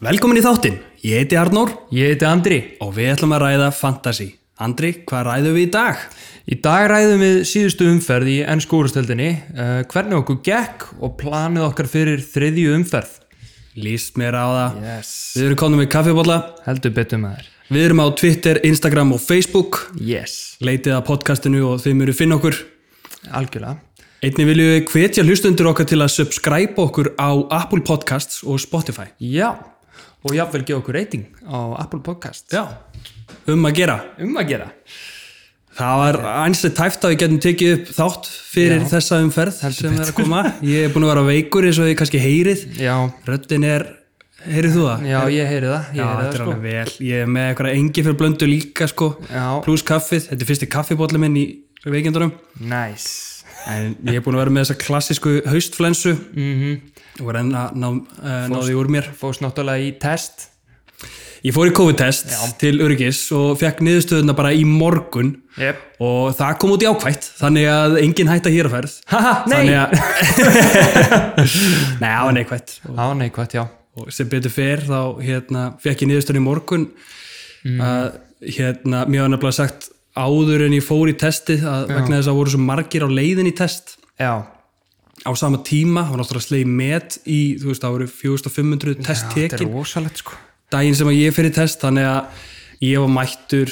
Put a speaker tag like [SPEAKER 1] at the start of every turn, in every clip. [SPEAKER 1] Velkomin í þáttinn, ég heiti Arnór
[SPEAKER 2] Ég heiti Andri.
[SPEAKER 1] og við ætlum að ræða Fantasy. Andri, hvað ræðum við í dag?
[SPEAKER 2] Í dag ræðum við síðustu umferð í ennsku úrstöldinni, uh, hvernig okkur gekk og planið okkar fyrir þriðju umferð.
[SPEAKER 1] Lýst mér á það.
[SPEAKER 2] Yes.
[SPEAKER 1] Við erum konum með kaffibólla,
[SPEAKER 2] Heldur betur maður.
[SPEAKER 1] við erum á Twitter, Instagram og Facebook.
[SPEAKER 2] Yes.
[SPEAKER 1] Leitið að podcastinu og þið mjög finna okkur.
[SPEAKER 2] Algjörlega.
[SPEAKER 1] Einnig viljum við hvetja hlustundur okkar til að subscribe okkur á Apple Podcasts og Spotify.
[SPEAKER 2] Já. Og jáfnvel gefa okkur reyting á Apple Podcast.
[SPEAKER 1] Já, um að gera.
[SPEAKER 2] Um að gera.
[SPEAKER 1] Það var ansið tæft að við getum tekið upp þátt fyrir þessa umferð sem er að koma. Ég er búin að vera veikur eins og þið kannski heyrið.
[SPEAKER 2] Já.
[SPEAKER 1] Röddin er, heyrið þú það?
[SPEAKER 2] Já, ég heyri það. Ég
[SPEAKER 1] Já,
[SPEAKER 2] heyri
[SPEAKER 1] þetta
[SPEAKER 2] það
[SPEAKER 1] er
[SPEAKER 2] sko.
[SPEAKER 1] alveg vel. Ég er með eitthvað engi fyrir blöndu líka sko,
[SPEAKER 2] Já.
[SPEAKER 1] pluss kaffið. Þetta er fyrsti kaffibólli minn í veikindunum.
[SPEAKER 2] Nice.
[SPEAKER 1] En ég er búin að vera með þessa klassísku haustflensu
[SPEAKER 2] Mm
[SPEAKER 1] og var enn að ná, uh, náði úr mér.
[SPEAKER 2] Fóðs náttúrulega í test.
[SPEAKER 1] Ég fór í COVID-test til Urgis og fekk niðurstöðuna bara í morgun
[SPEAKER 2] Jep.
[SPEAKER 1] og það kom út í ákvætt, þannig að engin hætta hér að ferð.
[SPEAKER 2] Haha,
[SPEAKER 1] Þannig
[SPEAKER 2] nei.
[SPEAKER 1] að... Nei, það var neikvætt.
[SPEAKER 2] Á neikvægt, já.
[SPEAKER 1] og sem betur fer þá hérna, fekk ég niðurstöðin í morgun
[SPEAKER 2] Mm.
[SPEAKER 1] að hérna, mér var nefnilega sagt áður en ég fór í testið að vegna þess að voru svo margir á leiðin í test
[SPEAKER 2] Já.
[SPEAKER 1] á sama tíma, það var náttúrulega sleið met í, þú veist, það voru 4500 test
[SPEAKER 2] Þetta er
[SPEAKER 1] tekin,
[SPEAKER 2] rosalegt sko.
[SPEAKER 1] daginn sem að ég fer í test þannig að ég var mættur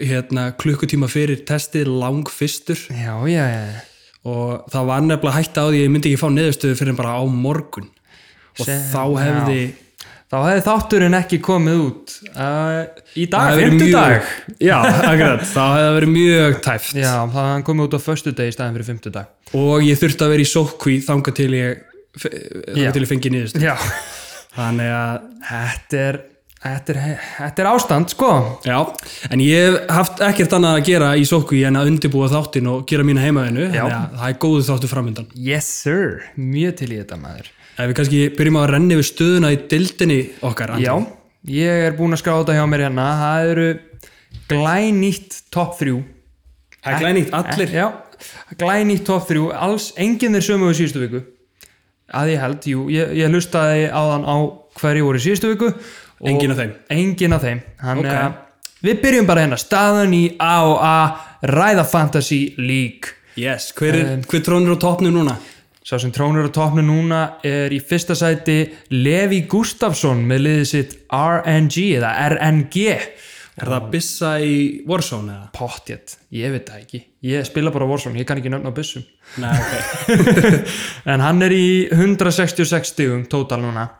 [SPEAKER 1] hérna, klukkutíma fyrir testið lang fyrstur
[SPEAKER 2] Já, já, já.
[SPEAKER 1] og það var nefnilega hægt á því að ég myndi ekki fá niðurstöðu fyrir bara á morgun og
[SPEAKER 2] Sem-
[SPEAKER 1] þá hefði
[SPEAKER 2] Þá hefði þátturinn ekki komið út uh, í
[SPEAKER 1] Það
[SPEAKER 2] dag,
[SPEAKER 1] hefði verið
[SPEAKER 2] fymtudag.
[SPEAKER 1] Já, akkurat, þá hefði það verið mjög tæft
[SPEAKER 2] Já, það hefði hann komið út á föstudag í staðin fyrir fymtudag.
[SPEAKER 1] og ég þurfti að vera í sótkví þanga til ég þanga
[SPEAKER 2] Já.
[SPEAKER 1] til ég fengi nýðust
[SPEAKER 2] Já.
[SPEAKER 1] þannig að,
[SPEAKER 2] Þetta er, þetta er, þetta er ástand, sko.
[SPEAKER 1] já en ég hef haft ekkert annað að gera í sótkví en að undirbúa þáttin og gera mína heimaðinu
[SPEAKER 2] Já.
[SPEAKER 1] þannig að það er góðu þáttu framöndan
[SPEAKER 2] Yes, sir. Mjög til í þetta, maður.
[SPEAKER 1] ef við kannski byrjum að renni við stöðuna í dildinni okkar Andri.
[SPEAKER 2] Já, ég er búinn að skráða þetta hjá mér hérna. Það eru glænýtt topp þrjú.
[SPEAKER 1] það er glænýtt, allir
[SPEAKER 2] Eh, Já, glænýtt topp þrjú. Alls, enginn er sömu við síðustu viku. Að ég held, jú. Ég, ég lustaði á þann á hverju voru í síðustu viku. og-
[SPEAKER 1] enginn af þeim
[SPEAKER 2] engin af þeim Þannig
[SPEAKER 1] Ok.
[SPEAKER 2] að við byrjum bara hérna staðan í AOA Ræða Fantasy League
[SPEAKER 1] yes, hver,
[SPEAKER 2] Eh.
[SPEAKER 1] er, hver trónir á topnu núna?
[SPEAKER 2] Sá sem trónur á topnu núna er í fyrsta sæti Levi Gustafsson með liðið sitt RNG eða RNG
[SPEAKER 1] er það Bissa í Warzone eða?
[SPEAKER 2] Pottjett, ég veit það ekki Ég spila bara Warzone, ég kann ekki nöfna á byssum
[SPEAKER 1] Nei, ok
[SPEAKER 2] En hann er í 166 stigum tótal núna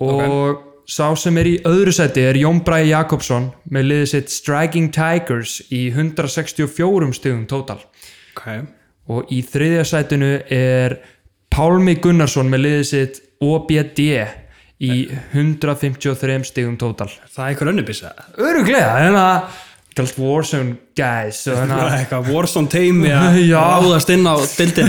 [SPEAKER 2] Og sá sem er í öðru seti er Jón Bræði Jakobsson með liðið sitt Striking Tigers í 164 stigum tótal
[SPEAKER 1] okay.
[SPEAKER 2] Og í þriðja sætinu er Pálmi Gunnarsson með liðið sitt OBD í 153 stigum hérna, tótal
[SPEAKER 1] það er eitthvað önnu Bissa
[SPEAKER 2] Öruglega, þannig að Þetta er allt Warzone guys og hérna- þannig að
[SPEAKER 1] bara eitthvað Warzone teimi að
[SPEAKER 2] Já.
[SPEAKER 1] ráðast inn á dildin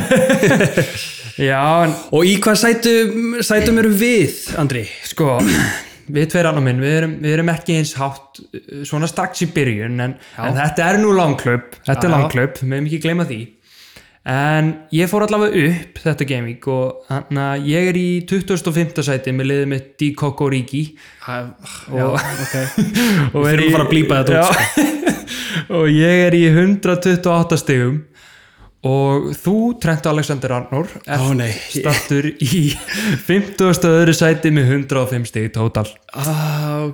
[SPEAKER 2] Já, en
[SPEAKER 1] og í hvað sætum, sætum eru við Andri?
[SPEAKER 2] sko við tveir annar minn, við erum, við erum ekki eins hátt uh, svona strax í byrjun en, en þetta er nú langklöp þetta er
[SPEAKER 1] Já.
[SPEAKER 2] langklöp, við erum ekki gleyma því en ég fór allavega upp þetta gaming og þannig að ég er í 25. sæti með liðið mitt Dikokk og Ríki
[SPEAKER 1] Já,
[SPEAKER 2] Og-
[SPEAKER 1] ok Við þurfum að fara að blípa þetta út sko.
[SPEAKER 2] út og ég er í 128 stigum og þú, Trent Alexander Arnór
[SPEAKER 1] Ó
[SPEAKER 2] er
[SPEAKER 1] nei
[SPEAKER 2] stattur í 50. öðru sæti með 105 stig tótal
[SPEAKER 1] Á,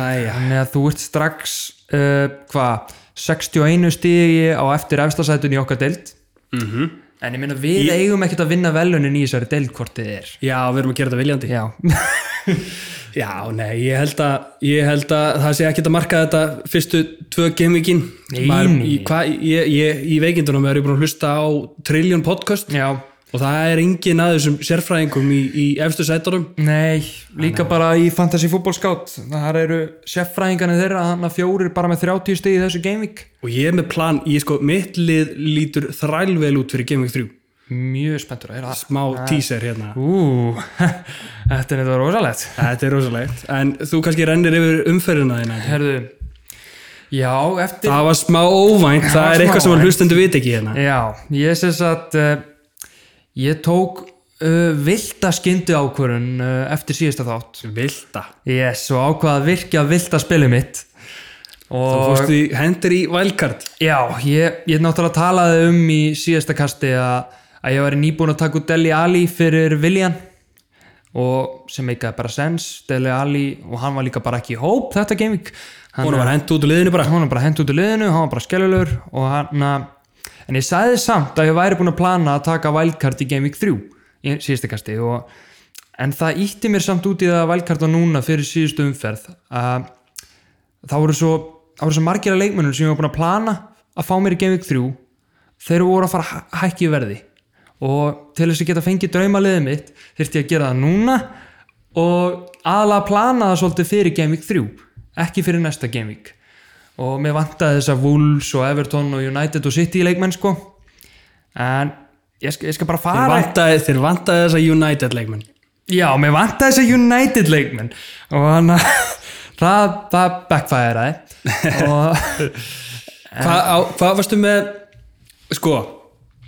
[SPEAKER 1] Æja
[SPEAKER 2] Þannig að þú ert strax uh, hvað, 61 stigi á eftir efstasætun í okkar deild en ég meina við eigum ekkert að vinna velunin í þessari deild hvort þið er
[SPEAKER 1] Já, við erum að gera þetta viljandi
[SPEAKER 2] Já,
[SPEAKER 1] Já, nei, ég held að, ég held að það sé ekkert að marka þetta fyrstu tvö gamevíkin
[SPEAKER 2] Nei, nei.
[SPEAKER 1] ég, ég, Í veikindunum er ég búin að hlusta á Trillion podcast
[SPEAKER 2] já,
[SPEAKER 1] og það er engin að þessum sérfræðingum í, í efstu sætunum
[SPEAKER 2] nei líka bara í Fantasy Football Scout það eru seffræðingarnir þeirra hann að fjórir bara með 30 stigi í þessu gameweek
[SPEAKER 1] og ég er með plan, ég sko, mitt lið lítur þrælvel út fyrir gamevík 3
[SPEAKER 2] Mjög spenntur að heyra það
[SPEAKER 1] smá teaser hérna
[SPEAKER 2] Ú, þetta er neitt rosalegt
[SPEAKER 1] Þetta er rosalegt, en þú kannski rennir yfir umferðina þína
[SPEAKER 2] Herðu, já, eftir
[SPEAKER 1] Það var smá óvænt, það
[SPEAKER 2] var
[SPEAKER 1] er
[SPEAKER 2] smá
[SPEAKER 1] eitthvað sem að
[SPEAKER 2] óvænt.
[SPEAKER 1] hlustendu vit ekki hérna
[SPEAKER 2] Já, eh, ég sem sagt uh, ég tók uh, vilda skyndu ákvörun uh, eftir síðasta þátt
[SPEAKER 1] Vilda
[SPEAKER 2] yes, og ákvað að virkja vilda spilið mitt
[SPEAKER 1] Þá
[SPEAKER 2] og
[SPEAKER 1] fórstu í hendur í wildcard
[SPEAKER 2] já, ég, ég náttúrulega talaði um í síðasta kasti að, að ég væri nýbúin að taka út Deli Ali fyrir Viljan og sem meikaði bara sens Deli Ali og hann var líka bara ekki í hóp þetta gaming hann,
[SPEAKER 1] Hún var hend út úr liðinu bara
[SPEAKER 2] hann var bara hent út úr liðinu, hann var bara skellulegur og hann að en ég sagði samt að ég væri búin að plana að taka wildcard í Game Week 3 í síðustu kasti og en það ítti mér samt út í það að wildcarda núna fyrir síðustu umferð að þá voru svo þá voru svo margir að leikmönnum sem ég var búin að plana að fá mér í Game Week 3 þeir voru að fara að hæ- hækka í verði og til þess að geta fengið draumaliðið mitt þyrfti ég að gera það núna og aðalega að plana það svolítið fyrir Game Week 3 ekki fyrir næsta Game Week og mér vantaði þess að Wolves og Everton og United og City í leikmenn sko en ég skal, ég skal bara
[SPEAKER 1] Þeir
[SPEAKER 2] fara
[SPEAKER 1] vantaði, þeir vantaði þessa United leikmenn
[SPEAKER 2] Já, mér vantaði þess að United leikmenn og hann það, það backfireði og
[SPEAKER 1] Hva,
[SPEAKER 2] Eh.
[SPEAKER 1] á, Hvað varstu með Sko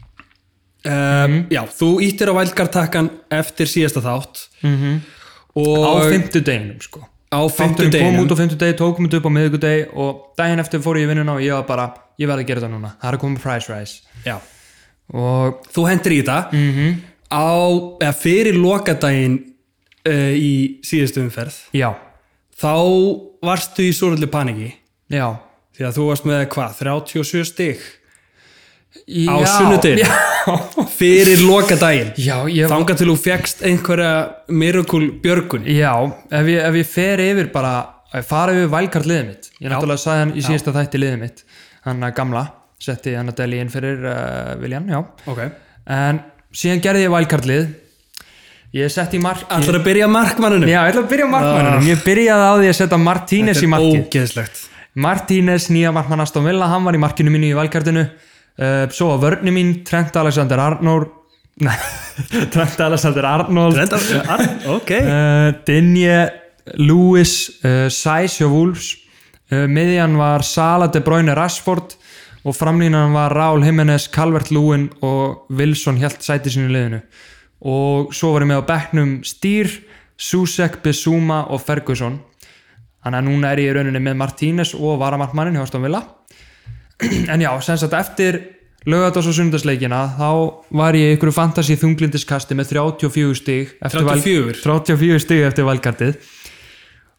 [SPEAKER 2] mm,
[SPEAKER 1] um, Já, þú íttir á wildcard takkan eftir síðasta þátt
[SPEAKER 2] Mhm. á
[SPEAKER 1] og
[SPEAKER 2] fymtudeginum sko
[SPEAKER 1] á hérna.
[SPEAKER 2] Þátturinn kom
[SPEAKER 1] fymtudeginum
[SPEAKER 2] út á fymtudegi, tókum þetta upp á miðugudegi og daginn eftir fór ég í vinnuna og ég var bara ég verði að gera þetta núna, það er að koma price rise
[SPEAKER 1] Já,
[SPEAKER 2] og
[SPEAKER 1] þú hendur í þetta
[SPEAKER 2] mhm,
[SPEAKER 1] á, eða fyrir lokadaginn uh, í síðustu umferð
[SPEAKER 2] já,
[SPEAKER 1] þá varstu í svolítið paniki
[SPEAKER 2] já
[SPEAKER 1] því að þú varst með hvað, 37 stig
[SPEAKER 2] Já.
[SPEAKER 1] á sunnudin
[SPEAKER 2] Já,
[SPEAKER 1] fyrir lokadaginn
[SPEAKER 2] já ég var
[SPEAKER 1] þangað til þú fegst einhverja miracle björgun
[SPEAKER 2] Já, ef ég, ef ég fer yfir bara ef ég fara yfir valkart liðið mitt ég náttúrulega sagði hann í síðasta þætti liðið mitt hann að gamla, setti hann að deli inn fyrir uh, Viljan, já
[SPEAKER 1] okay.
[SPEAKER 2] en síðan gerði ég valkart lið ég setti í mark ég,
[SPEAKER 1] Ætlar að byrja markmanninu
[SPEAKER 2] Já, ég ætla að byrja á markmannunum ég byrjaði á því að setja Martínez í markið
[SPEAKER 1] Ógeðslegt
[SPEAKER 2] Martínez, nýja markmann Aston Villa, hann var í markinu mínu í valkartinu uh, svo að vörni mín, Trent Alexander Arnold Nei, Trent Alexander Arnold
[SPEAKER 1] Renda, ar, Ok
[SPEAKER 2] uh, Dinje, Lewis uh, Sæs hjá Wolves uh, miðjan var Sala De Bruyne Rashford og framlínan var Raúl Jiménez, Calvert Lúin og Wilson hjælt sæti sínu í liðinu og svo varum við á bekknum Stýr, Susek, Bissouma og Ferguson þannig að núna er ég í rauninni með Martínez og varamartmannin hjá Aston Villa en já, sem sagt eftir lögadags og sundagsleikina þá var ég í ykkur fantasy þunglindiskasti með 34 stig eftir val-
[SPEAKER 1] 34?
[SPEAKER 2] 34 stig eftir valkartið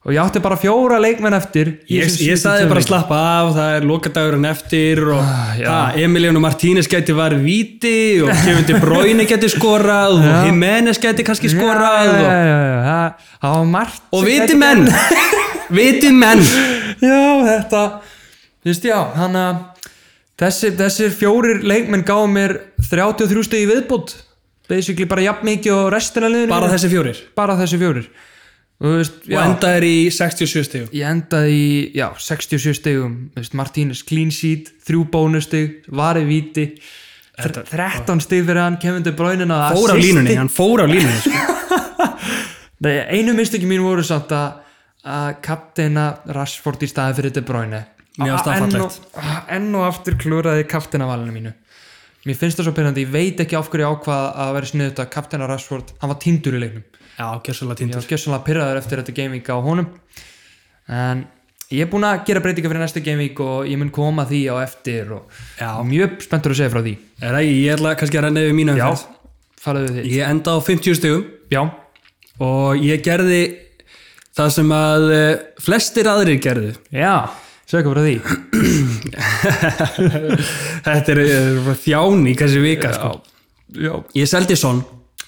[SPEAKER 2] og ég átti bara fjóra leikmenn eftir í
[SPEAKER 1] Ég,
[SPEAKER 2] þessum
[SPEAKER 1] ég sagði
[SPEAKER 2] 72
[SPEAKER 1] bara
[SPEAKER 2] leikjum.
[SPEAKER 1] að slappa af, það er lokadagurinn eftir og
[SPEAKER 2] Ah,
[SPEAKER 1] það, Emiliano Martínez gæti var víti og Kevin De Bruyne gæti skorað og Jiménez gæti kannski skorað
[SPEAKER 2] Já,
[SPEAKER 1] og,
[SPEAKER 2] já, já, já, það- það var margt
[SPEAKER 1] og
[SPEAKER 2] sem
[SPEAKER 1] viti
[SPEAKER 2] gæti-
[SPEAKER 1] menn, viti menn
[SPEAKER 2] já, þetta þú veist, já, hann að þessir, þessir fjórir leikmenn gáðu mér 33 stegi viðbútt basically bara jafn mikið og restina liðinu
[SPEAKER 1] bara þessi fjórir
[SPEAKER 2] bara þessi fjórir og, þú veist,
[SPEAKER 1] og
[SPEAKER 2] já,
[SPEAKER 1] enda er í 67 stegum
[SPEAKER 2] ég endaði í já, 67 stegum þú veist, Martínez clean sheet, þrjú bónusteg vari víti þr- 13 steg fyrir hann, Kevin De Bruyne náði
[SPEAKER 1] fór á
[SPEAKER 2] assisti.
[SPEAKER 1] línunni, hann fór á línunni sko.
[SPEAKER 2] Nei, einu mistöki mín voru samt að að kapteina Rashford í staði fyrir De Bruyne
[SPEAKER 1] Mér fannst það
[SPEAKER 2] Enn
[SPEAKER 1] fallegt.
[SPEAKER 2] og- enn og aftur klúraði kapteina valinu mínu mér finnst það svo pyrrandi, ég veit ekki af hverju ég ákvað að vera sniðut að kapteina Rashford hann var týndur í leiknum
[SPEAKER 1] já, kjörsala
[SPEAKER 2] ég
[SPEAKER 1] tindur
[SPEAKER 2] var gjössanlega pyrraður eftir þetta gaming á honum en ég er búinn að gera breytinga fyrir næsta gaming og ég mun koma því á eftir og
[SPEAKER 1] Já.
[SPEAKER 2] mjög spenntur að segja frá því
[SPEAKER 1] er það ekki, ég ætla kannski að renna yfir mínu umferð.
[SPEAKER 2] faraðu við því
[SPEAKER 1] ég enda á 50 stegum
[SPEAKER 2] já,
[SPEAKER 1] og ég gerði það sem að eh, flestir aðrir gerðu
[SPEAKER 2] já, segja frá því
[SPEAKER 1] þetta er eh, þjáni kannski vika sko.
[SPEAKER 2] já,
[SPEAKER 1] ég seldi son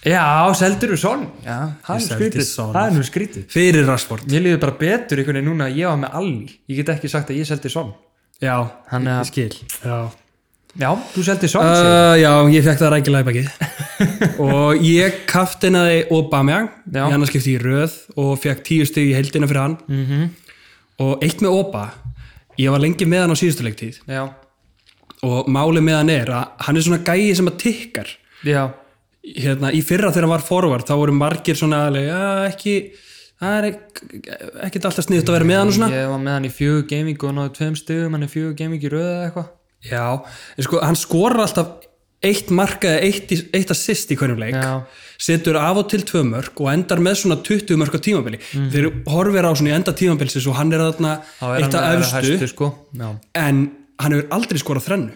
[SPEAKER 2] Já, seldur þú sonn? Já, það er nú
[SPEAKER 1] seldi
[SPEAKER 2] skrítið.
[SPEAKER 1] Son.
[SPEAKER 2] Það er nú skrítið.
[SPEAKER 1] fyrir Rashford
[SPEAKER 2] Mér líður bara betur einhvern veginn núna að ég var með Alli. Ég get ekki sagt að ég seldi sonn.
[SPEAKER 1] já,
[SPEAKER 2] Hann,
[SPEAKER 1] ég
[SPEAKER 2] eh,
[SPEAKER 1] skil já.
[SPEAKER 2] Já, þú seldi sonn. Uh,
[SPEAKER 1] Uh, já, ég fekk það rækilega í bakið og ég kaftinaði Aubameyang
[SPEAKER 2] Já.
[SPEAKER 1] í annarskipti í röð og fekk tíu stig í heldina fyrir hann og eitt með Oba ég var lengi með hann á síðustu leiktíð
[SPEAKER 2] já,
[SPEAKER 1] og málið með hann er að hann er svona gæi sem að tikkar
[SPEAKER 2] já,
[SPEAKER 1] hérna, í fyrra þegar hann var forvart þá voru margir svona alveg, já, ekki það er ek- ekkert alltaf sniðt að vera með hann og svona
[SPEAKER 2] ég var með hann í fjögur gaming og náðu tveim stugum, hann er fjögur gaming í röðu eða eitthvað.
[SPEAKER 1] Já, en sko, hann skorar alltaf eitt markaði eitt, í- eitt assist í hverjum leik
[SPEAKER 2] Já.
[SPEAKER 1] setur af og til tvö mörg og endar með svona 20 mörg á tímabili þegar horfir á svona í enda tímabilsins og hann er þarna
[SPEAKER 2] Mhm. Þá er
[SPEAKER 1] eitt
[SPEAKER 2] hann
[SPEAKER 1] af
[SPEAKER 2] að vera
[SPEAKER 1] efstu
[SPEAKER 2] hæstur, sko. Já.
[SPEAKER 1] en hann hefur aldrei skorað þrennu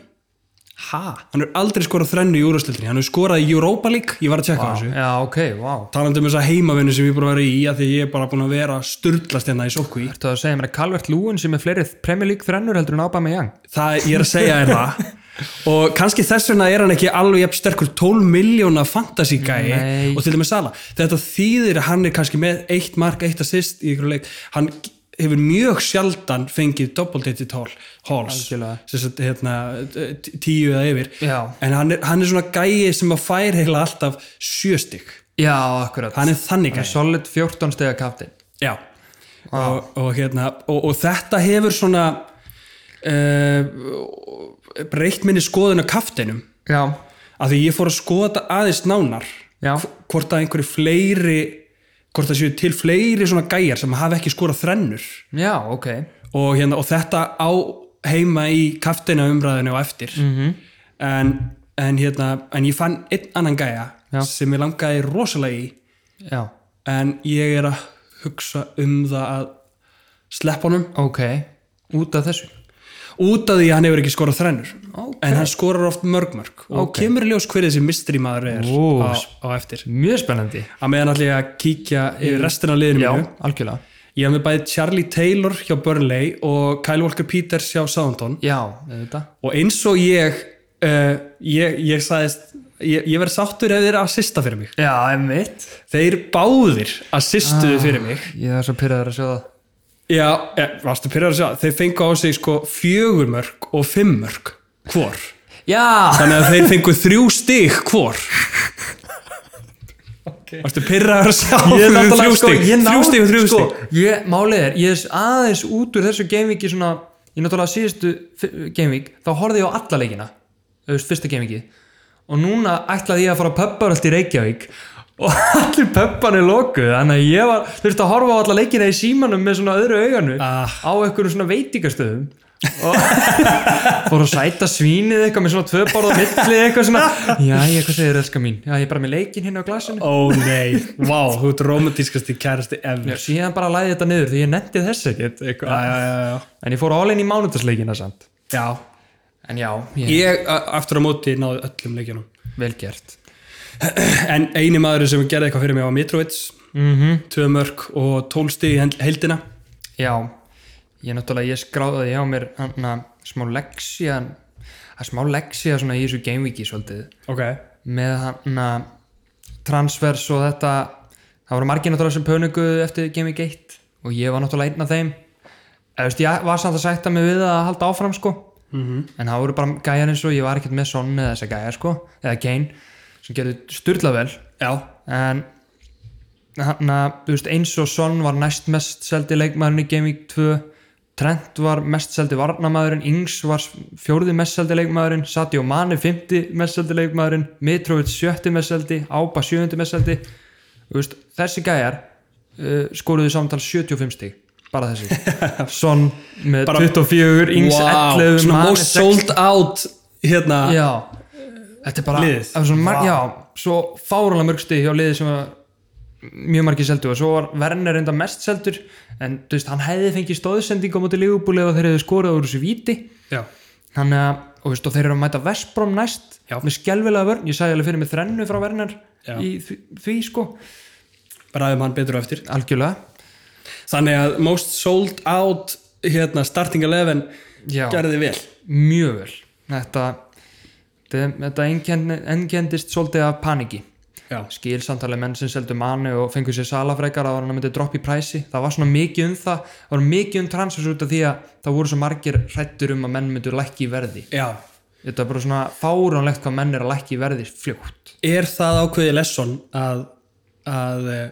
[SPEAKER 2] Ha?
[SPEAKER 1] hann hefur aldrei skorað þrennu í úrvastildinni hann hefur skorað í Europa League, ég var að tjekka á þessu
[SPEAKER 2] Já, ok, wow.
[SPEAKER 1] talandi um þessa heimavinnu sem ég er búin að vera í að því ég er bara búin að vera sturdlast hérna í sókví
[SPEAKER 2] Ertu að segja mér að Calvert Lúin sem er fleiri Premier League þrennur heldur en Aubameyang?
[SPEAKER 1] það ég er að segja er það og kannski þess vegna er hann ekki alveg jafn sterkur 12 miljóna fantasy gæi
[SPEAKER 2] Nei.
[SPEAKER 1] og til dæmis Sala þetta þýðir að hann er kannski með eitt mark, eitt assist í ykkur leik hann hefur mjög sjaldan fengið double digit hall, halls
[SPEAKER 2] Algjörlega.
[SPEAKER 1] sem sagt, hérna, t- tíu eða yfir
[SPEAKER 2] Já.
[SPEAKER 1] en hann er, hann er svona gæi sem að fær heila alltaf sjöstig
[SPEAKER 2] Já, akkurat.
[SPEAKER 1] hann er þannig gæi
[SPEAKER 2] solid 14 stega kaptinn.
[SPEAKER 1] Já og, og, hérna, og, og þetta hefur svona uh, breytt minni skoðun á kaftinum
[SPEAKER 2] Já,
[SPEAKER 1] af því ég fór að skoða þetta aðeins nánar
[SPEAKER 2] já,
[SPEAKER 1] hvort að einhverju fleiri hvort það séu til fleiri svona gæjar sem hafa ekki skorað þrennur
[SPEAKER 2] já, ok.
[SPEAKER 1] og, hérna, og þetta á heima í kaftina umræðinu og eftir
[SPEAKER 2] Mhm.
[SPEAKER 1] -hmm. en, en, hérna, en ég fann einn annan gæja
[SPEAKER 2] Já.
[SPEAKER 1] sem ég langaði rosalega í
[SPEAKER 2] Já,
[SPEAKER 1] en ég er að hugsa um það að sleppa honum
[SPEAKER 2] ok. Út af þessu.
[SPEAKER 1] út af því að hann hefur ekki skorað þrennur
[SPEAKER 2] Ókei.
[SPEAKER 1] en hann skorar oft mörgmörg og
[SPEAKER 2] Ókei.
[SPEAKER 1] kemur í ljós hver þessi mystery maður er
[SPEAKER 2] Ó.
[SPEAKER 1] á, á eftir
[SPEAKER 2] Mjög spennandi.
[SPEAKER 1] að meðan allir að kíkja yfir restina af liðinu mínu
[SPEAKER 2] algjörlega.
[SPEAKER 1] ég hef með bæði Charlie Taylor hjá Burnley og Kyle Walker Peters hjá Southampton
[SPEAKER 2] Já, auðvitað.
[SPEAKER 1] og eins og ég uh, ég, ég sagðist ég, ég verð sáttur ef þeir assista fyrir mig
[SPEAKER 2] Já, einmitt.
[SPEAKER 1] þeir báðir assistuðu
[SPEAKER 2] Ah.
[SPEAKER 1] fyrir mig
[SPEAKER 2] Ég er svo pyrraður að sjá það.
[SPEAKER 1] Já, ja, varstu pyrrar að sjá, þeir fengu á sig sko fjögur mörg og fimm mörg hvor,
[SPEAKER 2] Já!
[SPEAKER 1] þannig að þeir fengu þrjú stig hvor Varstu pyrrar að sjá
[SPEAKER 2] Ég er
[SPEAKER 1] fyrir
[SPEAKER 2] náttúrulega
[SPEAKER 1] þrjú
[SPEAKER 2] sko,
[SPEAKER 1] stig,
[SPEAKER 2] ég náði-
[SPEAKER 1] þrjú stig og þrjú
[SPEAKER 2] sko,
[SPEAKER 1] stig
[SPEAKER 2] Ég, málið er, ég er aðeins út úr þessu gamevíki svona, ég náttúrulega síðustu fi- gamevík, þá horfði ég á alla leikina, þú veist, fyrsta gamevíki og núna ætlaði ég að fara að pöppa allt í Reykjavík og allir pöppan er lokuð, þannig að ég var þurfti að horfa á alla leikina í símanum með svona öðru auganu
[SPEAKER 1] Ah.
[SPEAKER 2] á einhverjum svona veitingastöðum og fór að sæta svínið eitthvað með svona tvö borða milli eitthvað svona, já, ég, hvað segir elska mín já, ég er bara með leikin hérna á glasinu
[SPEAKER 1] Ó nei, vá, þú ert romantískasti kærasti ever
[SPEAKER 2] Já, síðan bara læði þetta niður því ég netti þess ekkert
[SPEAKER 1] Já,
[SPEAKER 2] eitthvað.
[SPEAKER 1] já, já, já.
[SPEAKER 2] En ég fór all-in í mánudagsleikina samt.
[SPEAKER 1] já
[SPEAKER 2] En já, ég,
[SPEAKER 1] Ég a- aftur á móti náði öllum leikjunum
[SPEAKER 2] vel gert.
[SPEAKER 1] En eini maður sem gerði eitthvað fyrir mig var Mitrovic mm
[SPEAKER 2] Mhm.
[SPEAKER 1] -hmm. Tvö mörg og tólstig í hel- heildina
[SPEAKER 2] Já, ég náttúrulega, ég skráði hjá mér hann smá leksja, að smá leksja svona í þessu gamevíki svolítið.
[SPEAKER 1] Ok
[SPEAKER 2] Með hann transfers og þetta, það voru margir náttúrulega sem pönuguðu eftir gamevík 1 og ég var náttúrulega einn af þeim. Eða, veist, ég var samt að sætta mig við að halda áfram sko.
[SPEAKER 1] Mhm.
[SPEAKER 2] en það voru bara gæjar eins og ég var ekkert með Son eða þessa gæjar sko, eða Kane sem gerðu styrla vel
[SPEAKER 1] Já,
[SPEAKER 2] en hann að, þú veist, eins og Son var næst mest seldi leikmaðurinn í Gaming 2 Trent var mest seldi varnamaðurinn Ings var fjórði mest seldi leikmaðurinn Sadio Mane fymti mest seldi leikmaðurinn Mitrovic sjötti mest seldi Ába sjöndi mest seldi Þú veist, þessi gæjar uh, skoruðu samtals 75 stig bara þessi Son með
[SPEAKER 1] Bara-
[SPEAKER 2] 24 Ings 11
[SPEAKER 1] svona
[SPEAKER 2] Mane
[SPEAKER 1] most
[SPEAKER 2] 16.
[SPEAKER 1] sold out hérna,
[SPEAKER 2] já, þetta er bara
[SPEAKER 1] Liðið.
[SPEAKER 2] það er svona, mar, já, svo fárulega mörg stig hjá liðið sem var mjög margir seldu og svo var Werner enda mest seldur en þú veist, hann hefði fengið stóðsending á móti lífubúli ef þeir hefði skorað úr þessu víti
[SPEAKER 1] já.
[SPEAKER 2] þannig að, og, veist, og þeir eru að mæta Vestbrom næst
[SPEAKER 1] Já.
[SPEAKER 2] með skelvilega vörn, ég sagði alveg fyrir mig þrennu frá Werner
[SPEAKER 1] Já.
[SPEAKER 2] í því, því sko,
[SPEAKER 1] ræðum hann betur á eftir
[SPEAKER 2] algjörlega
[SPEAKER 1] þannig að most sold out hérna, starting 11
[SPEAKER 2] Já.
[SPEAKER 1] gerði vel
[SPEAKER 2] mjög vel þetta, þetta, þetta einkenni- einkendist svolítið af paniki
[SPEAKER 1] já,
[SPEAKER 2] skil samtalið menn sem seldu manni og fengur sér salafreikar að hann myndi droppa í præsi það var svona mikið um það, það var mikið um transfers út af því að það voru svo margir hrættur um að menn myndu lækki í verði
[SPEAKER 1] já.
[SPEAKER 2] þetta er bara svona fáránlegt hvað menn er að lækki í verði fljótt,
[SPEAKER 1] er það ákveði lesson að, að eh,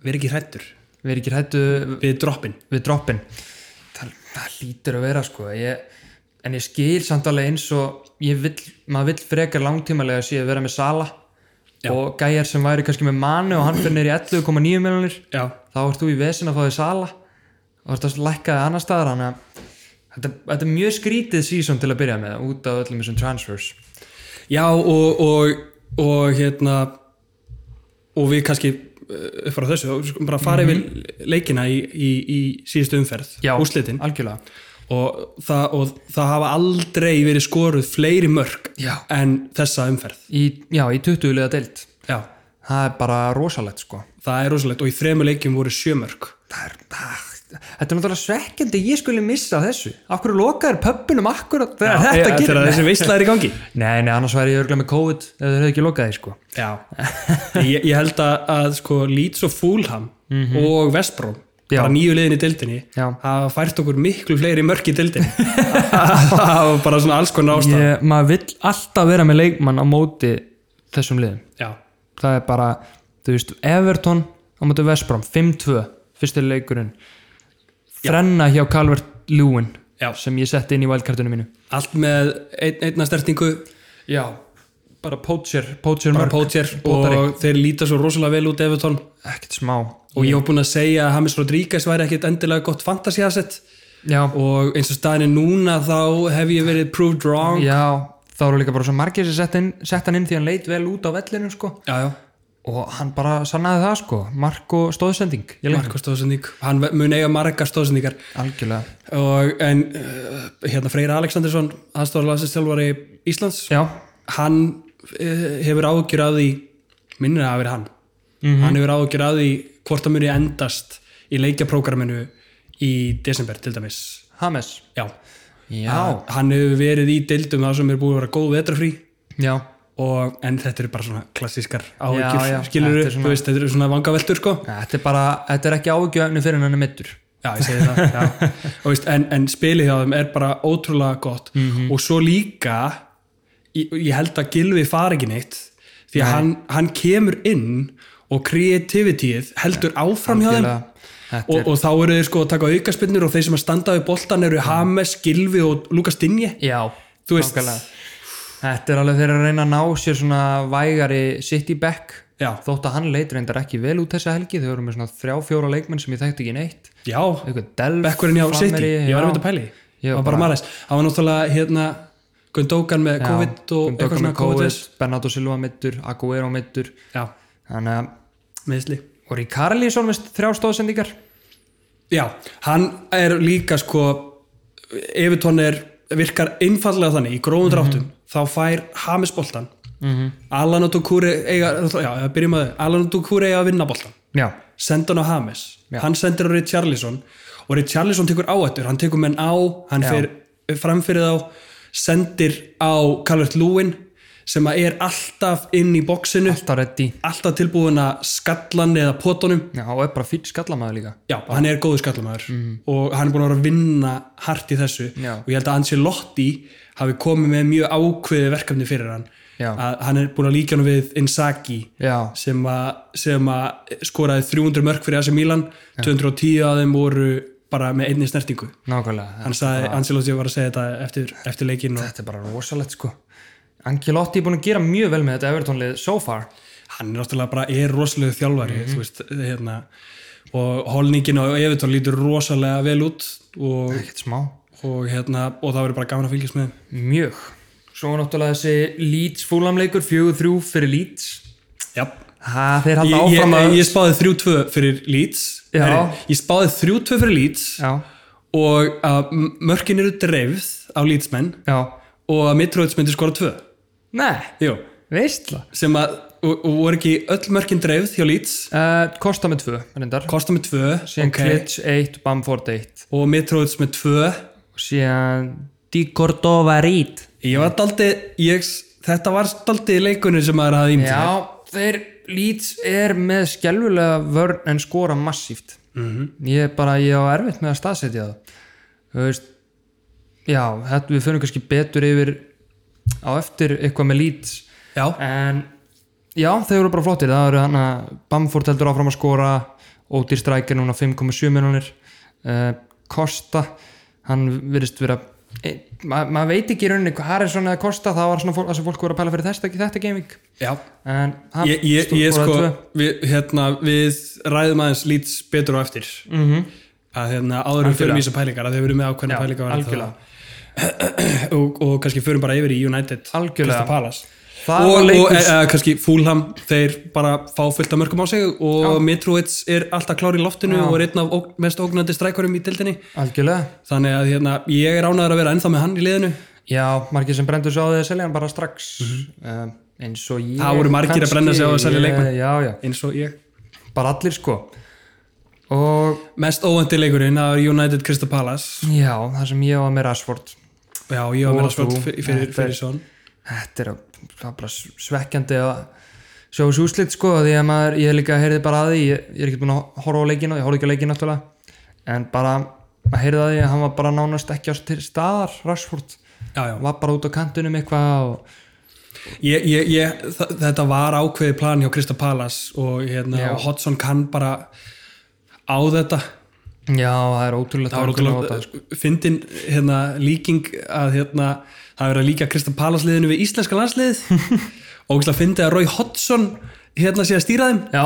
[SPEAKER 1] vera ekki hrættur
[SPEAKER 2] við erum ekki hrættu
[SPEAKER 1] við droppin
[SPEAKER 2] við droppin það, það lítur að vera sko ég, en ég skil samtalið eins og ég vill, maður vill frekar langtímalega sé að vera með sala og gæjar sem væri kannski með manni og hann fyrir neyri 11,9 miljonir
[SPEAKER 1] já,
[SPEAKER 2] þá ert þú í vesin að fá því sala og ert að lækka þig annar staðar þannig að þetta, þetta er mjög skrítið sísón til að byrja með út af öllum þessum transfers
[SPEAKER 1] Já, og, og, og hérna og við kannski eh, upp frá þessu, þá skulum bara fara yfir leikina í, í, í síðustu umferð
[SPEAKER 2] Mhm. Já,
[SPEAKER 1] úrslitin
[SPEAKER 2] algjörlega
[SPEAKER 1] og það, og það hafa aldrei verið skoruð fleiri mörg
[SPEAKER 2] Já.
[SPEAKER 1] en þessa umferð
[SPEAKER 2] í, Já, í 20 liða deilt
[SPEAKER 1] Já,
[SPEAKER 2] Það er bara rosalegt sko
[SPEAKER 1] það er rosalegt og í þremur leikjum voru sjö mörg
[SPEAKER 2] það er, það, Ah, Þetta er náttúrulega svekkjandi að ég skulle missa af þessu Akkur lokaður pöppinum akkur þegar þetta
[SPEAKER 1] Þegar-
[SPEAKER 2] gerir
[SPEAKER 1] þegar þessi veistla er í gangi
[SPEAKER 2] Nei, nei, annars væri ég örgulega með COVID ef þeir hefði ekki lokað því sko
[SPEAKER 1] Já, ég, ég held að, að sko, Leeds og Fulham og Vestbrom
[SPEAKER 2] Mhm. Já.
[SPEAKER 1] bara nýju liðin í dildinni
[SPEAKER 2] Já.
[SPEAKER 1] hafa fært okkur miklu fleiri mörk í dildinni og bara svona alls konar ástæð
[SPEAKER 2] ég, Maður vill alltaf vera með leikmann á móti þessum liðum
[SPEAKER 1] Já,
[SPEAKER 2] það er bara, þú veist, Everton á móti Vestbrom, 5-2 fyrsti leikurinn þrenna hjá Calvert Lewin
[SPEAKER 1] Já.
[SPEAKER 2] sem ég setti inn í valdkartunum mínu
[SPEAKER 1] allt með ein, einna stertingu
[SPEAKER 2] já, bara pótsir pótsir
[SPEAKER 1] bara
[SPEAKER 2] mörg,
[SPEAKER 1] pótsér
[SPEAKER 2] Bótari.
[SPEAKER 1] og þeir líta svo rosalega vel út Everton
[SPEAKER 2] ekkert smá
[SPEAKER 1] og ég var búinn að segja að Hamis Rodríguez væri ekkit endilega gott fantasiasett
[SPEAKER 2] já,
[SPEAKER 1] og eins og staðinni núna þá hef ég verið proved wrong
[SPEAKER 2] já, þá eru líka bara svo margir sem sett, inn, sett hann inn því hann leit vel út á vellinu sko
[SPEAKER 1] Já, já,
[SPEAKER 2] og hann bara sannaði það sko mark og stóðsending í leiknum.
[SPEAKER 1] Marko Stóðsendík hann ve- mun eiga marga stóðsendíkar
[SPEAKER 2] algjörlega
[SPEAKER 1] og en uh, hérna Freyra Aleksandersson aðstofalansistjálfari Íslands
[SPEAKER 2] já,
[SPEAKER 1] hann uh, hefur ágjur að því minnir að það hafi verið hann hann hefur ágjur að því hvort það muni endast í leikjaprógraminu í desember til dæmis
[SPEAKER 2] Hames
[SPEAKER 1] já,
[SPEAKER 2] já,
[SPEAKER 1] hann hefur verið í deildum það sem er búið að vera góð vetrafrí
[SPEAKER 2] já,
[SPEAKER 1] og, en þetta eru bara svona klassískar
[SPEAKER 2] já,
[SPEAKER 1] áhyggjur skilur
[SPEAKER 2] þetta er
[SPEAKER 1] upp,
[SPEAKER 2] svona-
[SPEAKER 1] þú veist, þetta eru svona vangaveltur sko
[SPEAKER 2] þetta er bara þetta er ekki ágjöfni fyrir hann er mittur
[SPEAKER 1] Já, ég segi það, já. Og veist, en, en spilið hjá þeim er bara ótrúlega gott
[SPEAKER 2] Mhm.
[SPEAKER 1] og svo líka ég, ég held að Gilvi fari ekki neitt því að hann, hann kemur inn og kreativitíð heldur áfram hjá þeim
[SPEAKER 2] Þetta
[SPEAKER 1] og, og þá eru þeir sko að taka aukaspinnur og þeir sem að standa við boltan eru Hames, Gilvi og Lukas Dinje
[SPEAKER 2] Já,
[SPEAKER 1] Þú veist-
[SPEAKER 2] nákvæmlega. Þetta er alveg þeir að reyna að ná sér svona vægari city back
[SPEAKER 1] Já.
[SPEAKER 2] þótt að hann leit reyndar ekki vel út þessa helgi þau eru með svona þrjá fjóra leikmenn sem ég þekkti ekki neitt
[SPEAKER 1] Já,
[SPEAKER 2] eitthvað Delf
[SPEAKER 1] bekkurinn hjá City,
[SPEAKER 2] frammeri,
[SPEAKER 1] ég var
[SPEAKER 2] já.
[SPEAKER 1] einmitt að pæli
[SPEAKER 2] Ég
[SPEAKER 1] Það
[SPEAKER 2] var
[SPEAKER 1] var bara
[SPEAKER 2] bara-
[SPEAKER 1] maður Það var náttúrulega hérna Gundókan með
[SPEAKER 2] Já,
[SPEAKER 1] COVID og
[SPEAKER 2] Gundogan
[SPEAKER 1] eitthvað
[SPEAKER 2] með
[SPEAKER 1] svona COVID
[SPEAKER 2] Bernardo Silva mittur, Aguero mittur
[SPEAKER 1] Já,
[SPEAKER 2] þannig að
[SPEAKER 1] meðsli
[SPEAKER 2] og Ríkarli svona með þrjá stóðsendingar
[SPEAKER 1] Já, hann er líka sko Evertón er virkar einfallega þannig í
[SPEAKER 2] Mhm.
[SPEAKER 1] gróðum dráttum þá fær Hamis boltan Alan og Dukúri eiga já, byrjum að þau, Alan og Dukúri eiga að vinna boltan
[SPEAKER 2] Já,
[SPEAKER 1] senda hann á Hamis
[SPEAKER 2] Já.
[SPEAKER 1] hann sendir á Richarlison og Richarlison tekur áættur, hann tekur menn á hann
[SPEAKER 2] Já.
[SPEAKER 1] fer framfyrir þá sendir á Calvert Lúin sem að er alltaf inn í boksinu,
[SPEAKER 2] alltaf reddi
[SPEAKER 1] alltaf tilbúin að skallan eða potunum
[SPEAKER 2] Já, og er bara fýtt skallamæður líka
[SPEAKER 1] Já, hann er góðu skallamæður og hann er búin að vera að vinna hart í þessu
[SPEAKER 2] Mhm. Já.
[SPEAKER 1] og ég held að Ancelotti hafi komið með mjög ákveði verkefni fyrir hann
[SPEAKER 2] Já.
[SPEAKER 1] að hann er búin að líka hann við Inzaghi
[SPEAKER 2] Já,
[SPEAKER 1] sem, að- sem að skoraði 300 mörg fyrir AC Milan 210 af þeim voru bara með einni snertingu
[SPEAKER 2] nákvæmlega
[SPEAKER 1] hann sagði, Ancelotti var að segja þetta eftir, eftir leikinn og
[SPEAKER 2] Þetta er bara rosalegt sko Angelotti er búin að gera mjög vel með þetta Evertónlið so far
[SPEAKER 1] hann er náttúrulega bara, er rosalega þjálfari
[SPEAKER 2] Mhm.
[SPEAKER 1] þú veist, hérna og holningin á Evertón lítur rosalega vel út og
[SPEAKER 2] Ekkert smá
[SPEAKER 1] og, hérna, og það verður bara gaman að fylgjast með þeim.
[SPEAKER 2] Mjög Svo náttúrulega þessi Leeds fúlamleikur 4-3 fyrir Leeds
[SPEAKER 1] Já,
[SPEAKER 2] ha, Þeir halda
[SPEAKER 1] ég,
[SPEAKER 2] áfram
[SPEAKER 1] ég,
[SPEAKER 2] að
[SPEAKER 1] ég spáði 3-2 fyrir Leeds
[SPEAKER 2] Já.
[SPEAKER 1] Heyrðu, Ég spáði 3-2 fyrir Leeds
[SPEAKER 2] Já,
[SPEAKER 1] og að m- mörkin eru dreifð á Leedsmenn
[SPEAKER 2] já
[SPEAKER 1] og að Mitrovic myndi skora 2
[SPEAKER 2] Nei,
[SPEAKER 1] Jú,
[SPEAKER 2] veistla
[SPEAKER 1] sem að og, og voru ekki öll mörkin dreifð hjá Leeds
[SPEAKER 2] uh, Kosta með 2 reyndar
[SPEAKER 1] Kosta með 2
[SPEAKER 2] Síðan Klitsch 1, Bamford 1
[SPEAKER 1] og Mitrovic með 2
[SPEAKER 2] Síðan Di Cordova Reed
[SPEAKER 1] Ég var daldi, ég, s- þetta var daldi leikunni sem maður hafði ímyndið
[SPEAKER 2] Já, þeir Leeds er með skelvulega vörn en skora massíft ég er bara, ég á erfitt með að staðsetja það þú veist já, þetta, við fyrir kannski betur yfir á eftir eitthvað með Leeds
[SPEAKER 1] Já,
[SPEAKER 2] en já, þeir eru bara flottir það eru hann að Bamford heldur áfram að skora Ódýr strækir núna 5,7 miljonir uh, Kosta hann virðist vera e, ma- maður veit ekki í rauninni hvað Harrison eða Kosta það var svona fólk, það sem fólk voru að pæla fyrir þetta, þetta gaming
[SPEAKER 1] já
[SPEAKER 2] en hann
[SPEAKER 1] Ég, ég,
[SPEAKER 2] stúlkur
[SPEAKER 1] ég
[SPEAKER 2] voru
[SPEAKER 1] sko,
[SPEAKER 2] tvö.
[SPEAKER 1] við, hérna, við ræðum aðeins lít betur á eftir mm -hmm. að hérna, áður en við fyrir
[SPEAKER 2] Mhm. Algjörlega.
[SPEAKER 1] mjög pælingar að þeir eru með ákveðna
[SPEAKER 2] Já,
[SPEAKER 1] pælingar varðandi það.
[SPEAKER 2] algjörlega.
[SPEAKER 1] og, og kannski förum bara yfir í United
[SPEAKER 2] Algjörlega.
[SPEAKER 1] Crystal Palace
[SPEAKER 2] Það
[SPEAKER 1] og,
[SPEAKER 2] var leikur-
[SPEAKER 1] og e, e, kannski Fulham þeir bara fá fullt af mörgum á sig og Mitrovic er alltaf klár í loftinu og er einn af ógn, mest ógnandi strækvarum í dildinni
[SPEAKER 2] Algjörlega.
[SPEAKER 1] þannig að hérna, ég er ánæður að vera ennþá með hann í liðinu
[SPEAKER 2] Já, margir sem brendur sig á því að selja hann bara strax um, eins og ég
[SPEAKER 1] Mhm. Það voru margir að brenna sig á að selja
[SPEAKER 2] ég-
[SPEAKER 1] leikmenn.
[SPEAKER 2] Já, já,
[SPEAKER 1] eins og ég
[SPEAKER 2] bara allir sko og
[SPEAKER 1] mest óvænti leikurinn það er United Crystal Palace
[SPEAKER 2] já, það sem ég var með Rashford
[SPEAKER 1] já, ég var
[SPEAKER 2] Og
[SPEAKER 1] meira svöld
[SPEAKER 2] þú.
[SPEAKER 1] fyrir, fyrir,
[SPEAKER 2] Þetta er-
[SPEAKER 1] fyrir svon
[SPEAKER 2] Þetta er að- það er bara svekkjandi að sjá þessu úslit sko því að maður, ég líka heyrði bara að því ég, ég er ekki búin að horfa á leikinu, ég horfði ekki á leikinu náttúrulega, en bara maður heyrði að því að hann var bara nánast ekki á st- staðar Rashford,
[SPEAKER 1] já, já.
[SPEAKER 2] hann var bara út á kantunum eitthvað og
[SPEAKER 1] Ég, ég, ég, þa- þetta var ákveði plan hjá Krista Palas og hérna,
[SPEAKER 2] Já.
[SPEAKER 1] og Hodgson kann bara á þetta
[SPEAKER 2] já, það er
[SPEAKER 1] það
[SPEAKER 2] ótrúlegt
[SPEAKER 1] var
[SPEAKER 2] að hann kunni á
[SPEAKER 1] ótrúlega eh,
[SPEAKER 2] þetta, sko.
[SPEAKER 1] fyndin hérna, líking að hérna, það er verið að líka Krista Palas liðinu við íslenska landsliðið og ógeðslega fyndi að Roy Hodgson hérna sé að stýra þeim
[SPEAKER 2] Já,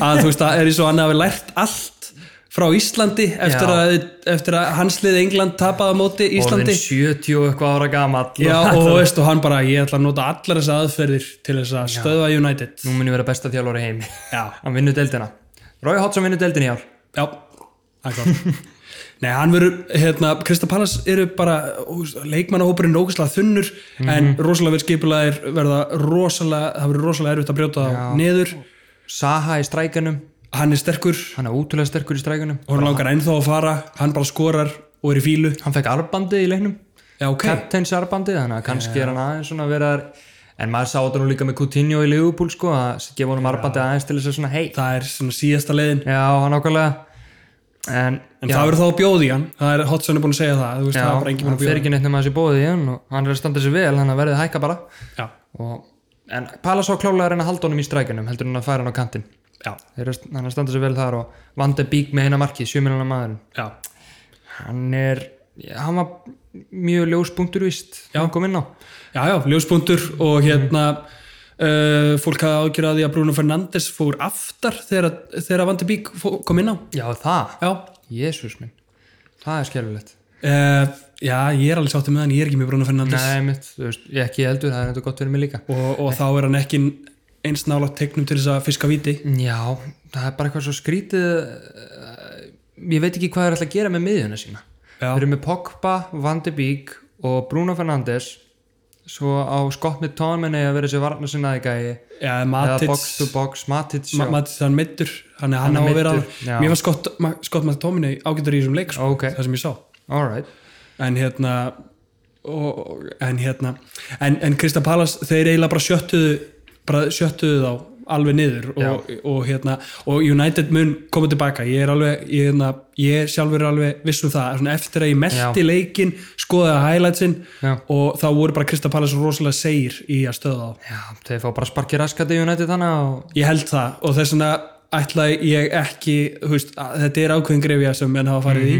[SPEAKER 1] að þú veist það er eins og hann hafi lært allt frá Íslandi eftir,
[SPEAKER 2] Já.
[SPEAKER 1] að, eftir að hanslið England tapaði á móti Íslandi
[SPEAKER 2] orðin 70 og eitthvað ára gamall
[SPEAKER 1] Já,
[SPEAKER 2] og
[SPEAKER 1] og, þú veist, og hann bara, ég ætla að nota allar þessar aðferðir til þess að stöðva United
[SPEAKER 2] nú mun ég vera besta þjálfari heim
[SPEAKER 1] Já,
[SPEAKER 2] hann vinnur deildina Rói Hotsson vinnur deildina í ár
[SPEAKER 1] Já, það er klart Nei, hann verður, hérna, Krista Pallas eru bara, leikmannahópurinn ógæslega þunnur,
[SPEAKER 2] Mhm.
[SPEAKER 1] en rosalega verð skipulaðir verða rosalega, það verður rosalega erfitt að brjóta þá niður
[SPEAKER 2] Saha í strækanum,
[SPEAKER 1] hann er sterkur,
[SPEAKER 2] hann er ótrúlega sterkur í strækanum
[SPEAKER 1] og hann langar ennþá að fara hann bara skorar og er í fílu
[SPEAKER 2] hann fekk arbandið í leiknum
[SPEAKER 1] Já, ok,
[SPEAKER 2] Captains arbandið, þannig að kannski er hann aðeins svona að vera en maður sá þetta nú líka með Coutinho í Liverpool sko, að gefa honum arbandið aðeins til þess að svona hei
[SPEAKER 1] það er svona síðasta leiðin
[SPEAKER 2] já, hann ákvæmlega en,
[SPEAKER 1] en það verður þá að bjóða í hann það er Hotson er búin að segja það, þú veist,
[SPEAKER 2] já,
[SPEAKER 1] það er bara
[SPEAKER 2] hann
[SPEAKER 1] engin búin að
[SPEAKER 2] fer
[SPEAKER 1] bjóða
[SPEAKER 2] ekki neitt nema þessi bóðið í hann og hann er að standa sér vel, hann verðið að hækka bara
[SPEAKER 1] Já,
[SPEAKER 2] og, en Palas á klálega að reyna að halda honum í strækjunum heldur hann að færa hann á kantinn
[SPEAKER 1] já,
[SPEAKER 2] Þeir eru- hann er að standa sér vel þar og Van de Beek með eina markið, sjöminana maðurinn
[SPEAKER 1] já
[SPEAKER 2] hann er, já, hann var mjög ljóspunktur vist, já. hann kom inn á
[SPEAKER 1] Já, já, ljóspunktur og hérna uh, fólk hafði ágjörði að Bruno Fernandes fór aftar þegar, þegar Van de Beek fó- kom inn á
[SPEAKER 2] já það,
[SPEAKER 1] Já,
[SPEAKER 2] jésús minn það er skelvilegt
[SPEAKER 1] uh, já ég er alveg sátti með hann, ég er ekki með Bruno Fernandes
[SPEAKER 2] nei mitt, þú veist, ég ekki heldur, það er þetta gott fyrir mig líka
[SPEAKER 1] og, og þá er hann ekki eins nálátt teiknum til þess að fiska viti
[SPEAKER 2] já, það er bara eitthvað svo skrítið eh, ég veit ekki hvað er alltaf að gera með miðjuna sína
[SPEAKER 1] Já.
[SPEAKER 2] þeir eru með Pogba, Van de Beek og Bruno Fernandes svo á skott með tónmenni að vera sér varna sinnaði gæi
[SPEAKER 1] Já,
[SPEAKER 2] eða
[SPEAKER 1] Matic,
[SPEAKER 2] box to box, Matic já.
[SPEAKER 1] Ma- Matic hann meittur hann, hann, hann
[SPEAKER 2] er
[SPEAKER 1] á að vera
[SPEAKER 2] meiddur, já.
[SPEAKER 1] mér var skott, Ma- skott maður tóminni ágættur í þessum leik sko,
[SPEAKER 2] Ok.
[SPEAKER 1] það sem ég sá
[SPEAKER 2] alright
[SPEAKER 1] en hérna og, og- en hérna en, en Krista Palas, þeir eiginlega bara sjöttuðu bara sjöttuðu þá alveg niður og, og hérna og United mun koma tilbaka ég er alveg, ég, hérna, ég sjálfur er alveg vissu það, svona eftir að ég meldi leikinn skoðaði highlightsin
[SPEAKER 2] Já.
[SPEAKER 1] og þá voru bara Krista Palas rosalega segir í að stöða þá
[SPEAKER 2] Já, þeir fá bara sparki raskat í United þannig og...
[SPEAKER 1] ég held það og þess vegna ætlaði ég ekki þú veist, að, þetta er ákveðin grefja sem menn hafa farið í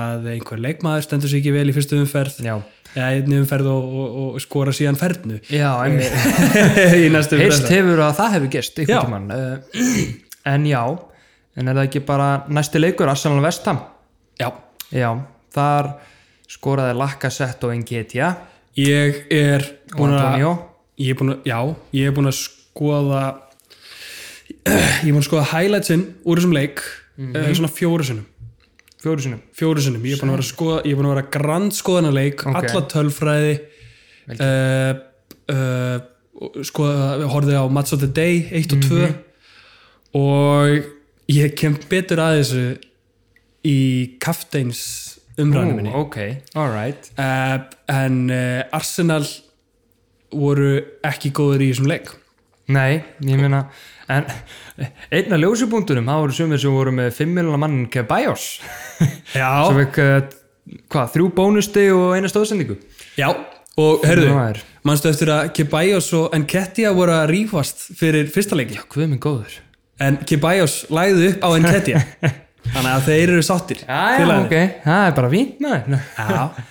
[SPEAKER 1] að einhver leikmaður stendur sér ekki vel í fyrstu umferð
[SPEAKER 2] Mhm. Já,
[SPEAKER 1] Já, einni umferð og, og, og skora síðan fernu
[SPEAKER 2] já einmitt
[SPEAKER 1] í næstu
[SPEAKER 2] Heyrst
[SPEAKER 1] umferð
[SPEAKER 2] hefur að það hefur gerst
[SPEAKER 1] Já.
[SPEAKER 2] einhvern tímann uh, En já, en er það ekki bara næsti leikur, Arsenal Vestham
[SPEAKER 1] Já,
[SPEAKER 2] Já, þar skoraði Lacazette og Engetia
[SPEAKER 1] ég er
[SPEAKER 2] og
[SPEAKER 1] búin að
[SPEAKER 2] Antonio
[SPEAKER 1] ég er búin að, já, ég er búin að skoða ég er búin að skoða highlightsin úr þessum leik mm svona fjóru sinnum
[SPEAKER 2] fjóru sinum
[SPEAKER 1] fjóru sinnum, ég er búin að vera að skoða ég er búin að vera að grand skoðana leik
[SPEAKER 2] Ok.
[SPEAKER 1] alla tölfræði uh, uh, skoða, horfið eh, á Match of the Day 1 og 2 og ég kem betur að þessu í kafteins umræðinu minni
[SPEAKER 2] Ok, alright
[SPEAKER 1] uh, en uh, Arsenal voru ekki góður í þessum leik
[SPEAKER 2] Nei, ég meina en einn af ljósupunktunum það voru sumir sem voru með 5 miljonar mann Kebajos
[SPEAKER 1] já,
[SPEAKER 2] sem fekk, uh, hvað, þrjú bónusti og eina stóðsendingu
[SPEAKER 1] já og herðu,
[SPEAKER 2] Maður.
[SPEAKER 1] manstu eftir að Kebajos og Enketia voru að rífast fyrir fyrsta leiki
[SPEAKER 2] Hvað minn góður?
[SPEAKER 1] en Kebajos lægði upp á Enketia þannig að þeir eru sáttir félagarnir.
[SPEAKER 2] ok, það er bara fínt maður
[SPEAKER 1] Já,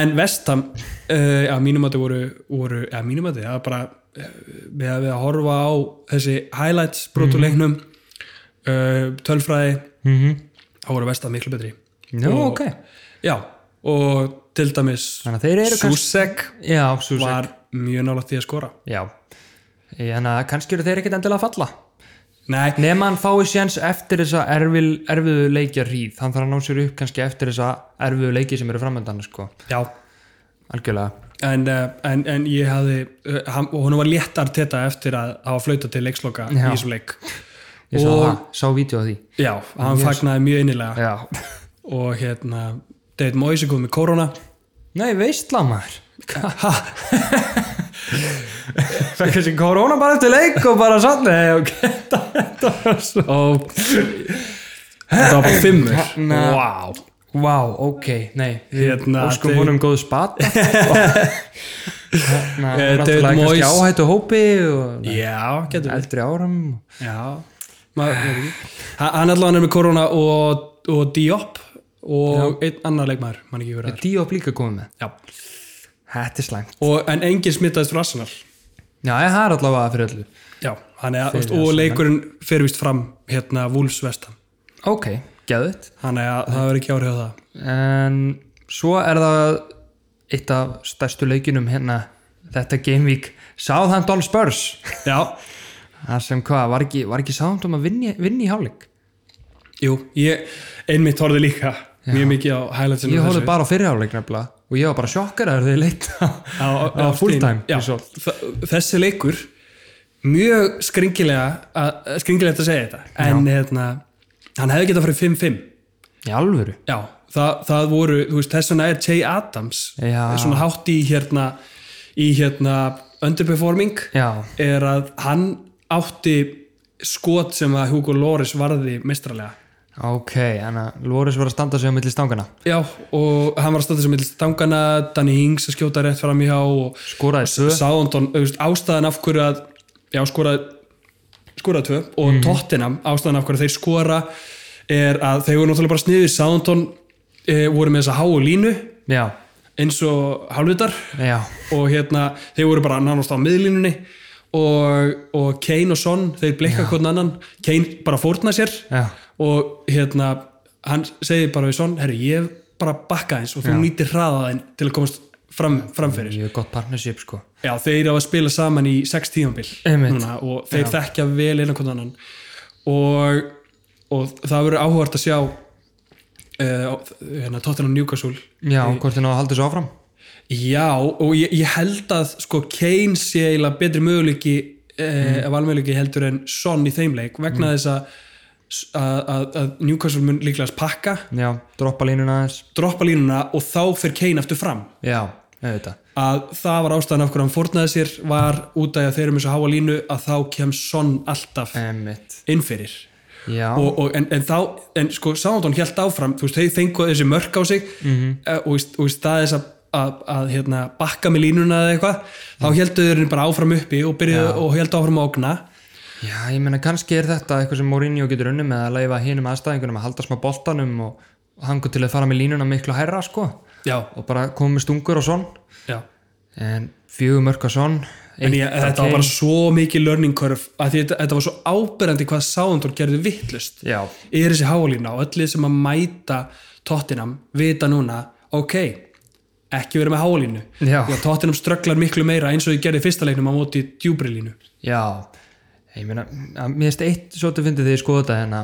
[SPEAKER 1] en vestam uh, að mínum að voru, voru að mínum að það var bara uh, við að, við að horfa á þessi highlights
[SPEAKER 2] Mhm.
[SPEAKER 1] brotuleiknum mm -hmm. uh, tölfræði
[SPEAKER 2] mm -hmm.
[SPEAKER 1] þá voru vestam miklu betri
[SPEAKER 2] Nú, ok
[SPEAKER 1] Já, og til dæmis
[SPEAKER 2] Þannig að þeir eru kannski...
[SPEAKER 1] Susek
[SPEAKER 2] Já, Susek.
[SPEAKER 1] var mjög nála því að skora
[SPEAKER 2] Já. Þannig að kannski eru þeir ekkit endilega að falla.
[SPEAKER 1] Nei,
[SPEAKER 2] Nefn hann fái séns eftir þessa erfil, erfiðu leikja ríð. Hann þarf að ná sér upp kannski eftir þessa erfiðu leiki sem eru framöndan, sko.
[SPEAKER 1] já
[SPEAKER 2] Algjörlega.
[SPEAKER 1] en, eh, en, en ég hafði eh, hann, og hún var léttar teta eftir að hafa flauta til leiksloka í
[SPEAKER 2] Já.
[SPEAKER 1] þessum leik
[SPEAKER 2] Ég sá
[SPEAKER 1] Og-
[SPEAKER 2] það, sá vídeo af því.
[SPEAKER 1] já, hann fagnaði mjög innilega
[SPEAKER 2] Já.
[SPEAKER 1] og hérna, David Moise kom með korona
[SPEAKER 2] Nei, veistla maður. Fekk þessi korona bara eftir leik og bara satt. Nei, ok. Þetta- Þetta var svo...
[SPEAKER 1] og þetta var bara fimmur
[SPEAKER 2] Nei.
[SPEAKER 1] wow.
[SPEAKER 2] Vá, ok, nei.
[SPEAKER 1] Hérna,
[SPEAKER 2] Hérna- Óskum
[SPEAKER 1] David-
[SPEAKER 2] honum góð spat. Hérna,
[SPEAKER 1] Eh, David
[SPEAKER 2] náttúrulega kannski
[SPEAKER 1] Moyes-
[SPEAKER 2] áhættu hópi og
[SPEAKER 1] já, getur við
[SPEAKER 2] eldri áram.
[SPEAKER 1] já, maður veit ekki Ha- hann allan er með korona og, og Diop og einn annar leikmaður, mann ekki hver það er
[SPEAKER 2] Díop líka komið með.
[SPEAKER 1] já,
[SPEAKER 2] Þetta er slæmt.
[SPEAKER 1] og, en enginn smittaðist frá Arsenal
[SPEAKER 2] Já, ég, það er allavega fyrir öllu.
[SPEAKER 1] já, hann er,
[SPEAKER 2] Fyrir
[SPEAKER 1] og
[SPEAKER 2] Arsenal.
[SPEAKER 1] leikurinn fyrir vist fram hérna Wolves vestan
[SPEAKER 2] Ok, geðut.
[SPEAKER 1] þannig að það verður ekki árið á það
[SPEAKER 2] En svo er það eitt af stærstu leikinum hérna þetta gamevík Southampton Spurs.
[SPEAKER 1] já,
[SPEAKER 2] Það sem hvað, var ekki, var ekki Southampton að vinni, vinni í hálfleik?
[SPEAKER 1] jú, ég einmitt horfði líka mjög mikið á highlightsinu
[SPEAKER 2] Ég horfði bara á fyrir hálfleik nefnilega og ég var bara sjokkar að þau leita
[SPEAKER 1] á,
[SPEAKER 2] á fulltime.
[SPEAKER 1] Já, þ- þessi leikur mjög skringilega að- skringilegt að segja þetta en hérna, hann hefði getað farið 5-5
[SPEAKER 2] Í alvöru?
[SPEAKER 1] já, það, það voru, þú veist, þess vegna er Jay Adams
[SPEAKER 2] Já.
[SPEAKER 1] svona hátt í hérna í hérna underperforming
[SPEAKER 2] Já,
[SPEAKER 1] er að hann átti skot sem að Hugo Loris varði mestralega
[SPEAKER 2] ok, en að Loris var að standa sig á milli stangana
[SPEAKER 1] já, og hann var að stöða sem millist tangana Danny Hings að skjóta rétt fram í hjá og
[SPEAKER 2] Skoraði tvö
[SPEAKER 1] Sáðondon, ástæðan af hverju að já, skoraði skoraði tvö og Tottenham, ástæðan af hverju þeir skora er að þeir voru náttúrulega bara sniðið Sáðondon e, voru með þessa háu línu
[SPEAKER 2] Já,
[SPEAKER 1] eins og halvutar
[SPEAKER 2] já,
[SPEAKER 1] og hérna, þeir voru bara nánast á miðlínunni og, og Kane og Son þeir blikka hvern annan Kane bara fórna sér
[SPEAKER 2] já
[SPEAKER 1] og hérna, hann segir bara við Son, herru, ég bara bakka eins og þú nýtir hraðaðin til að komast fram, framfyrir
[SPEAKER 2] Mjög gott partnership sko
[SPEAKER 1] Já, þeir á að spila saman í sex tímanbíl
[SPEAKER 2] Einmitt.
[SPEAKER 1] núna og þeir þekkja vel innan hvernig annan og, og það verður áhugart að sjá uh, hérna, Tottenham Newcastle
[SPEAKER 2] Já, hvort þið náðu að halda þessu áfram
[SPEAKER 1] Já, og ég, ég held að sko Kane sé eiginlega betri möguleiki uh, valmöguleiki heldur en Son í þeim leik vegna þess að að, að, að Newcastle mun líklega pakka
[SPEAKER 2] Já, droppa línuna aðeins
[SPEAKER 1] droppa línuna og þá fer Kane aftur fram
[SPEAKER 2] Já, auðvitað
[SPEAKER 1] að það var ástæðan af hverju hann fórnaði sér var út af því að þeir eru með svo háa línu að þá kem sonn alltaf
[SPEAKER 2] Eh. Emmitt
[SPEAKER 1] inn fyrir
[SPEAKER 2] Já,
[SPEAKER 1] og, og, en, en þá, en sko Sándón held áfram þú veist, þeir fengu þessi mörk á sig mm og, í- og í staðis að, að, að hérna, bakka með línuna eða eitthvað þá heldu þeir bara áfram uppi og, byrjuðu, og heldu áfram að ógna
[SPEAKER 2] já, ég meina kannski er þetta eitthvað sem Mourinho getur unni með að leifa hinum aðstæðingunum að halda smá boltanum og hangu til að fara með línuna miklu hærra sko
[SPEAKER 1] já,
[SPEAKER 2] og bara koma með stungur og svon
[SPEAKER 1] já
[SPEAKER 2] en fjögur mörk og svon
[SPEAKER 1] En ég, þetta var bara svo mikið learning curve að því, þetta, þetta var svo áberandi hvað Sándor gerði vittlust
[SPEAKER 2] Já,
[SPEAKER 1] er þessi hálína og öll lið sem að mæta Tottenham vita núna ok, ekki verið með hálínu
[SPEAKER 2] Já.
[SPEAKER 1] Tottenham strögglar miklu meira eins og ég gerði í fyrsta leiknum á móti djúbri línu
[SPEAKER 2] Já, ég meina, að- mér finnst eitt svolítið fyndið þegar ég skoða þetta hérna.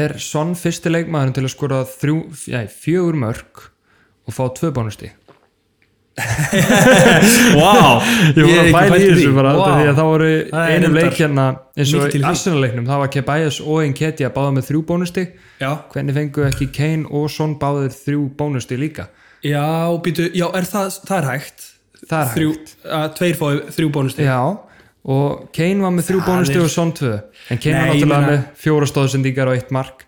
[SPEAKER 2] Er Son fyrsti leikmaðurinn til að skora þrjú, já, fjögur mörk og fá tvö bónusti?
[SPEAKER 1] wow.
[SPEAKER 2] Ég var að bæla í þessu bara wow. því að þá voru
[SPEAKER 1] Það er
[SPEAKER 2] einum
[SPEAKER 1] reyndar
[SPEAKER 2] leik hérna eins
[SPEAKER 1] mikið
[SPEAKER 2] og
[SPEAKER 1] til
[SPEAKER 2] í
[SPEAKER 1] því.
[SPEAKER 2] Arsenal-leiknum, það var Kebajas og Enketia báða með þrjú bónusti.
[SPEAKER 1] já,
[SPEAKER 2] Hvernig fengu ekki Kane og Son báðir þrjú bónusti líka?
[SPEAKER 1] já, býtu, já er það, það er hægt
[SPEAKER 2] Það er
[SPEAKER 1] þrjú, að, tveir fóði þrjú bónusti
[SPEAKER 2] Já, og Kane var með þrjú bónusti
[SPEAKER 1] er-
[SPEAKER 2] og Son tvö. En Kane var
[SPEAKER 1] Nei, ég
[SPEAKER 2] náttúrulega
[SPEAKER 1] meina-
[SPEAKER 2] með fjóra stóðsendingar og eitt mark.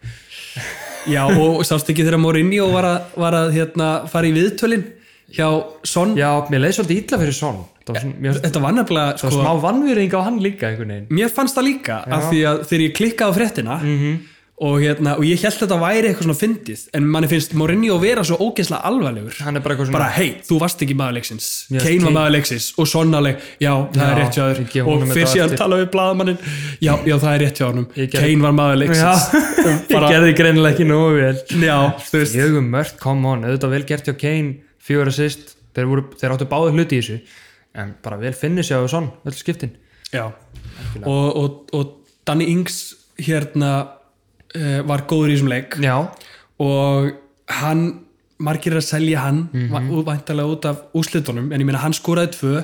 [SPEAKER 1] já, og sást ekki þegar Mourinho var að, var að hérna, fara í viðtölin hjá Son
[SPEAKER 2] Já, mér leið svolítið illa fyrir Son. Það var svona, mér,
[SPEAKER 1] þetta var nefnilega sko,
[SPEAKER 2] smá vannvýring á hann líka einhvern veginn
[SPEAKER 1] Mér fannst það líka af því að þegar ég klikkaði á fréttina
[SPEAKER 2] Mhm.
[SPEAKER 1] og, hérna, og ég held þetta væri eitthvað svona fyndið en manni finnst Mourinho vera svo ógeðslega alvarlegur
[SPEAKER 2] hann er bara eitthvað svona
[SPEAKER 1] bara hei, þú varst ekki maður leiksins Kane
[SPEAKER 2] Yes,
[SPEAKER 1] var
[SPEAKER 2] Kane-
[SPEAKER 1] maður leiksins og sonnaleg, já, það er
[SPEAKER 2] Já,
[SPEAKER 1] rétt hjá
[SPEAKER 2] ég gef
[SPEAKER 1] þér
[SPEAKER 2] honum
[SPEAKER 1] og
[SPEAKER 2] þetta
[SPEAKER 1] fyrir síðan
[SPEAKER 2] eftir.
[SPEAKER 1] tala við blaðamannin já, já, það er rétt hjá honum
[SPEAKER 2] Ég gerði-
[SPEAKER 1] Kane var maður leiksins
[SPEAKER 2] ég gerði greinilega ekki nógu vel
[SPEAKER 1] já, þú veist
[SPEAKER 2] um jögum mörk, come on, auðvitað vel gert hjá Kane fjögur assist þeir, voru, þeir áttu báði hluti í þessu en bara vel finnir sér á svon öll skiptin
[SPEAKER 1] Já, og, og, og Danny Ings hérna uh, var góður í þessum leik
[SPEAKER 2] já,
[SPEAKER 1] og hann margir er að selja hann mm
[SPEAKER 2] Mhm.
[SPEAKER 1] -hmm. væntalega út af úslitunum en ég meina hann skoraði tvö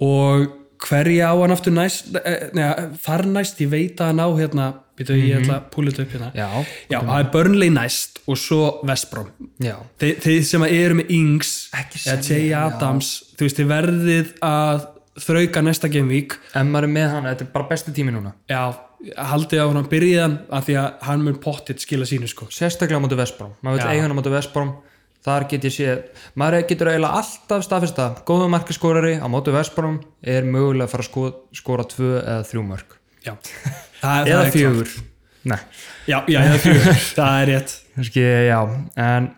[SPEAKER 1] og hverja á hann aftur næst eh, neða, þar næst ég veit að hann á hérna, veitu, ég ætla að púla þetta upp hérna
[SPEAKER 2] Mhm. Já.
[SPEAKER 1] já, það er Burnley næst og svo Vestbrom
[SPEAKER 2] já,
[SPEAKER 1] Þi, þið sem að eru með Ings
[SPEAKER 2] Ekki
[SPEAKER 1] eða
[SPEAKER 2] selja,
[SPEAKER 1] Jay
[SPEAKER 2] já.
[SPEAKER 1] Adams, þú veist, þið verðið að þrauka næsta game week
[SPEAKER 2] en maður er með hann þetta er bara besti tími núna
[SPEAKER 1] Já, haldið á hann byrjiðan af því að hann mun pottitt skila sínu sko.
[SPEAKER 2] sérstaklega á móti Vestbrom, maður
[SPEAKER 1] Já.
[SPEAKER 2] vil eiga hann á móti Vestbrom þar get ég séð, maður getur eiginlega alltaf staðfesta, góðu markaskorari á móti Vestbrom er mögulega að fara að sko, skora tvö eða þrjú mörg
[SPEAKER 1] Já, það,
[SPEAKER 2] eða
[SPEAKER 1] er
[SPEAKER 2] fjögur
[SPEAKER 1] klárt.
[SPEAKER 2] nei,
[SPEAKER 1] Já, já, eða fjögur, það er rétt
[SPEAKER 2] kannski, já en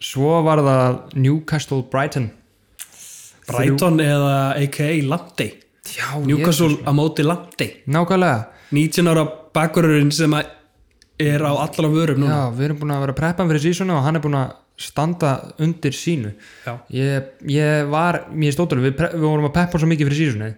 [SPEAKER 2] svo var það Newcastle Brighton
[SPEAKER 1] Brighton eða a.k.a. Landi
[SPEAKER 2] já, ég,
[SPEAKER 1] Newcastle á móti Landi
[SPEAKER 2] nákvæmlega
[SPEAKER 1] 19 ára bakverurinn sem að er á allra vörum núna
[SPEAKER 2] Já, við erum búin að vera að preppa fyrir sísona og hann er búin að standa undir sínu
[SPEAKER 1] Já.
[SPEAKER 2] ég, ég var, mér stóttur við, pre- við vorum að peppa svo mikið fyrir sísona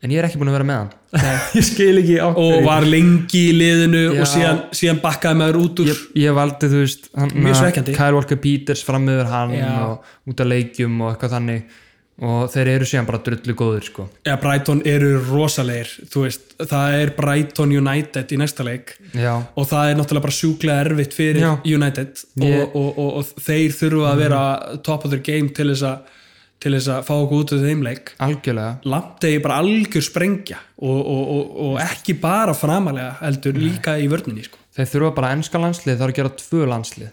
[SPEAKER 2] en ég er ekki búin að vera með hann ég skil ekki á
[SPEAKER 1] og var lengi í liðinu
[SPEAKER 2] Já.
[SPEAKER 1] og síðan, síðan bakkaði maður út úr
[SPEAKER 2] ég, ég valdi, þú veist, hann uh,
[SPEAKER 1] Mjög svekkjandi.
[SPEAKER 2] Kyle Walker Peters fram yfir hann
[SPEAKER 1] Já.
[SPEAKER 2] og út af leikjum og eitthvað þannig og þeir eru síðan bara drullu góðir sko.
[SPEAKER 1] eða Brighton eru rosalegir þú veist, það er Brighton United í næsta leik
[SPEAKER 2] Já,
[SPEAKER 1] og það er náttúrulega bara sjúklega erfitt fyrir
[SPEAKER 2] Já.
[SPEAKER 1] United
[SPEAKER 2] Ég- Mhm.
[SPEAKER 1] og, og, og, og þeir þurfa að vera top of their game til þess að til þess að fá okkur út af þeim leik
[SPEAKER 2] algjörlega
[SPEAKER 1] Lamptey er bara algjör sprengja og, og, og, og ekki bara framalega heldur líka í vörninni sko.
[SPEAKER 2] þeir þurfa bara enska landslið, þarf að gera tvö landslið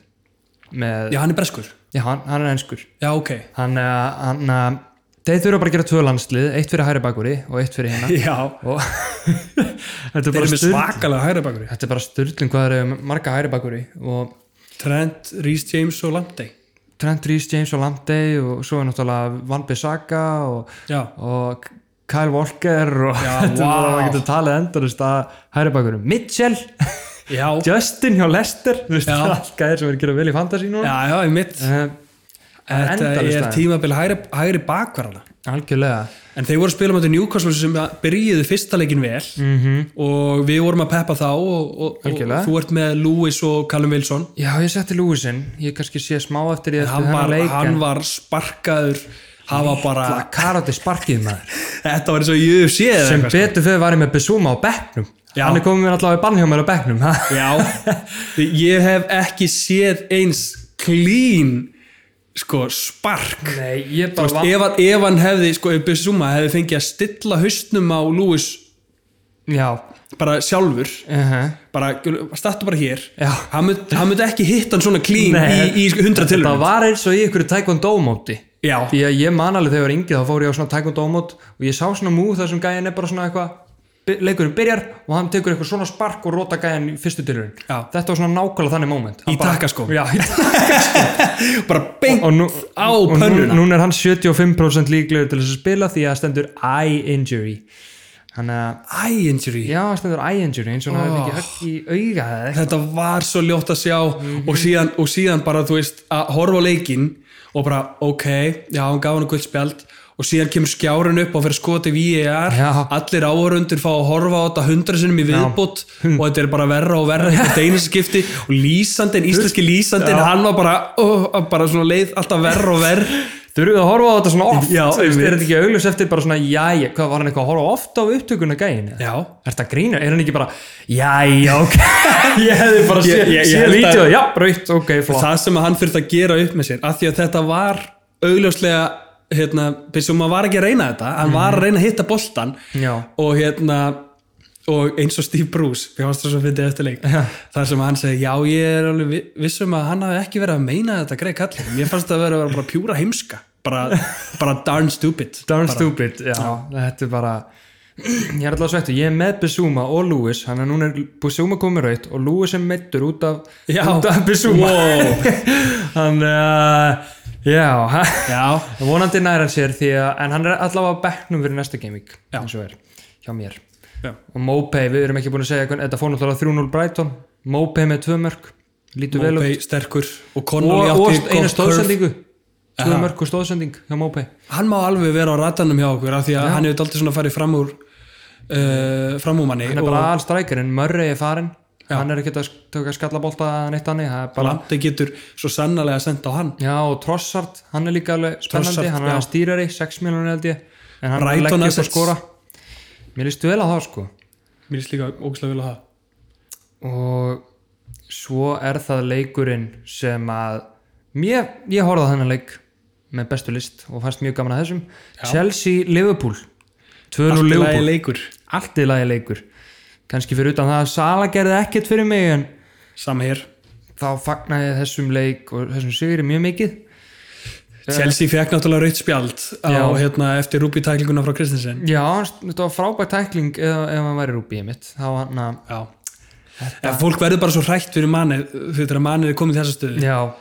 [SPEAKER 2] með,
[SPEAKER 1] Já, hann er breskur
[SPEAKER 2] já hann, hann er enskur
[SPEAKER 1] Já, ok
[SPEAKER 2] hann, eh, hann eh, þeir þurfa bara að gera tvö landslið eitt fyrir hæri bakvöri og eitt fyrir hérna
[SPEAKER 1] Já,
[SPEAKER 2] og þetta, er
[SPEAKER 1] þeir eru
[SPEAKER 2] bara
[SPEAKER 1] með
[SPEAKER 2] sturl,
[SPEAKER 1] svakalega hæra bakur
[SPEAKER 2] þetta er bara styrlun hvað þeir eru marga hæri bakvöri og
[SPEAKER 1] Trent, Rhys James og Lamptey
[SPEAKER 2] Trent Rees, James og Lamptey og svo er náttúrulega Van Bissaka og,
[SPEAKER 1] Já,
[SPEAKER 2] og Kyle Walker og
[SPEAKER 1] Já,
[SPEAKER 2] þetta er bara
[SPEAKER 1] vá.
[SPEAKER 2] að geta talið endurist að hæri bakvörum Mitchell,
[SPEAKER 1] já, já,
[SPEAKER 2] Justin hjá Lester þú veist
[SPEAKER 1] Já.
[SPEAKER 2] allt gæðir sem er að gera vel í fantasy núna
[SPEAKER 1] já, ég mitt
[SPEAKER 2] Eh,
[SPEAKER 1] Þetta
[SPEAKER 2] endalaust
[SPEAKER 1] er
[SPEAKER 2] aðeins.
[SPEAKER 1] tímabil hægri, hægri bakvarana
[SPEAKER 2] algjörlega
[SPEAKER 1] En þeir voru að spila mæti Newcastle sem byrjuðu fyrsta leikin vel -hmm. og við vorum að peppa þá og, og, og
[SPEAKER 2] Mhm. Algjörlega.
[SPEAKER 1] þú ert með Lewis og Callum Wilson
[SPEAKER 2] já ég setti Lewisinn, ég kannski sé smá eftir í eftir
[SPEAKER 1] hann
[SPEAKER 2] þennan
[SPEAKER 1] var,
[SPEAKER 2] leik, en-
[SPEAKER 1] hann var sparkaður hafa bara,
[SPEAKER 2] að karate sparkið maður
[SPEAKER 1] þetta var eins og ég séð
[SPEAKER 2] sem betur þau varum með Besuma á bekknum
[SPEAKER 1] Já.
[SPEAKER 2] hann er komið mér allavega í bann hjá mér á bekknum ha?
[SPEAKER 1] Já, Því ég hef ekki séð eins clean sko spark
[SPEAKER 2] nei, ég
[SPEAKER 1] Þú veist, ef, hann- ef hann hefði, sko, ef Bissúma hefði fengið að stilla haustnum á Lewis
[SPEAKER 2] já,
[SPEAKER 1] bara sjálfur
[SPEAKER 2] uh
[SPEAKER 1] bara, startu bara hér
[SPEAKER 2] Já.
[SPEAKER 1] hann myndi mynd ekki hitta hann svona clean
[SPEAKER 2] Nei.
[SPEAKER 1] í, sko í 100 tilur
[SPEAKER 2] það var eins og í ykkur taekwondo-móti
[SPEAKER 1] Já,
[SPEAKER 2] því að ég man alveg þegar ég var yngið þá fór ég á svona taekwondo-mót og ég sá svona múð þar sem gæjan er bara svona eitthvað by- leikurinn byrjar og hann tekur eitthvað svona spark og róta gæjan í fyrstu tilurinn
[SPEAKER 1] Já.
[SPEAKER 2] þetta var svona nákvæmlega þannig moment Hann
[SPEAKER 1] Í sko.
[SPEAKER 2] bara-
[SPEAKER 1] takkaskóm.
[SPEAKER 2] já, í
[SPEAKER 1] bara beint
[SPEAKER 2] og nú,
[SPEAKER 1] á
[SPEAKER 2] og nú,
[SPEAKER 1] pönnuna.
[SPEAKER 2] núna er hann 75% líklegur til þess að spila því að það stendur eye injury hann að
[SPEAKER 1] Eye injury
[SPEAKER 2] Já, það stendur eye injury eins og hann hefði ekki högg í auga eða eitthvað.
[SPEAKER 1] Þetta var svo ljótt að sjá og, síðan, og síðan bara, þú veist, að horfa á leikinn og bara, ok, já, hann gaf hann gult spjald og síðan kemur skjárun upp og fyrir skoti VAR
[SPEAKER 2] Já.
[SPEAKER 1] E allir áhörundur fá að horfa á þetta hundra sinnum í viðbútt
[SPEAKER 2] Hm.
[SPEAKER 1] og þetta er bara verra og verra þetta deyniskipti og lýsandinn, íslenski lýsandinn, hann var bara, oh, bara svona leið alltaf verra og verra
[SPEAKER 2] Þurfum við að horfa á þetta svona oft?
[SPEAKER 1] Já,
[SPEAKER 2] þú veist,
[SPEAKER 1] einmitt.
[SPEAKER 2] er þetta ekki augljós eftir bara svona, jæja, hvað var hann eitthvað að horfa oft á upptökuna gæinu?
[SPEAKER 1] Já,
[SPEAKER 2] Er þetta grínu? Er hann ekki bara, jæja, ok, ég hefði bara
[SPEAKER 1] Ég- ég-
[SPEAKER 2] séð
[SPEAKER 1] ég
[SPEAKER 2] séð
[SPEAKER 1] held að-
[SPEAKER 2] vídeoð, já, braut, ok, flott.
[SPEAKER 1] það sem að hann fyrir að gera upp með sér af því að þetta var augljóslega hérna, Bissum maður var ekki að reyna þetta hann var að reyna að hitta boltan
[SPEAKER 2] Mhm. Já.
[SPEAKER 1] og hérna og eins og Steve Bruce, ég varst það svo fyndið eftir leik þar sem hann segi, já ég er alveg vi- viss um að hann hafi ekki verið að meina þetta greið kallið, mér fannst það að vera bara pjúra heimska, bara, bara darn stupid
[SPEAKER 2] Darn
[SPEAKER 1] bara,
[SPEAKER 2] stupid, já, þetta er bara ég er alltaf svettur, ég er með Bissúma og Lewis, hann er núna Bissúma komið raut og Lewis er meittur út af
[SPEAKER 1] Já.
[SPEAKER 2] út af Bissúma
[SPEAKER 1] Wow.
[SPEAKER 2] hann, uh, já
[SPEAKER 1] Já,
[SPEAKER 2] vonandi nær hann sér því að en hann er allavega á bekknum fyrir næsta gaming
[SPEAKER 1] Já.
[SPEAKER 2] eins og er, hjá mér
[SPEAKER 1] já,
[SPEAKER 2] og Mopey, við erum ekki búin að segja hvernig þetta fór náttúrulega 3-0 Brighton, Mopey með tvö mörk lítur vel út
[SPEAKER 1] Mopey sterkur og Connolly
[SPEAKER 2] og,
[SPEAKER 1] átti
[SPEAKER 2] og eina
[SPEAKER 1] gott curve.
[SPEAKER 2] stóðsendingu tvö mörg og stóðsending hjá Mópe
[SPEAKER 1] hann má alveg vera á ratanum hjá okkur af því að hann hefur aldrei svona farið fram úr uh, fram úr manni
[SPEAKER 2] hann er
[SPEAKER 1] og
[SPEAKER 2] bara aðalstrækirinn, Murray er farin hann er ekkert að sk- taka skallabólta neitt hannig, það er bara
[SPEAKER 1] Landi getur svo sannarlega sendt á hann
[SPEAKER 2] já, og Trossard, hann er líka alveg spennandi,
[SPEAKER 1] Trossard,
[SPEAKER 2] hann er
[SPEAKER 1] já.
[SPEAKER 2] að stýrari 6 miljonir held ég, en hann
[SPEAKER 1] Brighton
[SPEAKER 2] leggja upp að
[SPEAKER 1] assets.
[SPEAKER 2] skora mér líst vel á það sko
[SPEAKER 1] mér er slíka ógæslega vel á það
[SPEAKER 2] og svo er það leikurinn sem að mér, ég horfði á þennan leik með bestu list og fannst mjög gaman að þessum Chelsea Liverpool
[SPEAKER 1] allt
[SPEAKER 2] 2-0
[SPEAKER 1] í lagi
[SPEAKER 2] Liverpool,
[SPEAKER 1] leikur
[SPEAKER 2] allt í lagi leikur kannski fyrir utan það að Sala gerði ekkert fyrir mig en
[SPEAKER 1] sama hér
[SPEAKER 2] þá fagnaði ég þessum leik og þessum sigri mjög mikið
[SPEAKER 1] Chelsea fekk náttúrulega rautt spjald
[SPEAKER 2] Já.
[SPEAKER 1] á, hérna, eftir rúbítæklinguna frá Kristensen
[SPEAKER 2] já, þetta var frábært tækling ef, ef hann væri rúbið mitt þá hann að,
[SPEAKER 1] já En fólk verður bara svo hrætt fyrir manni þegar manni er komið í þessa stöðu
[SPEAKER 2] já
[SPEAKER 1] og,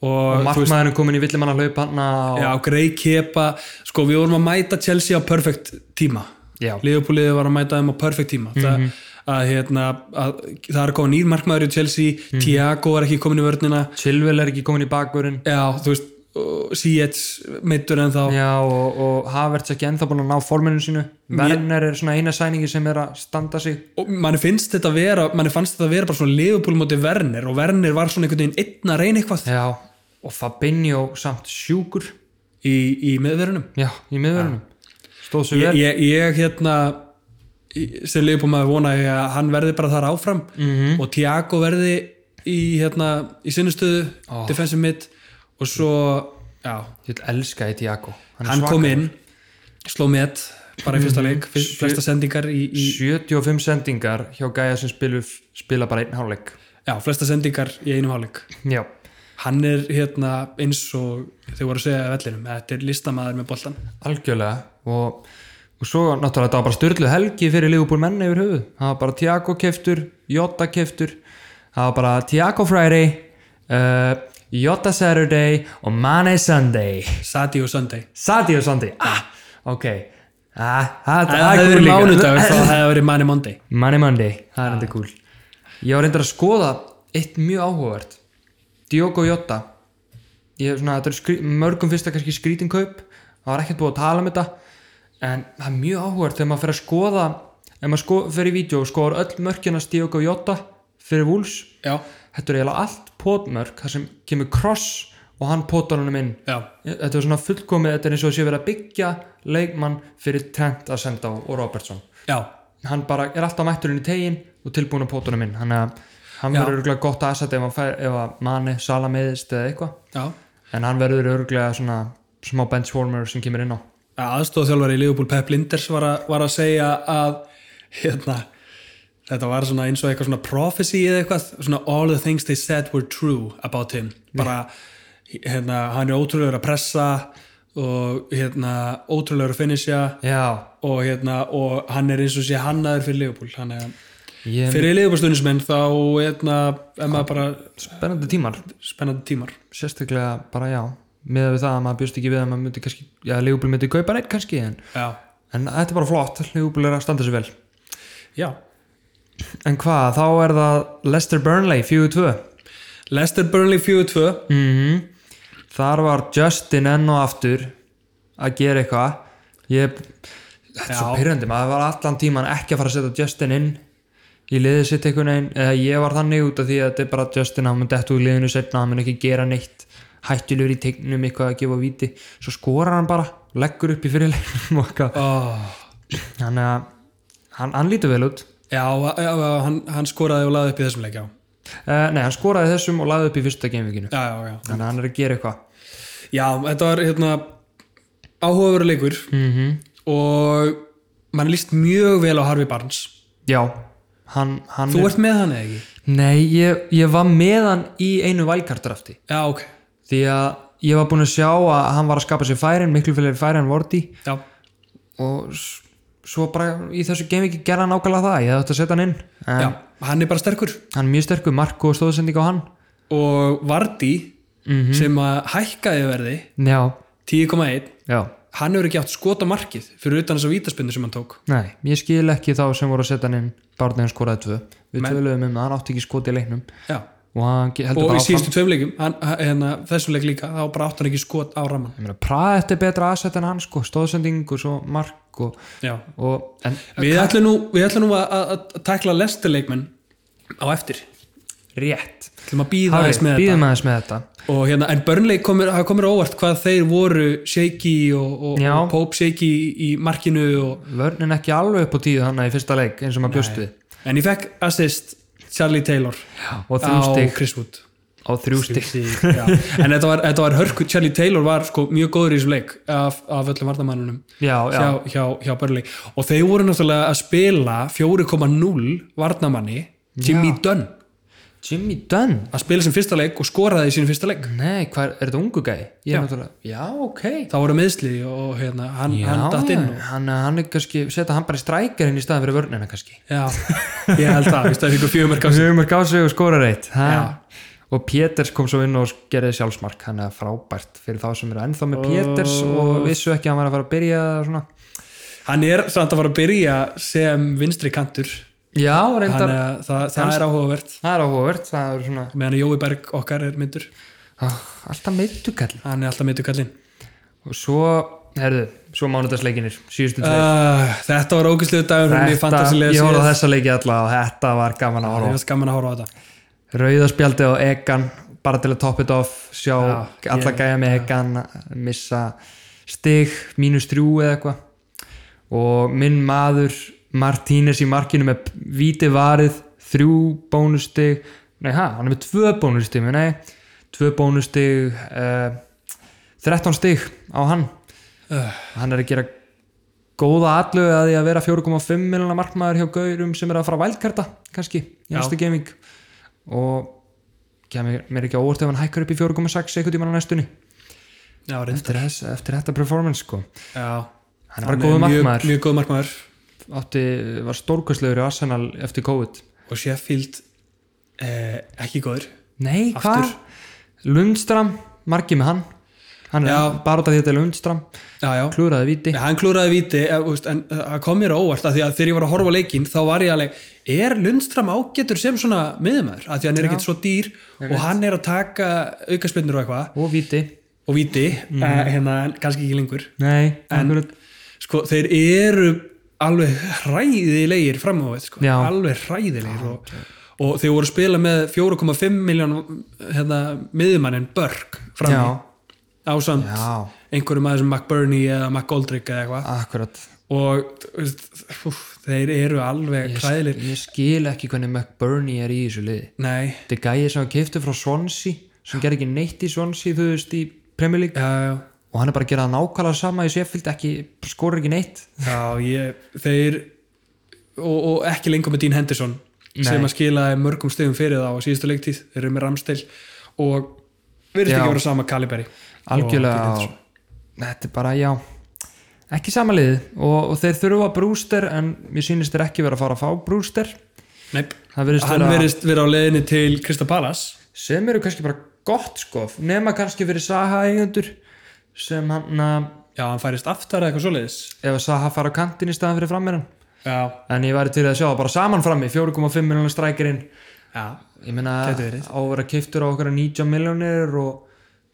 [SPEAKER 1] og
[SPEAKER 2] markmaðurinn komin í villimann að laupa hann að
[SPEAKER 1] Já, grei kepa sko við vorum að mæta Chelsea á perfect tíma
[SPEAKER 2] Já. Mhm.
[SPEAKER 1] Liverpoolið var að mæta þeim á perfect tíma mm að, hérna, að það er komið nýr markmaður í Chelsea
[SPEAKER 2] Mhm.
[SPEAKER 1] Thiago er ekki komin í vörnina
[SPEAKER 2] Silvel er ekki komin í bakvörinn
[SPEAKER 1] já, þú veist, Sietz meittur en þá
[SPEAKER 2] Já, og, og Havertz ekki ennþá búin að ná forminu sínu Werner er svona eina sæningi sem er að standa sig
[SPEAKER 1] og manni finnst þetta vera manni fannst þetta vera bara svona Liverpool móti Werner og Werner var svona einhvern veginn einn að reyna eitthvað
[SPEAKER 2] Já, og Fabinho samt sjúkur
[SPEAKER 1] í, í meðverunum
[SPEAKER 2] Já, í miðurunum Stóð sér
[SPEAKER 1] ég,
[SPEAKER 2] vel
[SPEAKER 1] ég, ég hérna í- sem Leopold maður vona ég að hann verði bara þar áfram -hmm. og Tiago verði í, hérna, í sinnustöðu defensive mid og svo já,
[SPEAKER 2] Ég vil elska í Tiago Hann,
[SPEAKER 1] hann
[SPEAKER 2] er
[SPEAKER 1] kom inn sló met bara í fyrsta leik fyr- flesta sendingar í, í,
[SPEAKER 2] svak 75 sendingar hjá Gæja sem spilu, spila bara einn hálfleik
[SPEAKER 1] já, flesta sendingar í einum hálfleik
[SPEAKER 2] Já,
[SPEAKER 1] hann er hérna eins og þau voru að segja að vellinum, þetta er listamaður með boltan
[SPEAKER 2] algjörlega og, og svo náttúrulega þetta var bara styrlu helgi fyrir Ligubúl menn yfir höfuð Það var bara Tiago keftur, Jota keftur Það var bara Tiago Friday uh, Jota Saturday og Mane Sunday
[SPEAKER 1] Sati og Sunday
[SPEAKER 2] Sadio Sunday ah, Ok ah,
[SPEAKER 1] það
[SPEAKER 2] það- það
[SPEAKER 1] hefði
[SPEAKER 2] er
[SPEAKER 1] verið
[SPEAKER 2] cool líka.
[SPEAKER 1] mánudagur þá hefði verið manni Monday
[SPEAKER 2] Money Monday, það er enda cool Ég var reyndar að skoða eitt mjög áhugavert Diogo Jota ég, svona, Þetta er skrí, mörgum fyrsta kannski skrítin kaup Það var ekkert búið að tala um þetta En það er mjög áhugavert þegar maður fer að skoða ef maður sko, fer í vídeo og skoðar öll mörkjarnast Diogo Jota fyrir Wolves
[SPEAKER 1] já,
[SPEAKER 2] Þetta er eiginlega allt potmörk þar sem kemur cross og hann potar honum inn
[SPEAKER 1] já,
[SPEAKER 2] Þetta er svona fullkomið, þetta er eins og sé verið að byggja leikmann fyrir Trent að senda og Robertson
[SPEAKER 1] já
[SPEAKER 2] hann bara er alltaf mætturinn í tegin og tilbúin að pótunum minn hann, hann
[SPEAKER 1] Já.
[SPEAKER 2] verður örgulega gott asset ef, hann fær, ef að manni sala meðist eða eitthvað
[SPEAKER 1] Já,
[SPEAKER 2] en hann verður örgulega svona smá benchwarmer sem kemur inn á
[SPEAKER 1] aðstofþjálfari í Liverpool Pep Linders var að, var að segja að hérna, þetta var svona eins og eitthvað svona prophecy eða eitthvað svona all the things they said were true about him bara hérna, hann er ótrúlegur að pressa og hérna, ótrúlegur að finisja
[SPEAKER 2] já,
[SPEAKER 1] og, hérna, og hann er eins og sé hannaður fyrir Liverpool hann er,
[SPEAKER 2] ég
[SPEAKER 1] fyrir Liverpool stundismenn þá hérna, er maður bara
[SPEAKER 2] spennandi tímar
[SPEAKER 1] spennandi tímar
[SPEAKER 2] sérstaklega bara já með við það að maður bjóst ekki við að maður myndi kannski já, Leopold myndi kaupa neitt kannski en,
[SPEAKER 1] Já,
[SPEAKER 2] en þetta er bara flott, Leopold er að standa sér vel
[SPEAKER 1] já
[SPEAKER 2] en hvað, þá er það Lester Burnley 4-2
[SPEAKER 1] Leicester Burnley 4-2
[SPEAKER 2] mm þar var Justin enn og aftur að gera eitthvað ég þetta er svo
[SPEAKER 1] Já.
[SPEAKER 2] pyrrandi, maður var allan tíman ekki að fara að setja Justin inn í liðið sitt einhvern veginn, eða ég var þannig út af því að þetta er bara Justin, hann mun dettu í liðinu setna, hann mun ekki gera neitt hættilur í tegnum, eitthvað að gefa viti svo skorar hann bara, leggur upp í fyrirleginum og eitthvað,
[SPEAKER 1] oh.
[SPEAKER 2] þannig að hann, hann lítur vel út
[SPEAKER 1] Já, já, já, hann, hann skoraði og laði upp í þessum leik, já.
[SPEAKER 2] uh, nei, hann skoraði þessum og lagði upp í fyrsta geimvíkinu,
[SPEAKER 1] Já, já, já.
[SPEAKER 2] þannig að hann er að gera eitthvað
[SPEAKER 1] Já, þetta var hérna áhugaveru leikur
[SPEAKER 2] mhm
[SPEAKER 1] og mann líst mjög vel á Harvey Barnes.
[SPEAKER 2] já, hann, hann
[SPEAKER 1] Þú ert með hann eða ekki?
[SPEAKER 2] Nei, ég, ég var með hann í einu valkardrafti
[SPEAKER 1] Já, ok.
[SPEAKER 2] því að ég var búin að sjá að hann var að skapa sér færin, miklu fyrir færin vorti
[SPEAKER 1] Já,
[SPEAKER 2] og s- svo bara í þessu geimviki gerða hann ákala það, ég þátt að setja hann inn en
[SPEAKER 1] já, hann er bara sterkur
[SPEAKER 2] hann er mjög sterkur, Marko stóðsending á hann
[SPEAKER 1] og Vardí sem að hækkaði verði
[SPEAKER 2] Já,
[SPEAKER 1] 10,1
[SPEAKER 2] já,
[SPEAKER 1] hann hefur ekki átt skota markið fyrir utan þessa vítaspinnu sem hann tók.
[SPEAKER 2] nei, ég skil ekki þá sem voru að setja hann inn, barnið hann skoraði tvö við
[SPEAKER 1] Men-
[SPEAKER 2] töluðum um það, hann átti ekki skot í leiknum
[SPEAKER 1] Já,
[SPEAKER 2] og hann ge- heldur
[SPEAKER 1] og í
[SPEAKER 2] bara áfram
[SPEAKER 1] síðustu tveimleikum hérna, þessum leik líka, þá bara átt hann ekki skot á ramman
[SPEAKER 2] Ég meina, Praga þetta er betra aðsett en hann sko, stóðsending og svo mark og,
[SPEAKER 1] já.
[SPEAKER 2] og en
[SPEAKER 1] við ætlum nú, við ætlum nú að, að, að tækla lesturleikmenn á eftir
[SPEAKER 2] rétt
[SPEAKER 1] ætlum að býða aðeins með
[SPEAKER 2] býðum aðeins með þetta
[SPEAKER 1] þetta og hérna, en Burnley komir, það komir á óvart hvað þeir voru shaky og, og,
[SPEAKER 2] Já.
[SPEAKER 1] og Pope shaky í, í markinu og,
[SPEAKER 2] vörnin ekki alveg upp á tíu þannig í fyrsta leik eins og maður bjóst við
[SPEAKER 1] en ég fekk assist Charlie Taylor
[SPEAKER 2] og
[SPEAKER 1] á
[SPEAKER 2] þrjú stig
[SPEAKER 1] Chris Wood
[SPEAKER 2] og þrjú stig
[SPEAKER 1] Já. en þetta var, þetta var hörku Charlie Taylor var sko mjög góður í þessum leik af, af öllum vartamannunum
[SPEAKER 2] já, já,
[SPEAKER 1] hjá, hjá, hjá Burnley og þeir voru náttúrulega að spila 4,0 varnamanni Jimmy Dunn
[SPEAKER 2] Jimmy Dunn
[SPEAKER 1] að spila sem fyrsta leik og skoraði í sínum fyrsta leik
[SPEAKER 2] nei, hvað, er þetta ungu gæ? ég
[SPEAKER 1] Já.
[SPEAKER 2] er náttúrulega, já, ok
[SPEAKER 1] þá voru meðsli og hérna, hann,
[SPEAKER 2] já,
[SPEAKER 1] hann datt inn og,
[SPEAKER 2] hann, hann er kannski, setja hann bara í strækjarinn í staðan fyrir vörnina kannski
[SPEAKER 1] já, ég held það, víst, það fyrir fjögumörk á sig
[SPEAKER 2] Sjöfumar gási og skorar eitt ha?
[SPEAKER 1] Já.
[SPEAKER 2] og Péters kom svo inn og gerði sjálfsmark hann er frábært fyrir þá sem eru ennþá með Péters og vissu ekki að hann var að fara að byrja eða svona.
[SPEAKER 1] hann er samt að fara að byrja sem vinstri kantur
[SPEAKER 2] já,
[SPEAKER 1] hann,
[SPEAKER 2] reyndar,
[SPEAKER 1] er- það, það er áhugavert
[SPEAKER 2] það er áhugavert það er svona,
[SPEAKER 1] meðan að Jói Berg okkar er myndur
[SPEAKER 2] ah, alltaf meitugall
[SPEAKER 1] hann er alltaf myndur kallinn
[SPEAKER 2] og svo, herðu, svo mánudagsleikinir síðustu tveir
[SPEAKER 1] uh, þetta var ógæsluðu dagur hún í
[SPEAKER 2] þetta,
[SPEAKER 1] fantasilega
[SPEAKER 2] ég horfði á
[SPEAKER 1] síðan
[SPEAKER 2] þessa leiki alla og þetta var gaman að
[SPEAKER 1] ég
[SPEAKER 2] horfa á.
[SPEAKER 1] var skaman að horfa á þetta
[SPEAKER 2] rauðaspjaldi á Egan bara til að top it off sjá
[SPEAKER 1] Já,
[SPEAKER 2] alla
[SPEAKER 1] ég-
[SPEAKER 2] gæja með Egan missa stig, mínus þrjú eða eitthvað og minn maður Martínez í markinu með víti varið þrjú bónustig nei ha, hann er með tvö bónustig nei, tvö bónustig uh, 13 stig á hann
[SPEAKER 1] uh,
[SPEAKER 2] hann er að gera góða atlögu að því að vera 4,5 miljonar markmaður hjá gaurum sem er að fara vælkarta kannski, í
[SPEAKER 1] Já.
[SPEAKER 2] næstu gaming og kemur mér ekki á óvart ef hann hækkar upp í 4,6 einhvern tímann á næstunni
[SPEAKER 1] já, reynd
[SPEAKER 2] eftir, þess, eftir þetta performance sko
[SPEAKER 1] já.
[SPEAKER 2] hann er bara góða
[SPEAKER 1] mjög-
[SPEAKER 2] markmaður
[SPEAKER 1] mjög góð markmaður
[SPEAKER 2] átti, var stórkvæslegur í Arsenal eftir COVID
[SPEAKER 1] og Sheffield eh, ekki góður
[SPEAKER 2] nei,
[SPEAKER 1] Aftur.
[SPEAKER 2] hvað? Lundstram, margi með hann hann er
[SPEAKER 1] Já.
[SPEAKER 2] bara út af því að þetta er Lundstram
[SPEAKER 1] já, já.
[SPEAKER 2] klúraði viti
[SPEAKER 1] Nei, hann klúraði víti eh, úst, en eh, það kom mér á óvart að því að þegar ég var að horfa á leikinn þá var ég alveg, er Lundstram ágætur sem svona miðumæður, að því hann er ekkert svo dýr og hann er að taka aukaspinnur og eitthvað
[SPEAKER 2] og viti,
[SPEAKER 1] og víti,
[SPEAKER 2] Mhm.
[SPEAKER 1] eh, hérna kannski ekki lengur
[SPEAKER 2] nei en,
[SPEAKER 1] sko, þeir eru alveg hræðilegir fram á við sko.
[SPEAKER 2] Já.
[SPEAKER 1] alveg hræðilegir og, og þeir voru að spila með 4,5 miljón hérna, miðumannin Börk fram
[SPEAKER 2] já,
[SPEAKER 1] í ásamt
[SPEAKER 2] Já.
[SPEAKER 1] einhverjum aðeins McBurney eða McGoldrick eða eitthvað
[SPEAKER 2] akkurat
[SPEAKER 1] og þú veist, úf, þeir eru alveg hræðilegir
[SPEAKER 2] Ég skil ekki hvernig McBurney er í þessu liði.
[SPEAKER 1] nei,
[SPEAKER 2] Þetta er gæið sem hann keifti frá Swansea, sem gerði ekki neitt í Swansea, þú veist, í Premier League.
[SPEAKER 1] já, já
[SPEAKER 2] Og hann er bara að gera það nákvæmlega sama í Sheffield, ekki, skorur ekki neitt.
[SPEAKER 1] Já, ég, þeir og, og ekki lengur með Dean Henderson
[SPEAKER 2] Nei.
[SPEAKER 1] sem að skilaði mörgum stegum fyrir þá á síðustu leiktíð, þeir eru með Ramstil og verðist
[SPEAKER 2] Já.
[SPEAKER 1] ekki að vera sama kaliberi
[SPEAKER 2] Algjörlega,
[SPEAKER 1] Og-
[SPEAKER 2] þetta er bara, já, ekki sama liði. Og, og þeir þurfa brúster, en mér sýnist þeir ekki vera að fara að fá brúster.
[SPEAKER 1] Nei,
[SPEAKER 2] Það verðist
[SPEAKER 1] hann
[SPEAKER 2] vera,
[SPEAKER 1] verðist vera á leiðinni til Krista Palas
[SPEAKER 2] sem eru kannski bara gott, sko, nema kannski fyrir Saha eigendur, sem hann að,
[SPEAKER 1] Já, hann færist aftar eða eitthvað svoleiðis
[SPEAKER 2] ef að Saha fara á kantin í staðan fyrir frammeran.
[SPEAKER 1] Já,
[SPEAKER 2] en ég væri til að sjá það bara saman frammi 4,5 miljónir strækirinn
[SPEAKER 1] já,
[SPEAKER 2] ég meina á
[SPEAKER 1] Gæti verið.
[SPEAKER 2] að vera keiftur á okkar 19 miljónir og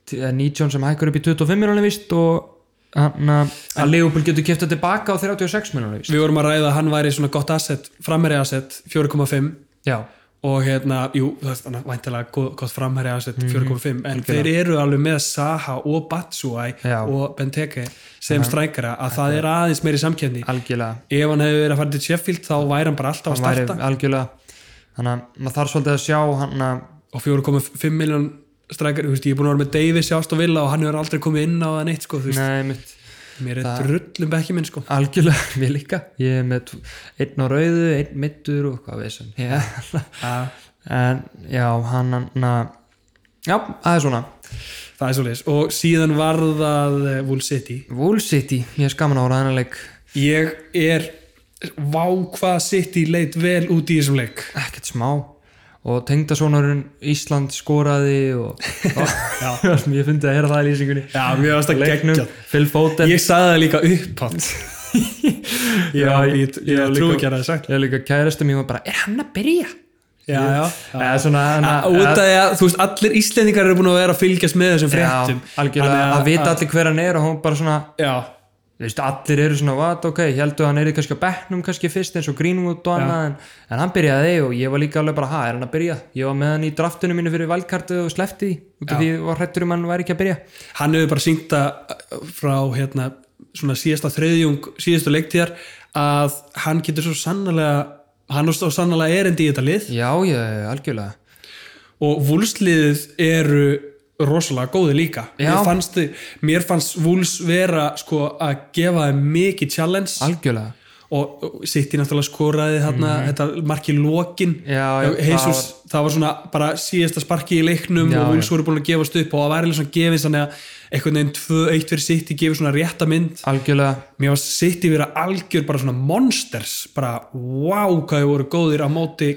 [SPEAKER 2] t- eða 19 sem hækkar upp í 25 miljónir vist og hann að að Leopold getur keifta tilbaka á 36 miljónir vist
[SPEAKER 1] við vorum að ræða að hann væri svona gott asset, frammeri asset 4,5
[SPEAKER 2] já,
[SPEAKER 1] og hérna, jú, það er þannig væntalega gott, gott framherri asset
[SPEAKER 2] Mhm.
[SPEAKER 1] 4.5 en þeir eru alveg með Saha og Batsuai
[SPEAKER 2] Já. Mhm.
[SPEAKER 1] og Benteke sem strækara að það er aðeins meiri samkjöfni
[SPEAKER 2] algjörlega
[SPEAKER 1] ef hann hefur verið að fara til Sheffield þá væri hann bara alltaf að
[SPEAKER 2] hann væri
[SPEAKER 1] starta
[SPEAKER 2] algjörlega þannig að maður þarf svolítið að sjá hann að
[SPEAKER 1] og 4.5 miljón strækari, þú veist, ég er búin að vera með Davis í Aston Villa og hann hefur aldrei komið inn á það neitt sko, þú veist,
[SPEAKER 2] nei mitt
[SPEAKER 1] mér er drullum bekki minn sko
[SPEAKER 2] algjörlega mér líka ég er með tvo- einn á rauðu, einn mittur og hvað veist hann en já hann að já það er svona
[SPEAKER 1] það er svolítið, og síðan var það eh, Wolf City
[SPEAKER 2] Wool City, ég er skaman ára þennan leik
[SPEAKER 1] ég er vá hvað City leit vel út í þessum leik
[SPEAKER 2] ekkert smá og tengdasónurinn Ísland skoraði og
[SPEAKER 1] Já.
[SPEAKER 2] ég fundi að hera það í lýsingunni
[SPEAKER 1] Já, mér varst að
[SPEAKER 2] leiknum,
[SPEAKER 1] geggjað.
[SPEAKER 2] Phil Foden
[SPEAKER 1] Ég sagði það líka upphátt Já, ég, ég,
[SPEAKER 2] ég
[SPEAKER 1] ég trú
[SPEAKER 2] líka-
[SPEAKER 1] ekki að það er sagt
[SPEAKER 2] ég er líka kærasta mér var bara, er hann að byrja?
[SPEAKER 1] já, já, já.
[SPEAKER 2] eða svona hana-
[SPEAKER 1] Að- út af því að, þú veist, allir Íslendingar eru búin að vera að fylgjast með þessum fréttum
[SPEAKER 2] já, algjörlega,
[SPEAKER 1] Þannig
[SPEAKER 2] að, vita allir hver hann er og hún bara svona
[SPEAKER 1] já,
[SPEAKER 2] þú veist, allir eru svona, what, ok, ég heldur að hann er kannski á bekknum kannski fyrst eins og Greenwood og annað en, en hann byrjaði og ég var líka alveg bara, ha, er hann að byrja ég var með hann í draftunum mínu fyrir valkartu og slefti því, út af því ég var hrættur um að hann væri ekki að byrja
[SPEAKER 1] hann hefur bara syngt að frá hérna, svona síðasta þriðjung síðustu leiktíðar að hann getur svo sannlega hann er svo sannlega erindi í þetta lið
[SPEAKER 2] já, já, já, algjörlega
[SPEAKER 1] og vúlsliðið eru rosalega góði líka
[SPEAKER 2] Já.
[SPEAKER 1] mér fannst, þið- mér fannst vúls vera sko, að gefa þeim mikið challenge
[SPEAKER 2] algjörlega,
[SPEAKER 1] og City náttúrulega skoraði þarna, þetta marki lokin
[SPEAKER 2] Mhm. Já, já,
[SPEAKER 1] Jesus, það, var... svona bara síðasta sparki í leiknum
[SPEAKER 2] Já,
[SPEAKER 1] og Wolves
[SPEAKER 2] já.
[SPEAKER 1] voru búin að gefast upp og það væri alveg svona gefins þannig að einhvern veginn 2-1 fyrir City gefur svona rétta mynd
[SPEAKER 2] algjörlega
[SPEAKER 1] mér var City vera algjör bara svona monsters bara wow hvað þau voru góðir á móti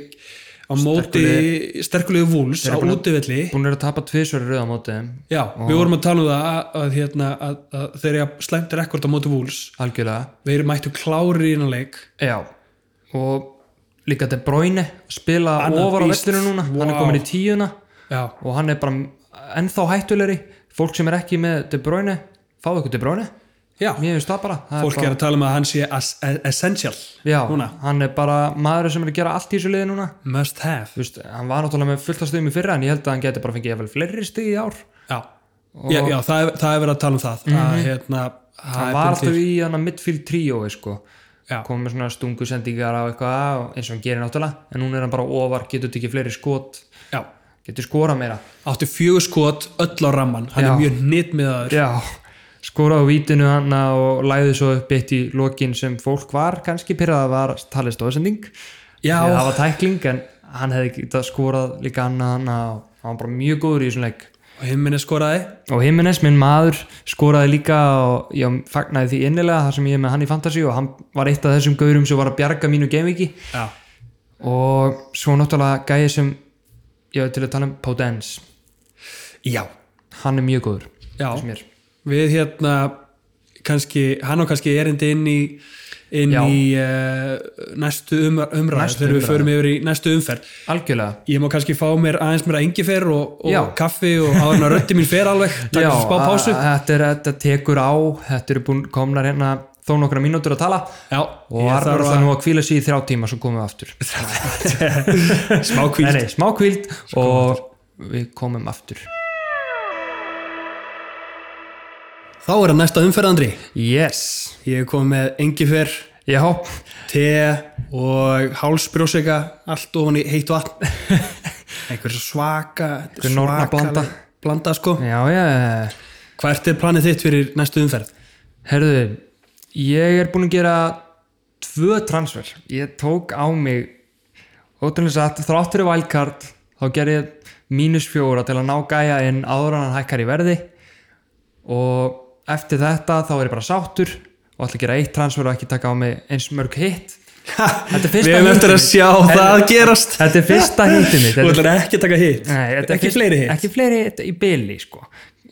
[SPEAKER 1] á móti sterkulegu Wolves á útivelli
[SPEAKER 2] búin að tapa tvisvar í röð á móti þeim
[SPEAKER 1] já, við vorum að tala um það að, að, hérna, að, að þeir eru slæmt rekord á móti Wolves
[SPEAKER 2] algjörlega,
[SPEAKER 1] þeir mættu klárir í innan leik
[SPEAKER 2] já og líka De Bruyne spila
[SPEAKER 1] Annað
[SPEAKER 2] ofar á
[SPEAKER 1] beast.
[SPEAKER 2] vellinu núna, hann er
[SPEAKER 1] Vá.
[SPEAKER 2] komin í tíuna
[SPEAKER 1] já
[SPEAKER 2] og hann er bara ennþá hættulegri fólk sem er ekki með De Bruyne fáðu ykkur De Bruyne
[SPEAKER 1] Já.
[SPEAKER 2] mér finnst það bara það
[SPEAKER 1] fólk er
[SPEAKER 2] bara,
[SPEAKER 1] að tala um að hann sé as- e- essential
[SPEAKER 2] já,
[SPEAKER 1] núna.
[SPEAKER 2] hann er bara maður sem er að gera allt í þessu liði núna
[SPEAKER 1] must have
[SPEAKER 2] Þú veist, hann var náttúrulega með fullt af stöðum í fyrra en ég held að hann geti bara fengið eða fleiri stöð í ár
[SPEAKER 1] já, já, já það, er, það er verið að tala um það að hérna
[SPEAKER 2] hann
[SPEAKER 1] er
[SPEAKER 2] Mhm. var
[SPEAKER 1] búin til-
[SPEAKER 2] alltaf í hann að midfield tríói sko.
[SPEAKER 1] Já.
[SPEAKER 2] komið með svona stungu sendingar á eitthvað og eins og hann gerir náttúrulega en núna er hann bara ofar, getur tekið fleiri skot
[SPEAKER 1] já,
[SPEAKER 2] getur skora meira
[SPEAKER 1] átti fjögur skot öll á ramman, hann
[SPEAKER 2] Já.
[SPEAKER 1] er mjög nýtt með það
[SPEAKER 2] Já, skoraði á vítinu hann og læði svo upp eitt í lokin sem fólk var kannski pyrrað að var talið stóðsending
[SPEAKER 1] Já.
[SPEAKER 2] það var tækling en hann hefði getað skorað líka annað hann og hann var bara mjög góður í þessum leik
[SPEAKER 1] og himminni skoraði
[SPEAKER 2] og Jimenez, minn maður, skoraði líka og ég fagnaði því innilega þar sem ég er með hann í Fantasí og hann var eitt af þessum gaurum sem var að bjarga mínu gameviki
[SPEAKER 1] já,
[SPEAKER 2] og svo náttúrulega gæði sem ég var til að tala um Potence,
[SPEAKER 1] já,
[SPEAKER 2] hann er mjög góður
[SPEAKER 1] já.
[SPEAKER 2] finnst mér.
[SPEAKER 1] við hérna kannski, hann á kannski erindi inn í inn
[SPEAKER 2] Já.
[SPEAKER 1] í uh, næstu um, umræð
[SPEAKER 2] Næstu
[SPEAKER 1] þegar við
[SPEAKER 2] umræðu.
[SPEAKER 1] förum yfir í næstu umferð
[SPEAKER 2] algjörlega
[SPEAKER 1] ég má kannski fá mér aðeins mér að engi fer og,
[SPEAKER 2] Já.
[SPEAKER 1] og kaffi og áður en að röddi mín fer alveg takk fyrir spá
[SPEAKER 2] að-
[SPEAKER 1] pásu
[SPEAKER 2] að Þetta, er, þetta tekur á, þetta eru búin komnar hérna þó nokkra mínútur að tala
[SPEAKER 1] Já,
[SPEAKER 2] og var bara það nú að kvíla sig í þrjá tíma svo komum við aftur.
[SPEAKER 1] að smá
[SPEAKER 2] Nei,
[SPEAKER 1] kvíld
[SPEAKER 2] nei, smá kvíld og við komum aftur.
[SPEAKER 1] Þá er það næsta umferð, Andri
[SPEAKER 2] Yes,
[SPEAKER 1] Ég er komið með engifer,
[SPEAKER 2] já,
[SPEAKER 1] te og hálsbrjósika allt ofan í heitt vatn einhver svo svaka
[SPEAKER 2] Einhver norna blanda.
[SPEAKER 1] blanda sko.
[SPEAKER 2] já, já,
[SPEAKER 1] Hvert er planið þitt fyrir næstu umferð?
[SPEAKER 2] herðu, ég er búin að gera tvö transfer. Ég tók á mig, ótrúlega satt, þráttur í valkart, þá gerði ég mínus fjóra til að ná gæja inn áður en hann hækkar í verði. og eftir þetta þá er ég bara sáttur og ætla að gera eitt transfer og ekki taka á mig eins mörg hitt Þetta er fyrsta
[SPEAKER 1] Við hefum eftir að
[SPEAKER 2] hitið.
[SPEAKER 1] sjá
[SPEAKER 2] Þetta-
[SPEAKER 1] það gerast
[SPEAKER 2] Þetta er fyrsta hitti mitt
[SPEAKER 1] Þú
[SPEAKER 2] Þetta er-
[SPEAKER 1] ætlar ekki að taka hitt
[SPEAKER 2] Nei, þetta er
[SPEAKER 1] Ekki
[SPEAKER 2] fyrst-
[SPEAKER 1] fleiri hitt
[SPEAKER 2] Ekki fleiri hitt í byli sko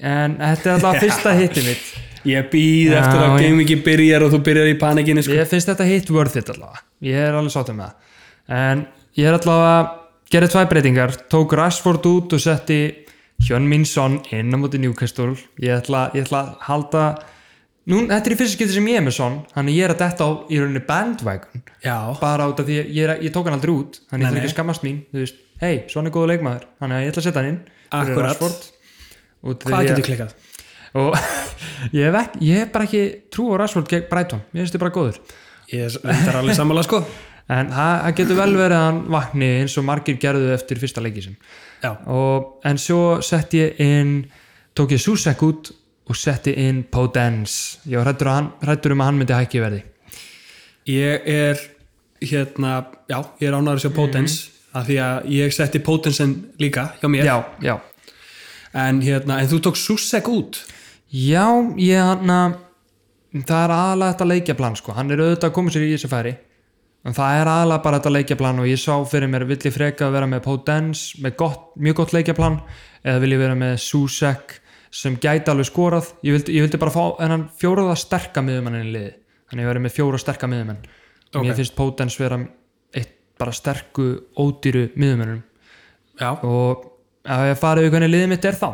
[SPEAKER 2] En þetta er alltaf fyrsta hitti mitt
[SPEAKER 1] Ég býð
[SPEAKER 2] Já,
[SPEAKER 1] eftir að
[SPEAKER 2] já.
[SPEAKER 1] gamingi byrjar og þú byrjar í panikinu sko.
[SPEAKER 2] Ég finnst þetta hitt worth it allavega Ég er alveg sáttur með það En ég er allavega að gera tvær breytingar Tók Rashford út og setti Hjón Minsson inn á móti Newcastle Ég ætla, ég ætla að halda Nú, þetta er í fyrsta skipti sem ég er með Son Þannig ég er að detta á í rauninni bandwagon
[SPEAKER 1] Já,
[SPEAKER 2] Bara út af því að ég, er- ég tók hann aldrei út Þannig
[SPEAKER 1] Nei,
[SPEAKER 2] ég ætla ekki
[SPEAKER 1] nei.
[SPEAKER 2] að skammast mín Þú veist, hei, Son er góðu leikmaður Þannig að ég ætla að setja hann inn fyrir
[SPEAKER 1] Akkurat.
[SPEAKER 2] Rashford. Út af því
[SPEAKER 1] hvað
[SPEAKER 2] að-
[SPEAKER 1] getur klikkað?
[SPEAKER 2] og ég hef, ekki, ég hef bara ekki trú á Rashford gegn Brighton, ég finnst þið bara góður
[SPEAKER 1] Ég er alveg sammála sko
[SPEAKER 2] en það það getur vel verið að hann vakni eins og margir gerðu eftir fyrsta leikisinn
[SPEAKER 1] Já,
[SPEAKER 2] og, en svo sett ég inn tók ég Susek út og setti inn Podence ég var hrættur, hann, hrættur um að hann myndi hækki verði
[SPEAKER 1] ég er hérna, já, ég er ánæður að sjá Potence af því að ég setti Potensen líka hjá mér,
[SPEAKER 2] Mhm. já, já,
[SPEAKER 1] en hérna en þú tók Susek út
[SPEAKER 2] já, ég hann að það er aðalega þetta leikjaplan sko hann er auðvitað að koma sér í þessu færi en það er aðalega bara þetta leikjaplan og ég sá fyrir mér vill ég freka að vera með Podence með gott, mjög gott leikjaplan eða vil ég vera með Susek sem gæti alveg skorað ég vildi, ég vildi bara fá þennan fjóraða sterka miðumann inn í liði þannig ég verið með fjóra sterka miðumann og mér finnst Podence vera eitt bara sterku, ódýru miðumörunum
[SPEAKER 1] Já.
[SPEAKER 2] og að ég farið við hvernig liðið mitt er þá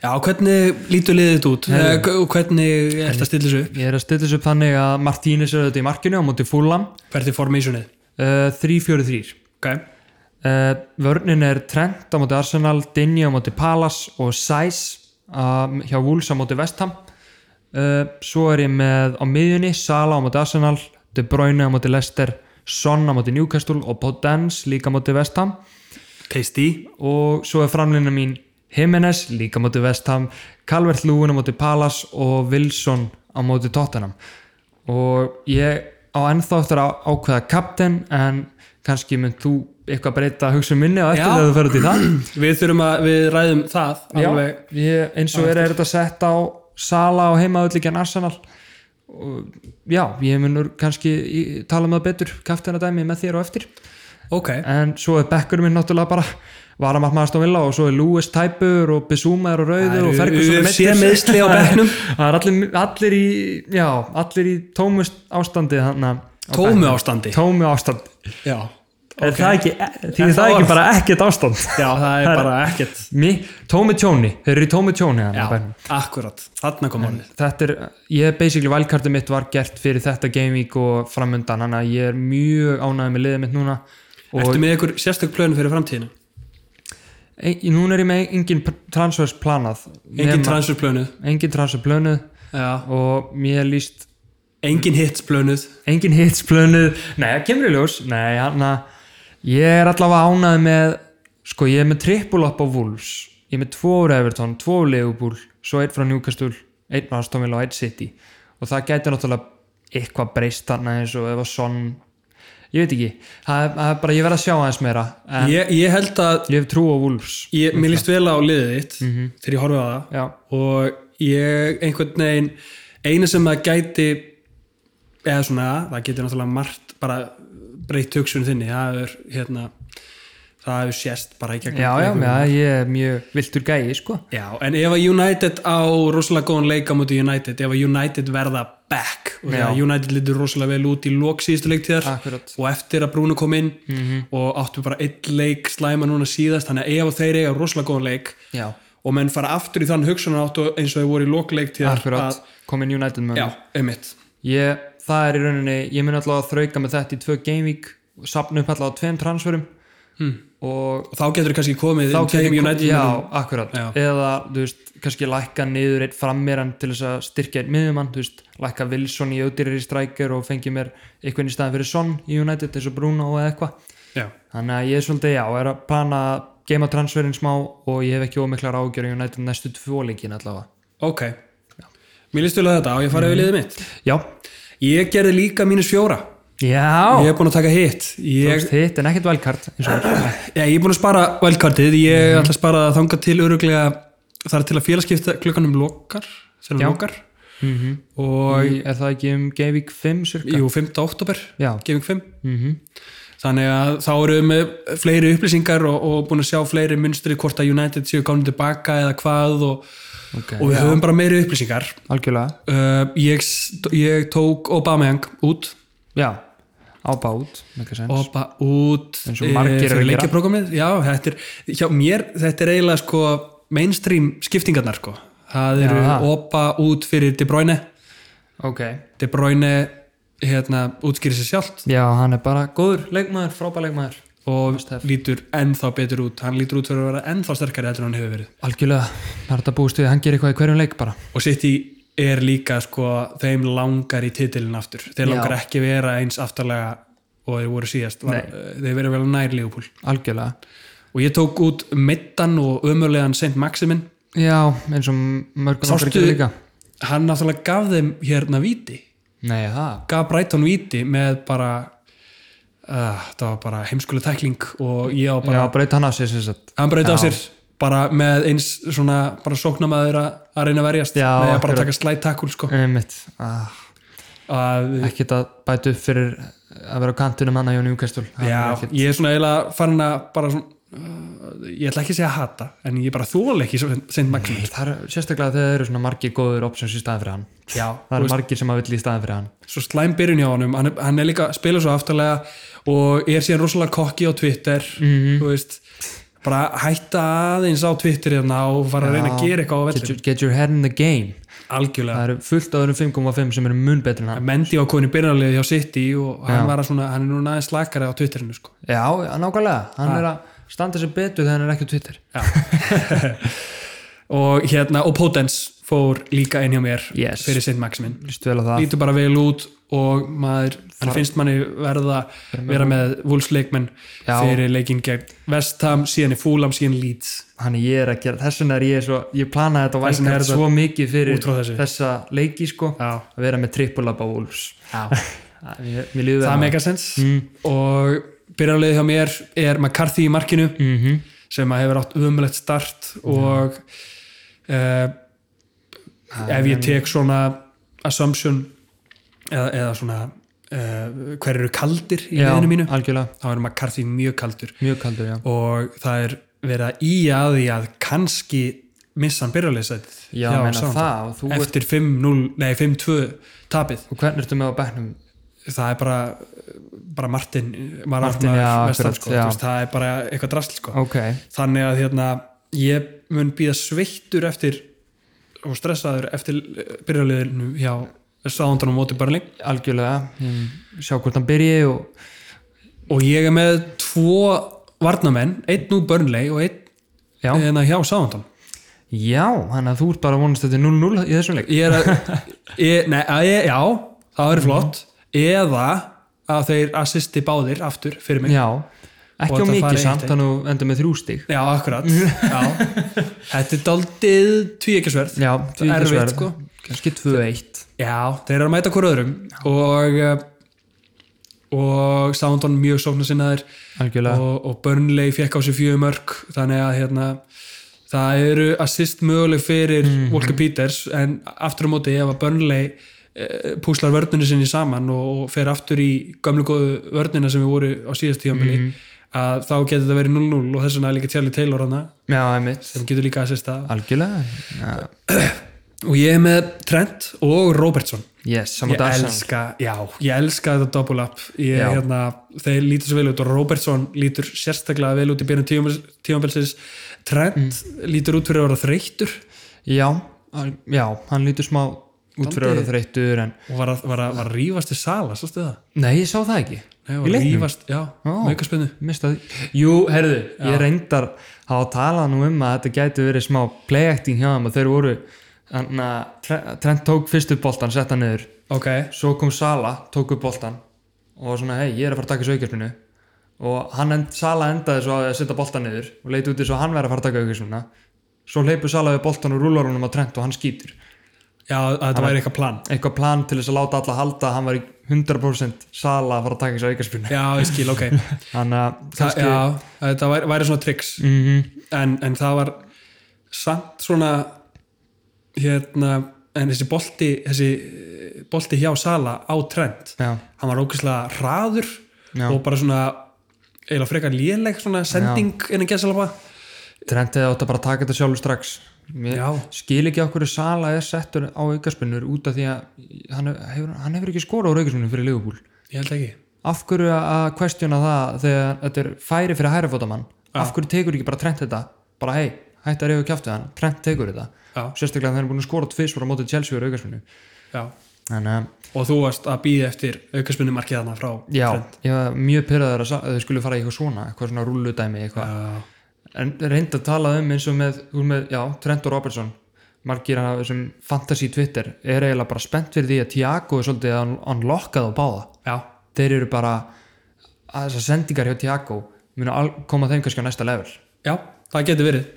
[SPEAKER 1] Já, hvernig lítur liðið þetta út? Eða, og hvernig er þetta að stilla þessu upp?
[SPEAKER 2] ég er að stilla þessu upp þannig að Martínez er auðvitað í markinu á móti Fulham
[SPEAKER 1] Hvert er formationið?
[SPEAKER 2] uh, 3-4-3
[SPEAKER 1] Ok,
[SPEAKER 2] uh, vörnin er Trent á móti Arsenal Dinja á móti Palace og Sais uh, hjá Wolves á móti Vestham uh, svo er ég með á miðjunni Sala á móti Arsenal De Bruyne á móti Leicester Son á móti Newcastle og Podence líka á móti Vestham
[SPEAKER 1] tasty.
[SPEAKER 2] og svo er framlýna mín Jimenez líka á móti Vestham Calvert Lúin á móti Palace og Wilson á móti Tottenham og ég á ennþá eftir að ákveða kapten en kannski mynd þú eitthvað breyta hugsun minni á eftir
[SPEAKER 1] Já.
[SPEAKER 2] þegar þú ferður til það
[SPEAKER 1] Við þurfum að, við ræðum það alveg.
[SPEAKER 2] Já, ég, eins og er, er þetta sett á Sala og heimaðullíkjan Arsenal og, já, ég munur kannski í- tala um það betur kaptena dæmi með þér og eftir
[SPEAKER 1] Ok,
[SPEAKER 2] en svo er bekkurinn minn náttúrulega bara varamark maður stóðvilla og svo er Lewis tæpur og Bissúma er á rauðu og Ferguson er
[SPEAKER 1] við séum
[SPEAKER 2] meiddur.
[SPEAKER 1] meðsli á bekknum.
[SPEAKER 2] það er allir, allir í já, allir í tómust ástandi þannig
[SPEAKER 1] Tómu ástandi.
[SPEAKER 2] tómu ástand
[SPEAKER 1] Já.
[SPEAKER 2] er það ekki,
[SPEAKER 1] En
[SPEAKER 2] því það
[SPEAKER 1] þá
[SPEAKER 2] er
[SPEAKER 1] var-
[SPEAKER 2] ekki bara ekkert ástand
[SPEAKER 1] Já, það er bara ekkert.
[SPEAKER 2] Mi, tómi tjóni, þeir eru í tómi tjóni þarna
[SPEAKER 1] Já,
[SPEAKER 2] á bekknum.
[SPEAKER 1] akkurat. Þarna kom orðið.
[SPEAKER 2] þetta er, ég basically valkartum mitt var gert fyrir þetta game week og framundan þannig að ég er mjög ánægð með liðið mitt núna og
[SPEAKER 1] Ertu með ykkur sérstök plönu fyrir framtíðinu?
[SPEAKER 2] ein, e, núna er ég með engin pr- transfers planað
[SPEAKER 1] Engin
[SPEAKER 2] nema-
[SPEAKER 1] transferplönuð?
[SPEAKER 2] engin transfer plönuð
[SPEAKER 1] Já.
[SPEAKER 2] og mér líst
[SPEAKER 1] Engin hitsplönuð?
[SPEAKER 2] engin hits plönuð, nei það kemur í ljós nei hann ég er allavega ánægð með sko ég er með trippul upp á Wolves ég er með tvo úr Everton, tvo úr Leopold svo einn frá Newcastle, einn frá Astomil og einn City og það gæti náttúrulega eitthvað breyst þarna eins og ef að son ég veit ekki, það er, það er bara ég verð að sjá aðeins meira en
[SPEAKER 1] Ég, ég held að,
[SPEAKER 2] ég hef trú á Wolves
[SPEAKER 1] ég, mér líst vel á liðið þitt þegar ég horfið á það.
[SPEAKER 2] já,
[SPEAKER 1] og ég einhvern veginn eina sem það gæti eða svona, það getur náttúrulega margt bara breytt hugsun þinni það er hérna það hefur sést bara í gegnum
[SPEAKER 2] já, já,
[SPEAKER 1] leikum.
[SPEAKER 2] já ég er mjög viltur gæi sko
[SPEAKER 1] já, en ef að United á rosalega góðan leik á móti United, ef að United verða back og
[SPEAKER 2] Já.
[SPEAKER 1] þegar United litur rosalega vel út í lók síðustu leiktíðar
[SPEAKER 2] akkurat, Mhm.
[SPEAKER 1] og eftir að Bruno kom inn og áttu bara einn leik slæma núna síðast þannig að ef að þeir eiga rosalega góðan leik
[SPEAKER 2] já,
[SPEAKER 1] og menn fara aftur í þann hugsunarátt og eins og þau voru í lokleiktíðar að
[SPEAKER 2] akkurat komin United mönnum
[SPEAKER 1] Já, einmitt
[SPEAKER 2] ég, það er í rauninni ég mun alltaf að þrauka með þetta í tvö gameweek sapna upp alltaf á tveim transferum og
[SPEAKER 1] og þá getur kannski komið
[SPEAKER 2] þá
[SPEAKER 1] inn Hmm. tveim
[SPEAKER 2] ég-
[SPEAKER 1] United
[SPEAKER 2] já,
[SPEAKER 1] mönnum.
[SPEAKER 2] akkurat,
[SPEAKER 1] Já.
[SPEAKER 2] eða þú veist, kannski lækka niður eitt frammeran til þess að styrkja eitt miðjumann, þú veist, lækka Wilson í auðdýrari strækjur og fengi mér eitthvað í staðin fyrir Son í United, eins og Bruno eða eitthvað,
[SPEAKER 1] já.
[SPEAKER 2] þannig að ég er svolítið já, er að plana að geima transferin smá og ég hef ekki ómiklar ágjör í United næstu tvo leikin allavega
[SPEAKER 1] ok Mér líst vel að þetta og ég farið við liðið mitt
[SPEAKER 2] já,
[SPEAKER 1] Ég gerði líka mínus fjóra
[SPEAKER 2] já,
[SPEAKER 1] Ég er búin að taka hitt
[SPEAKER 2] ég...
[SPEAKER 1] Ég,
[SPEAKER 2] þitt en ekkert valkart eins og er.
[SPEAKER 1] ég, ég er búin að spara velkartið Ég
[SPEAKER 2] Mhm.
[SPEAKER 1] ætla að spara það þangað til öruglega þar til að félagskipta klukkanum lokar þegar
[SPEAKER 2] Já.
[SPEAKER 1] hann lokar
[SPEAKER 2] mm
[SPEAKER 1] og
[SPEAKER 2] Í- er það ekki um Gameweek 5 cirka?
[SPEAKER 1] jú, 5. oktober
[SPEAKER 2] Já, Mhm.
[SPEAKER 1] gefing 5 þannig að þá eru við með fleiri upplýsingar og, og búin að sjá fleiri munstrið hvort að United séu gáðum tilbaka eða hvað og,
[SPEAKER 2] ok,
[SPEAKER 1] og við höfum bara meiri upplýsingar
[SPEAKER 2] algjörlega
[SPEAKER 1] Uh, ég, ég tók Aubameyang út
[SPEAKER 2] Já, á bát, make sense
[SPEAKER 1] Oba út
[SPEAKER 2] Eins og margir eru að gera.
[SPEAKER 1] leikjaprogramið Já, þetta er, hjá mér, þetta er eiginlega sko mainstream skiptingarnar sko það
[SPEAKER 2] Já,
[SPEAKER 1] eru
[SPEAKER 2] það.
[SPEAKER 1] Oba út fyrir De Bruyne
[SPEAKER 2] Ok,
[SPEAKER 1] De Bruyne hérna útskýrir sér sjálft
[SPEAKER 2] já, hann er bara góður leikmaður, frábær leikmaður
[SPEAKER 1] og
[SPEAKER 2] Must have.
[SPEAKER 1] lítur ennþá betur út hann lítur út fyrir að vera ennþá sterkari heldur en hann hefur verið
[SPEAKER 2] Algjörlega, það er þetta búist við, hann gerir eitthvað í hverjum leik bara
[SPEAKER 1] og sitt í er líka sko þeim langar í titilin aftur þeir
[SPEAKER 2] Já.
[SPEAKER 1] langar ekki vera eins aftarlega og þeir voru síðast var, eh, þeir verið vel nær Leopold
[SPEAKER 2] Algjörlega
[SPEAKER 1] og ég tók út meittan og ömurlegan St. Maximin
[SPEAKER 2] Já, eins og mörgum
[SPEAKER 1] Sástu-
[SPEAKER 2] okkar gerir líka
[SPEAKER 1] hann náttúrulega gaf þeim hérna viti
[SPEAKER 2] Nei, það
[SPEAKER 1] gaf Brighton viti með bara uh, það var bara heimskulega tækling og ég á bara
[SPEAKER 2] Já, breyta hann af sér sem sagt
[SPEAKER 1] hann breyta á sér bara með eins svona bara sóknamaður að að reyna að verjast
[SPEAKER 2] Já,
[SPEAKER 1] með að bara
[SPEAKER 2] akkurat.
[SPEAKER 1] taka slætt takkul sko
[SPEAKER 2] Einmitt, ah,
[SPEAKER 1] að,
[SPEAKER 2] ekkert að bæta upp fyrir að vera á kantinum hann að Jón Júkastul
[SPEAKER 1] já, ég er svona eiginlega farin að bara svona uh, ég ætla ekki að segja hata en ég bara þóla ekki St. Maximin
[SPEAKER 2] Það er sérstaklega þegar það eru svona margir góður options í staðan fyrir hann
[SPEAKER 1] já,
[SPEAKER 2] Það eru margir sem að vilja í staðan fyrir hann
[SPEAKER 1] svo slæm byrjun hjá honum hann, er- hann er líka að spila svo aftalega og er síðan rosalega kokki á Twitter
[SPEAKER 2] Mhm.
[SPEAKER 1] þú veist bara hætta aðeins á Twitter hérna og fara að reyna að gera eitthvað á
[SPEAKER 2] get
[SPEAKER 1] vellum
[SPEAKER 2] your, get your head in the game
[SPEAKER 1] algjörlega,
[SPEAKER 2] það eru fullt öðrum 5.5 sem eru mun betur en hann
[SPEAKER 1] Mendy var komin í byrjarliði hjá City og hann,
[SPEAKER 2] Já.
[SPEAKER 1] var að svona, hann er núna aðeins slakari á Twitterinu sko.
[SPEAKER 2] já, nákvæmlega, hann er að standa sér betur þegar hann er ekki á Twitter
[SPEAKER 1] og hérna, og Potence fór líka inn hjá mér
[SPEAKER 2] Yes.
[SPEAKER 1] fyrir St. Maximin
[SPEAKER 2] líst vel á það
[SPEAKER 1] lítur bara vel út og maður, hann finnst manni verða vera með vúlsleikmenn
[SPEAKER 2] Já.
[SPEAKER 1] fyrir leikinn gegn Vestham, síðan í Fúlam, síðan Leeds
[SPEAKER 2] hann er ég er að gera, þess vegna er ég svo ég planaði þetta
[SPEAKER 1] Þess vegna er
[SPEAKER 2] væskart
[SPEAKER 1] þetta
[SPEAKER 2] svo mikið fyrir
[SPEAKER 1] út frá þessu.
[SPEAKER 2] þessa leiki sko,
[SPEAKER 1] Já.
[SPEAKER 2] að vera með trippulab á Wolves Það- mér mér líður
[SPEAKER 1] það
[SPEAKER 2] vel á
[SPEAKER 1] meika sens
[SPEAKER 2] Mm.
[SPEAKER 1] og byrjarlegið hjá mér er McCarthy í markinu
[SPEAKER 2] Mhm.
[SPEAKER 1] sem að hefur átt umulegt start og uh, ef ég tek svona assumption eða, eða svona uh, hver eru kaldir í
[SPEAKER 2] Já,
[SPEAKER 1] liðinu mínu
[SPEAKER 2] algjörlega,
[SPEAKER 1] þá er McCarthy mjög kaldur
[SPEAKER 2] mjög kaldur já.
[SPEAKER 1] og það er verið að í að því að kannski missa hann byrjarlegisætið
[SPEAKER 2] Já, meina það, og þú ert-
[SPEAKER 1] eftir 5-0, nei 5-2 tapið
[SPEAKER 2] og hvernig ertu með á bekknum
[SPEAKER 1] það er bara, bara Martin var
[SPEAKER 2] Martin,
[SPEAKER 1] aftur
[SPEAKER 2] já,
[SPEAKER 1] vestan
[SPEAKER 2] akkurat,
[SPEAKER 1] sko,
[SPEAKER 2] já.
[SPEAKER 1] þú veist, það er bara eitthvað drasl sko.
[SPEAKER 2] ok,
[SPEAKER 1] þannig að hérna, ég mun býða sveittur eftir og stressaður eftir byrjarliðinu hjá sáðandanum móti Börling
[SPEAKER 2] algjörlega Ég sjá hvort hann byrji og
[SPEAKER 1] og ég er með tvo varnamenn, einn úr Börnley og einn
[SPEAKER 2] Já.
[SPEAKER 1] hérna hjá sáðandan
[SPEAKER 2] já, þannig að þú ert bara að vonast þetta 0-0 í þessum leik
[SPEAKER 1] ég er að ég, nei, að ég, já, það
[SPEAKER 2] Mhm.
[SPEAKER 1] verður flott eða að þeir assisti báðir aftur fyrir mig
[SPEAKER 2] já,
[SPEAKER 1] Og
[SPEAKER 2] ekki á
[SPEAKER 1] þetta
[SPEAKER 2] mikið
[SPEAKER 1] fari
[SPEAKER 2] samt
[SPEAKER 1] eitt-
[SPEAKER 2] þannig að þú endur með þrjú stig
[SPEAKER 1] Já, akkurat já. Þetta er daldið tvíekjasverð
[SPEAKER 2] já,
[SPEAKER 1] Það er erfitt, sko.
[SPEAKER 2] kannski 2-1
[SPEAKER 1] Já, þeir eru að mæta hver öðrum og eh, og Soundon mjög sókna sinnaðir
[SPEAKER 2] algjörlega,
[SPEAKER 1] og, og Burnley fekk á sig fjögur mörg þannig að hérna það eru assist möguleg fyrir Walker Peters en aftur á móti ef að Burnley eh, púslar vörninu sinni saman og, og fer aftur í gömlu góðu vörnina sem við voru á síðast tíðanbili að þá getur þetta verið 0-0 og þess vegna er líka Charlie Taylor hana
[SPEAKER 2] já, einmitt
[SPEAKER 1] sem getur líka assista
[SPEAKER 2] algjörlega, já,
[SPEAKER 1] og ég er með Trent og Robertson
[SPEAKER 2] yes saman
[SPEAKER 1] ég
[SPEAKER 2] dag
[SPEAKER 1] elska, já, ég elska þetta double up ég,
[SPEAKER 2] Já.
[SPEAKER 1] hérna, þeir lítur svo vel út og Robertson lítur sérstaklega vel út í byrjun tímabil- tímabilsins Trent
[SPEAKER 2] Mm.
[SPEAKER 1] lítur út fyrir að vera þreyttur
[SPEAKER 2] já, al- já, hann lítur smá út fyrir að vera þreyttur en
[SPEAKER 1] og var að, var að, var að rífast í sala sástu það?
[SPEAKER 2] nei, ég sá það ekki
[SPEAKER 1] Nei,
[SPEAKER 2] Í
[SPEAKER 1] var að
[SPEAKER 2] leiknum?
[SPEAKER 1] rífast, já,
[SPEAKER 2] Ó.
[SPEAKER 1] með ykkur spennu
[SPEAKER 2] Mista því. Jú, herðu, ég reyndar að tala nú um að þetta gæti verið smá playacting hjá þeim og þeir voru þannig að Tre- Trent tók fyrstu boltan, sett hann niður
[SPEAKER 1] ok,
[SPEAKER 2] svo kom Sala, tók upp boltan og var svona, hei, ég er að fara að taka þessu aukjörnunu og hann end, Sala endaði svo á því að setja boltan niður og leiti út eins og hann verið að fara að taka aukjörnuna svo hleypur Sala við boltan og rúlar honum á Trent og hann skýtur
[SPEAKER 1] já, að þetta væri eitthvað plan
[SPEAKER 2] eitthvað plan til þess að láta alla halda að hann var 100% Sala að fara að taka þessu aukjörnunu
[SPEAKER 1] já, ég skil, ok
[SPEAKER 2] þannig að
[SPEAKER 1] Þa,
[SPEAKER 2] kannski, Mm. Mhm.
[SPEAKER 1] já, þetta væri, væri svona triks en, en það var samt svona hérna, en þessi bolti þessi eh, bolti hjá Sala á trend
[SPEAKER 2] já,
[SPEAKER 1] hann var ókvæslega hraður
[SPEAKER 2] Já.
[SPEAKER 1] og bara svona eiginlega frekar léleg svona sending innan gesalapa
[SPEAKER 2] Trent hefði átt að bara taka þetta sjálfur strax Mér
[SPEAKER 1] Já.
[SPEAKER 2] skil ekki okkur Sala er settur á aukarspinnur út af því að hann hefur, hann hefur ekki skora á aukarspinnur fyrir Liverpool
[SPEAKER 1] ég held ekki
[SPEAKER 2] af hverju að questiona það þegar þetta er færi fyrir hærafótamann af hverju tekur ekki bara Trent þetta bara hei, hætti að reyðu kjáftu hann Trent tekur þetta,
[SPEAKER 1] Já.
[SPEAKER 2] sérstaklega þegar hann er búin að skora tvisvara mótið Chelsea úr aukarspinnu
[SPEAKER 1] já.
[SPEAKER 2] þannig að,
[SPEAKER 1] og þú varst að býða eftir aukaspunumarkið þarna frá
[SPEAKER 2] já,
[SPEAKER 1] Trent.
[SPEAKER 2] ég var mjög pyrraður að Sa- að þau skulle fara í eitthvað svona eitthvað svona rúlludæmi, eitthvað
[SPEAKER 1] Já.
[SPEAKER 2] en reynd að tala um eins og með, þú með já, Trent og Robertson margir hann af þessum fantasy Twitter er eiginlega bara spennt fyrir því að Tiago er svolítið að hann lokkað á báða
[SPEAKER 1] já,
[SPEAKER 2] þeir eru bara að þessar sendingar hjá Tiago munu al- koma þeim kannski á næsta level
[SPEAKER 1] já, það getur verið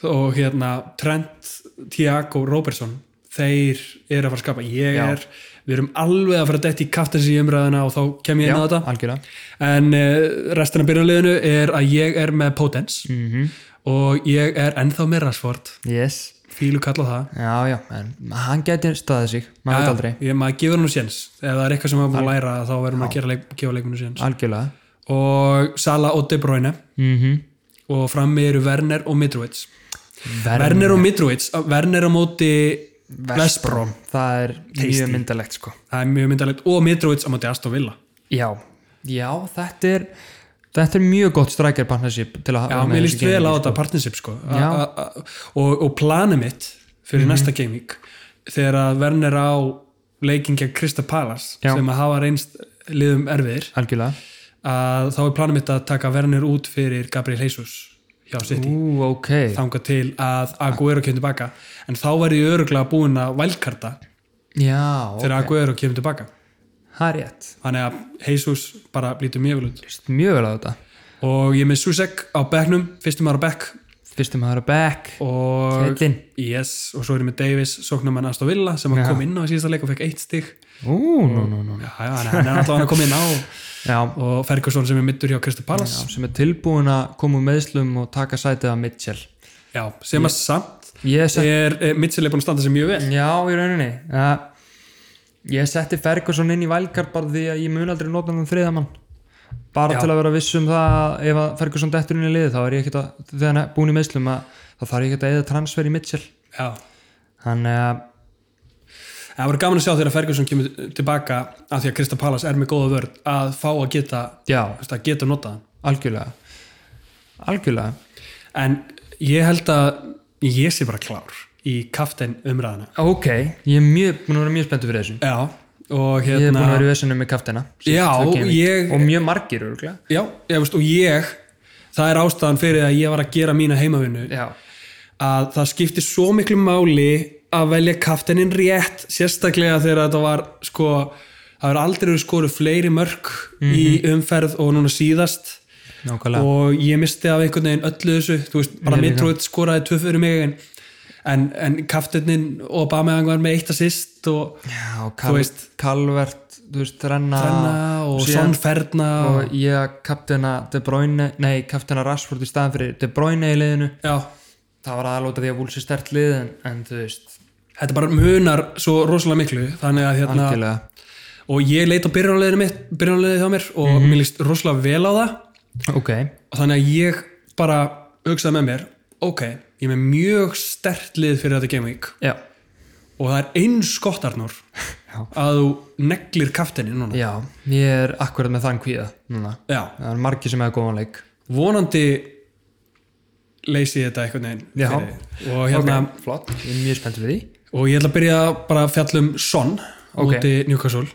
[SPEAKER 1] og hérna Trent, Tiago, Robertson þeir eru að fara að skapa ég
[SPEAKER 2] Já.
[SPEAKER 1] er, við erum alveg að fara að detti í kaptensi umræðuna og þá kem ég inn á þetta
[SPEAKER 2] algjörlega
[SPEAKER 1] En uh, restina byrjarliðinu er að ég er með Potence
[SPEAKER 2] Mhm.
[SPEAKER 1] og ég er ennþá með Rashford,
[SPEAKER 2] yes.
[SPEAKER 1] fílu kalla það.
[SPEAKER 2] já, já, en hann geti staðið sig maður veit aldrei,
[SPEAKER 1] Já, Ég, maður gefur hann séns. Ef það er eitthvað sem maður er búin að læra þá verður maður að gera leik, gefa leikminu séns.
[SPEAKER 2] algjörlega
[SPEAKER 1] Og Sala og De Bruyne
[SPEAKER 2] mm -hmm.
[SPEAKER 1] og frammi eru Werner og Mitrovic. Werner og Mitrovic, að Werner á móti Vestbrom.
[SPEAKER 2] það er
[SPEAKER 1] Tasty.
[SPEAKER 2] mjög myndalegt sko
[SPEAKER 1] Það er mjög myndalegt og Mitrovic á móti Aston Villa.
[SPEAKER 2] já, Já, þetta er þetta er mjög gott striker partnership til að
[SPEAKER 1] Já,
[SPEAKER 2] hafa með
[SPEAKER 1] mér
[SPEAKER 2] þessi
[SPEAKER 1] líst vel á
[SPEAKER 2] gaming,
[SPEAKER 1] þetta partnership sko. A-
[SPEAKER 2] Já. Mhm.
[SPEAKER 1] a- a- og, og planið mitt fyrir næsta gaming þegar að Werner á leikingja Krista Palas
[SPEAKER 2] Já.
[SPEAKER 1] sem að hafa reynst liðum erfiðir
[SPEAKER 2] Algjörlega
[SPEAKER 1] að þá er planið mitt að taka Werner út fyrir Gabriel Jesus hjá City
[SPEAKER 2] Ú, ok
[SPEAKER 1] þangað til að Aguero kemur tilbaka en þá var ég öruglega búin að valkarta
[SPEAKER 2] Já,
[SPEAKER 1] þegar
[SPEAKER 2] ok
[SPEAKER 1] Aguero kemur tilbaka
[SPEAKER 2] Það er rétt
[SPEAKER 1] þannig að Jesus bara lítur mjög vel út
[SPEAKER 2] Líst Mjög vel á þetta
[SPEAKER 1] og ég er með Susek á bekknum fyrstum ára bekk
[SPEAKER 2] Fyrstum að það er back
[SPEAKER 1] og
[SPEAKER 2] Kjellin
[SPEAKER 1] Yes, og svo er ég með Davis, sóknumann Aston Villa sem
[SPEAKER 2] Já.
[SPEAKER 1] ja. kom inn á í síðasta leik og fekk eitt stig
[SPEAKER 2] Ú, nú, nú, nú
[SPEAKER 1] Já, já, hann hann er alltaf hann að koma inn á
[SPEAKER 2] Já,
[SPEAKER 1] og Ferguson sem er middur hjá Crystal
[SPEAKER 2] já,
[SPEAKER 1] Palace já,
[SPEAKER 2] sem er tilbúin að koma úr meðslum og taka sætið af Mitchell
[SPEAKER 1] sem að samt
[SPEAKER 2] Ég setti,
[SPEAKER 1] er, er Mitchell er búin að standa sig mjög vel
[SPEAKER 2] já, í rauninni ja, Ég setti Ferguson inn í vælkart bara því að ég mun aldrei nota þann þriða mann bara
[SPEAKER 1] Já.
[SPEAKER 2] til að vera viss um það að ef að Ferguson dettur inn í liðið þá er ég ekkert að, þegar hann er búin í meðslum að þá þarf ég ekkert að eða transfer í Mitchell eh,
[SPEAKER 1] Já,
[SPEAKER 2] þannig að,
[SPEAKER 1] það voru gaman að sjá þegar Ferguson kemur tilbaka af því að Crystal Palace er með góða vörð að fá að geta,
[SPEAKER 2] já,
[SPEAKER 1] þú veist, að geta nota hann
[SPEAKER 2] algjörlega algjörlega,
[SPEAKER 1] en ég held að ég sé bara klár í kaftin umræðana
[SPEAKER 2] ok ég er mjög, búin að vera mjög spenntur fyrir þessu
[SPEAKER 1] Já, og
[SPEAKER 2] ég er búin að
[SPEAKER 1] hérna
[SPEAKER 2] vera í vesinu með kaftina
[SPEAKER 1] Já, ég-
[SPEAKER 2] og mjög margir örgulega
[SPEAKER 1] Já, ég veist, og ég það er ástæðan fyrir að ég var að gera mína heimavinu
[SPEAKER 2] já,
[SPEAKER 1] að það skipti svo miklu máli að velja kaftaninn rétt sérstaklega þegar þetta var sko, það er aldrei verið skoru fleiri mörk
[SPEAKER 2] Mhm.
[SPEAKER 1] í umferð og núna síðast
[SPEAKER 2] nákvæmlega
[SPEAKER 1] og ég misti af einhvern veginn öllu þessu þú veist, bara
[SPEAKER 2] Mér líka.
[SPEAKER 1] Mitrovic skoraði tvö fyrir mig en, en, en kaftaninn og Bamiðan var með eitt assist og
[SPEAKER 2] Já,
[SPEAKER 1] Þú
[SPEAKER 2] kal,
[SPEAKER 1] veist-
[SPEAKER 2] Kalvert, þú veist, Renna,
[SPEAKER 1] Renna og
[SPEAKER 2] síðan-
[SPEAKER 1] Sonferna og,
[SPEAKER 2] og ég kapteina De Bruyne, nei, kapteina Rashford í staðan fyrir De Bruyne í liðinu
[SPEAKER 1] já,
[SPEAKER 2] það var aðalóta því að Wolves er stert lið en, en þú veist,
[SPEAKER 1] þetta bara munar svo rosalega miklu þannig að hérna
[SPEAKER 2] algjörlega
[SPEAKER 1] og ég leit á byrjanleginu mitt byrjanleginu hjá mér og
[SPEAKER 2] Mhm.
[SPEAKER 1] mér líst rosalega vel á það
[SPEAKER 2] ok,
[SPEAKER 1] og þannig að ég bara hugsaði með mér ok, ég er með mjög stert lið fyrir þetta Game Week
[SPEAKER 2] já,
[SPEAKER 1] og það er eins gott Arnur
[SPEAKER 2] Já.
[SPEAKER 1] að þú neglir kaftinni núna
[SPEAKER 2] já ég er akkurat með þann kvíða núna,
[SPEAKER 1] Já,
[SPEAKER 2] það er margir sem hefur góðan leik
[SPEAKER 1] vonandi leysi ég þetta einhvern veginn
[SPEAKER 2] Já.
[SPEAKER 1] fyrir. og hérna
[SPEAKER 2] ok, flott, ég er mjög spennt fyrir því
[SPEAKER 1] og ég ætla að byrja bara að fjalla um Son
[SPEAKER 2] Ok.
[SPEAKER 1] úti Newcastle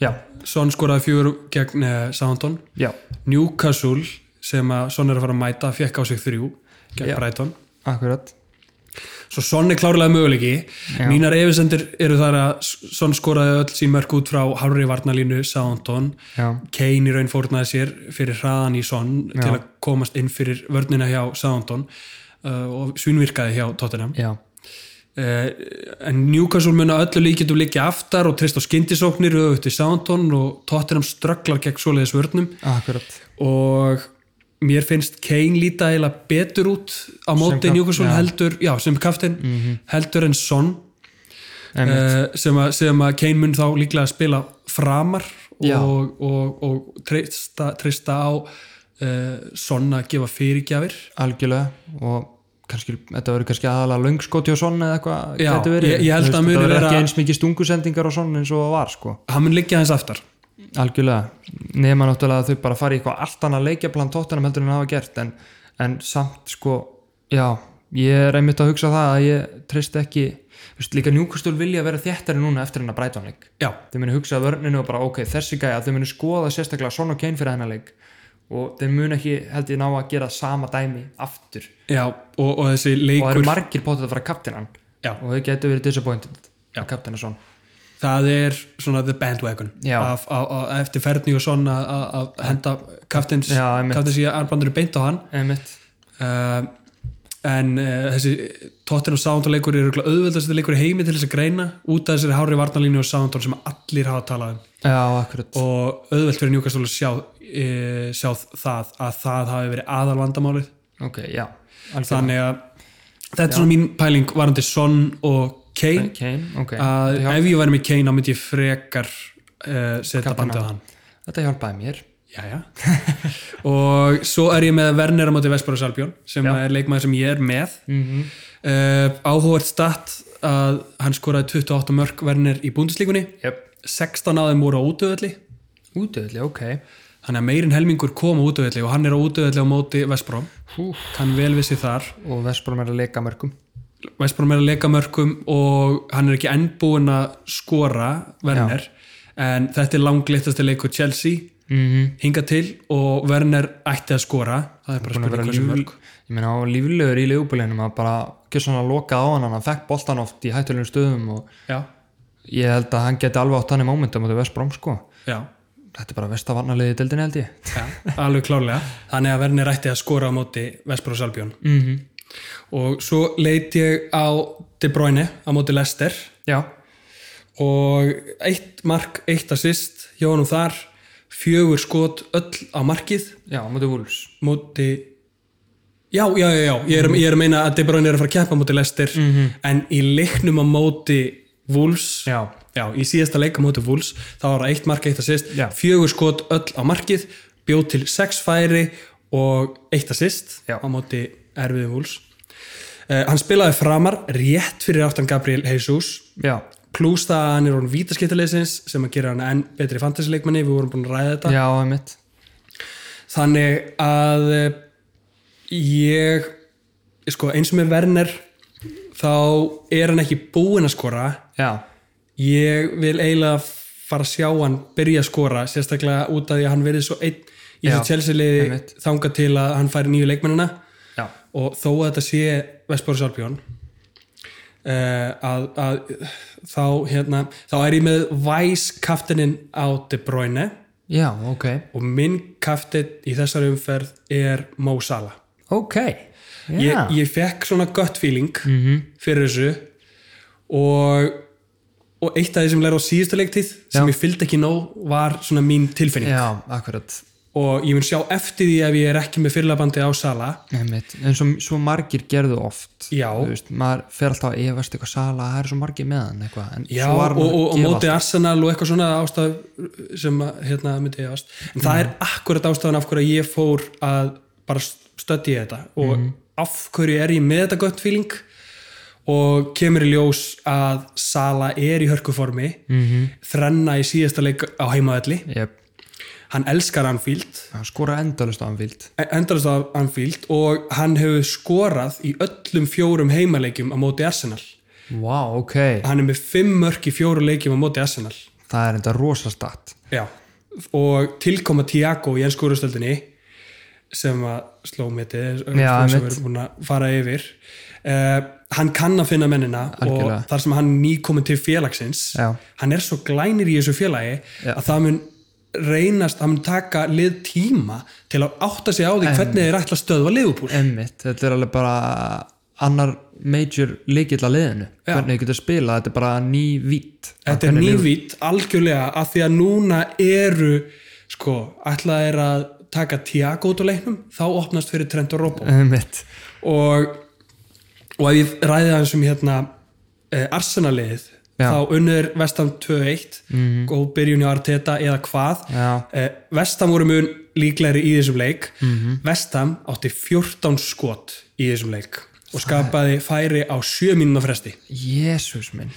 [SPEAKER 2] já,
[SPEAKER 1] Son skoraði fjögur gegn uh, Southampton
[SPEAKER 2] já,
[SPEAKER 1] Newcastle sem að Son er að fara að mæta fekk á sig þrjú gegn
[SPEAKER 2] Já.
[SPEAKER 1] Brighton
[SPEAKER 2] akkurat
[SPEAKER 1] svo Son er klárlega möguleiki
[SPEAKER 2] Já.
[SPEAKER 1] mínar efisendur eru þar að Son skoraði öll sín mörg út frá Harry Varnalínu Soundon,
[SPEAKER 2] já,
[SPEAKER 1] Kane í raun fórnaði sér fyrir hraðan í Son
[SPEAKER 2] Já.
[SPEAKER 1] til að komast inn fyrir vörnina hjá Soundon uh, og svínvirkaði hjá Tottenham
[SPEAKER 2] já,
[SPEAKER 1] uh, en Newcastle muna öllu líkjandum líkja aftar og trist á skyndisóknir auðvitað í Soundon og Tottenham strögglar gegn svoleiðis vörnum
[SPEAKER 2] akkurat
[SPEAKER 1] og mér finnst Kane líta eiginlega betur út á móti
[SPEAKER 2] kap-
[SPEAKER 1] Newcastle
[SPEAKER 2] já. Mhm.
[SPEAKER 1] heldur, já, sem kaftin heldur en Son
[SPEAKER 2] Einmitt.
[SPEAKER 1] uh, sem, að, sem að Kane mun þá líklega að spila framar
[SPEAKER 2] Já.
[SPEAKER 1] og, og, og treysta, treysta á uh, Son að gefa fyrirgjafir
[SPEAKER 2] algjörlega og kannski, þetta verður kannski aðalega löngskoti og svona eða eitthvað
[SPEAKER 1] Já,
[SPEAKER 2] gæti verið.
[SPEAKER 1] ég- ég held að
[SPEAKER 2] Þú veist,
[SPEAKER 1] muni
[SPEAKER 2] þetta verður
[SPEAKER 1] vera-
[SPEAKER 2] ekki eins mikið stungusendingar og svona eins og það var sko
[SPEAKER 1] hann mun liggja hans aftar
[SPEAKER 2] algjörlega, nema náttúrulega að þau bara fari í eitthvað allt annað leikjaplan tóttanum heldur en hafa gert en, en samt sko já, ég er einmitt að hugsa það að ég treyst ekki, þú veist, líka njúkastul vilja vera þéttari núna eftir hennar breytanleik
[SPEAKER 1] já,
[SPEAKER 2] þeir muni hugsa að vörninu og bara ok, þessi gæja þeir muni skoða sérstaklega svona og kein fyrir hennar leik og þeir muni ekki held ég ná að gera sama dæmi aftur
[SPEAKER 1] já og, og þessi
[SPEAKER 2] og það eru
[SPEAKER 1] leikur
[SPEAKER 2] margir potið að fara kaptinn hann
[SPEAKER 1] Já.
[SPEAKER 2] og þau getur verið disappointed að kaptinn er svona
[SPEAKER 1] það er svona the bandwagon
[SPEAKER 2] Já.
[SPEAKER 1] af, af, af, eftir ferðni og Son að- að að henda kaftins
[SPEAKER 2] Já, einmitt.
[SPEAKER 1] kaftins í armbandinu beint á hann
[SPEAKER 2] einmitt,
[SPEAKER 1] uh, en uh, þessi Tottenham Soundon leikur eru auðveldast leikur í heimi til þess að greina út af þessari hárri varnalínu og Soundon sem allir hafa talað um
[SPEAKER 2] já, akkurat
[SPEAKER 1] og auðveld fyrir Newcastle að sjá, uh, sjá það að það hafi verið aðal vandamálið
[SPEAKER 2] ok, já, algjörlega
[SPEAKER 1] þannig að þetta er svona mín pæling varandi Son og Kane
[SPEAKER 2] Kane, ok,
[SPEAKER 1] að
[SPEAKER 2] já,
[SPEAKER 1] ef ég væri með Kane þá myndi ég frekar uh, setja
[SPEAKER 2] Kappan
[SPEAKER 1] bandið á
[SPEAKER 2] á.
[SPEAKER 1] hann
[SPEAKER 2] þetta hjálpaði mér
[SPEAKER 1] Jæja. og svo er ég með Werner á móti Vespur og Salbjörn sem er leikmaður sem ég er með mm áhugavert statt að hann skoraði 28 mörk Werner í búndislíkunni
[SPEAKER 2] yep.
[SPEAKER 1] 16 af þeim voru á útöðalli
[SPEAKER 2] Útöðli, ok.
[SPEAKER 1] þannig að meirinn helmingur kom á útöðli og hann er á útöðli á móti Vestbróm
[SPEAKER 2] Húf.
[SPEAKER 1] kann vel við sig þar
[SPEAKER 2] Og Vestbróm er að leika mörgum.
[SPEAKER 1] Vestbróm er að leika mörkum og hann er ekki enn búinn að skora Werner en þetta er langlittasti leikur Chelsea
[SPEAKER 2] Mm -hmm.
[SPEAKER 1] hinga til og Werner ætti að skora það er bara
[SPEAKER 2] Búin að vera
[SPEAKER 1] spurning hversu
[SPEAKER 2] lífl...
[SPEAKER 1] mörg
[SPEAKER 2] Ég meina, hann var líflegur í leigubileginum að bara gera svona loka á hann, hann fekk boltan oft í hættulegum stöðum og
[SPEAKER 1] já,
[SPEAKER 2] ég held að hann geti alveg átt hann í momentum á því Vestbróm, sko.
[SPEAKER 1] já,
[SPEAKER 2] Þetta er bara vestavarnarliði í deildinni held ég.
[SPEAKER 1] já, alveg klárlega þannig að Werner ætti að skora á móti Vestbrós Albjón
[SPEAKER 2] Mm
[SPEAKER 1] og svo leit ég á De Bruyne á móti Lester
[SPEAKER 2] Já.
[SPEAKER 1] og eitt mark, eitt assist hjá honum þar fjögur skot öll á markið
[SPEAKER 2] Já, á mútið Wolves.
[SPEAKER 1] móti já, já, já, já, ég er, ég er að meina að De Bruyne er að fara að keppa á móti Lester en í leiknum á móti Wolves
[SPEAKER 2] Mhm. Já.
[SPEAKER 1] Já, í síðasta leika móti Wolves þá var það eitt mark eitt assist,
[SPEAKER 2] Já.
[SPEAKER 1] fjögur skot öll á markið, bjóð til sex færi og eitt assist
[SPEAKER 2] Já.
[SPEAKER 1] á móti erfiði Wolves uh, Hann spilaði framar rétt fyrir áttan Gabriel Jesus
[SPEAKER 2] Já.
[SPEAKER 1] plus það að hann er orðin vítaskiptaleysins sem að gera hann enn betri fantasy-leikmanni við vorum búin að ræða þetta
[SPEAKER 2] Já, einmitt.
[SPEAKER 1] þannig að eh, ég sko, eins og með Werner þá er hann ekki búinn að skora
[SPEAKER 2] Já.
[SPEAKER 1] ég vil eiginlega fara að sjá hann byrja að skora, sérstaklega út af því að hann verið svo einn í
[SPEAKER 2] Já,
[SPEAKER 1] þessu Chelsea-liði
[SPEAKER 2] einmitt.
[SPEAKER 1] þanga til að hann færi nýju leikmennina
[SPEAKER 2] Já.
[SPEAKER 1] og þó að þetta sé Vestbóru Salbjón uh, að, að þá hérna, þá er ég með Vice kaftininn á De Bruyne
[SPEAKER 2] Já, ok.
[SPEAKER 1] og minn kaftinn í þessari umferð er Mo Salah
[SPEAKER 2] Ok. Já. Mhm.
[SPEAKER 1] ég, ég fekk svona gött feeling fyrir þessu og, og eitt af því sem lærði á síðustu leiktíð sem
[SPEAKER 2] Já.
[SPEAKER 1] ég fylgdi ekki nóg var svona mín tilfinning
[SPEAKER 2] Já, akkurat.
[SPEAKER 1] og ég mun sjá eftir því ef ég er ekki með fyrirlabandi á sala
[SPEAKER 2] Einmitt. En svo, svo margir gerðu oft.
[SPEAKER 1] Já.
[SPEAKER 2] Þú veist, maður fer alltaf að efast eitthvað sala, það eru svo margir með hann eitthvað. En
[SPEAKER 1] Já,
[SPEAKER 2] svo var
[SPEAKER 1] og,
[SPEAKER 2] hann
[SPEAKER 1] og,
[SPEAKER 2] að
[SPEAKER 1] og
[SPEAKER 2] gefa
[SPEAKER 1] móti
[SPEAKER 2] allt.
[SPEAKER 1] Arsenal og eitthvað svona ástaf sem að, hérna, myndi ég ást en það
[SPEAKER 2] Mhm.
[SPEAKER 1] er akkurat ástafan af hverju ég fór að bara stöddi ég þetta og
[SPEAKER 2] Mhm.
[SPEAKER 1] af hverju er ég með þetta gött feeling og kemur í ljós að Sala er í hörkuformi
[SPEAKER 2] Mhm.
[SPEAKER 1] -hmm. þrenna í síðasta leik á heimaðalli
[SPEAKER 2] Jep.
[SPEAKER 1] hann elskar Anfield
[SPEAKER 2] Hann skora endalust á Anfield.
[SPEAKER 1] endalast af Anfield og hann hefur skorað í öllum fjórum heimaleikjum á móti Arsenal
[SPEAKER 2] Vá, ok.
[SPEAKER 1] hann er með fimm mörk í fjóru leikjum á móti Arsenal
[SPEAKER 2] Það er enda rosastatt.
[SPEAKER 1] Já, og tilkoma Tiago í ennsku úrstöldinni sem að sló metið eh, sem
[SPEAKER 2] Já,
[SPEAKER 1] við
[SPEAKER 2] einmitt.
[SPEAKER 1] erum búin að fara yfir uh, hann kann að finna mennina
[SPEAKER 2] Algjörlega.
[SPEAKER 1] og þar sem hann er nýkomin til félagsins
[SPEAKER 2] Já.
[SPEAKER 1] hann er svo glænir í þessu félagi
[SPEAKER 2] Já.
[SPEAKER 1] að það mun reynast, það mun taka lið tíma til að átta sig á því hvernig þeir ætla að stöðva liðupúl
[SPEAKER 2] Emmitt, þetta er alveg bara annar major leikill að liðinu.
[SPEAKER 1] Já.
[SPEAKER 2] Hvernig þau getur spilað, þetta er bara ný vít.
[SPEAKER 1] Þetta er nývít algjörlega að því að núna eru sko, ætlað er að taka Tiago út á leiknum, þá opnast fyrir Trent og Robbo
[SPEAKER 2] Emmitt.
[SPEAKER 1] og, og ef ég ræði aðeins um hérna eh, Arsenalið
[SPEAKER 2] Já. Mhm.
[SPEAKER 1] þá unnur Vestam 2-1 góð byrjun hjá Arteta eða hvað
[SPEAKER 2] Já.
[SPEAKER 1] eh, Vestam voru mun líklegri í þessum leik
[SPEAKER 2] Mhm.
[SPEAKER 1] Vestam átti 14 skot í þessum leik og skapaði færi á 7 mínuna fresti
[SPEAKER 2] Jésús minn.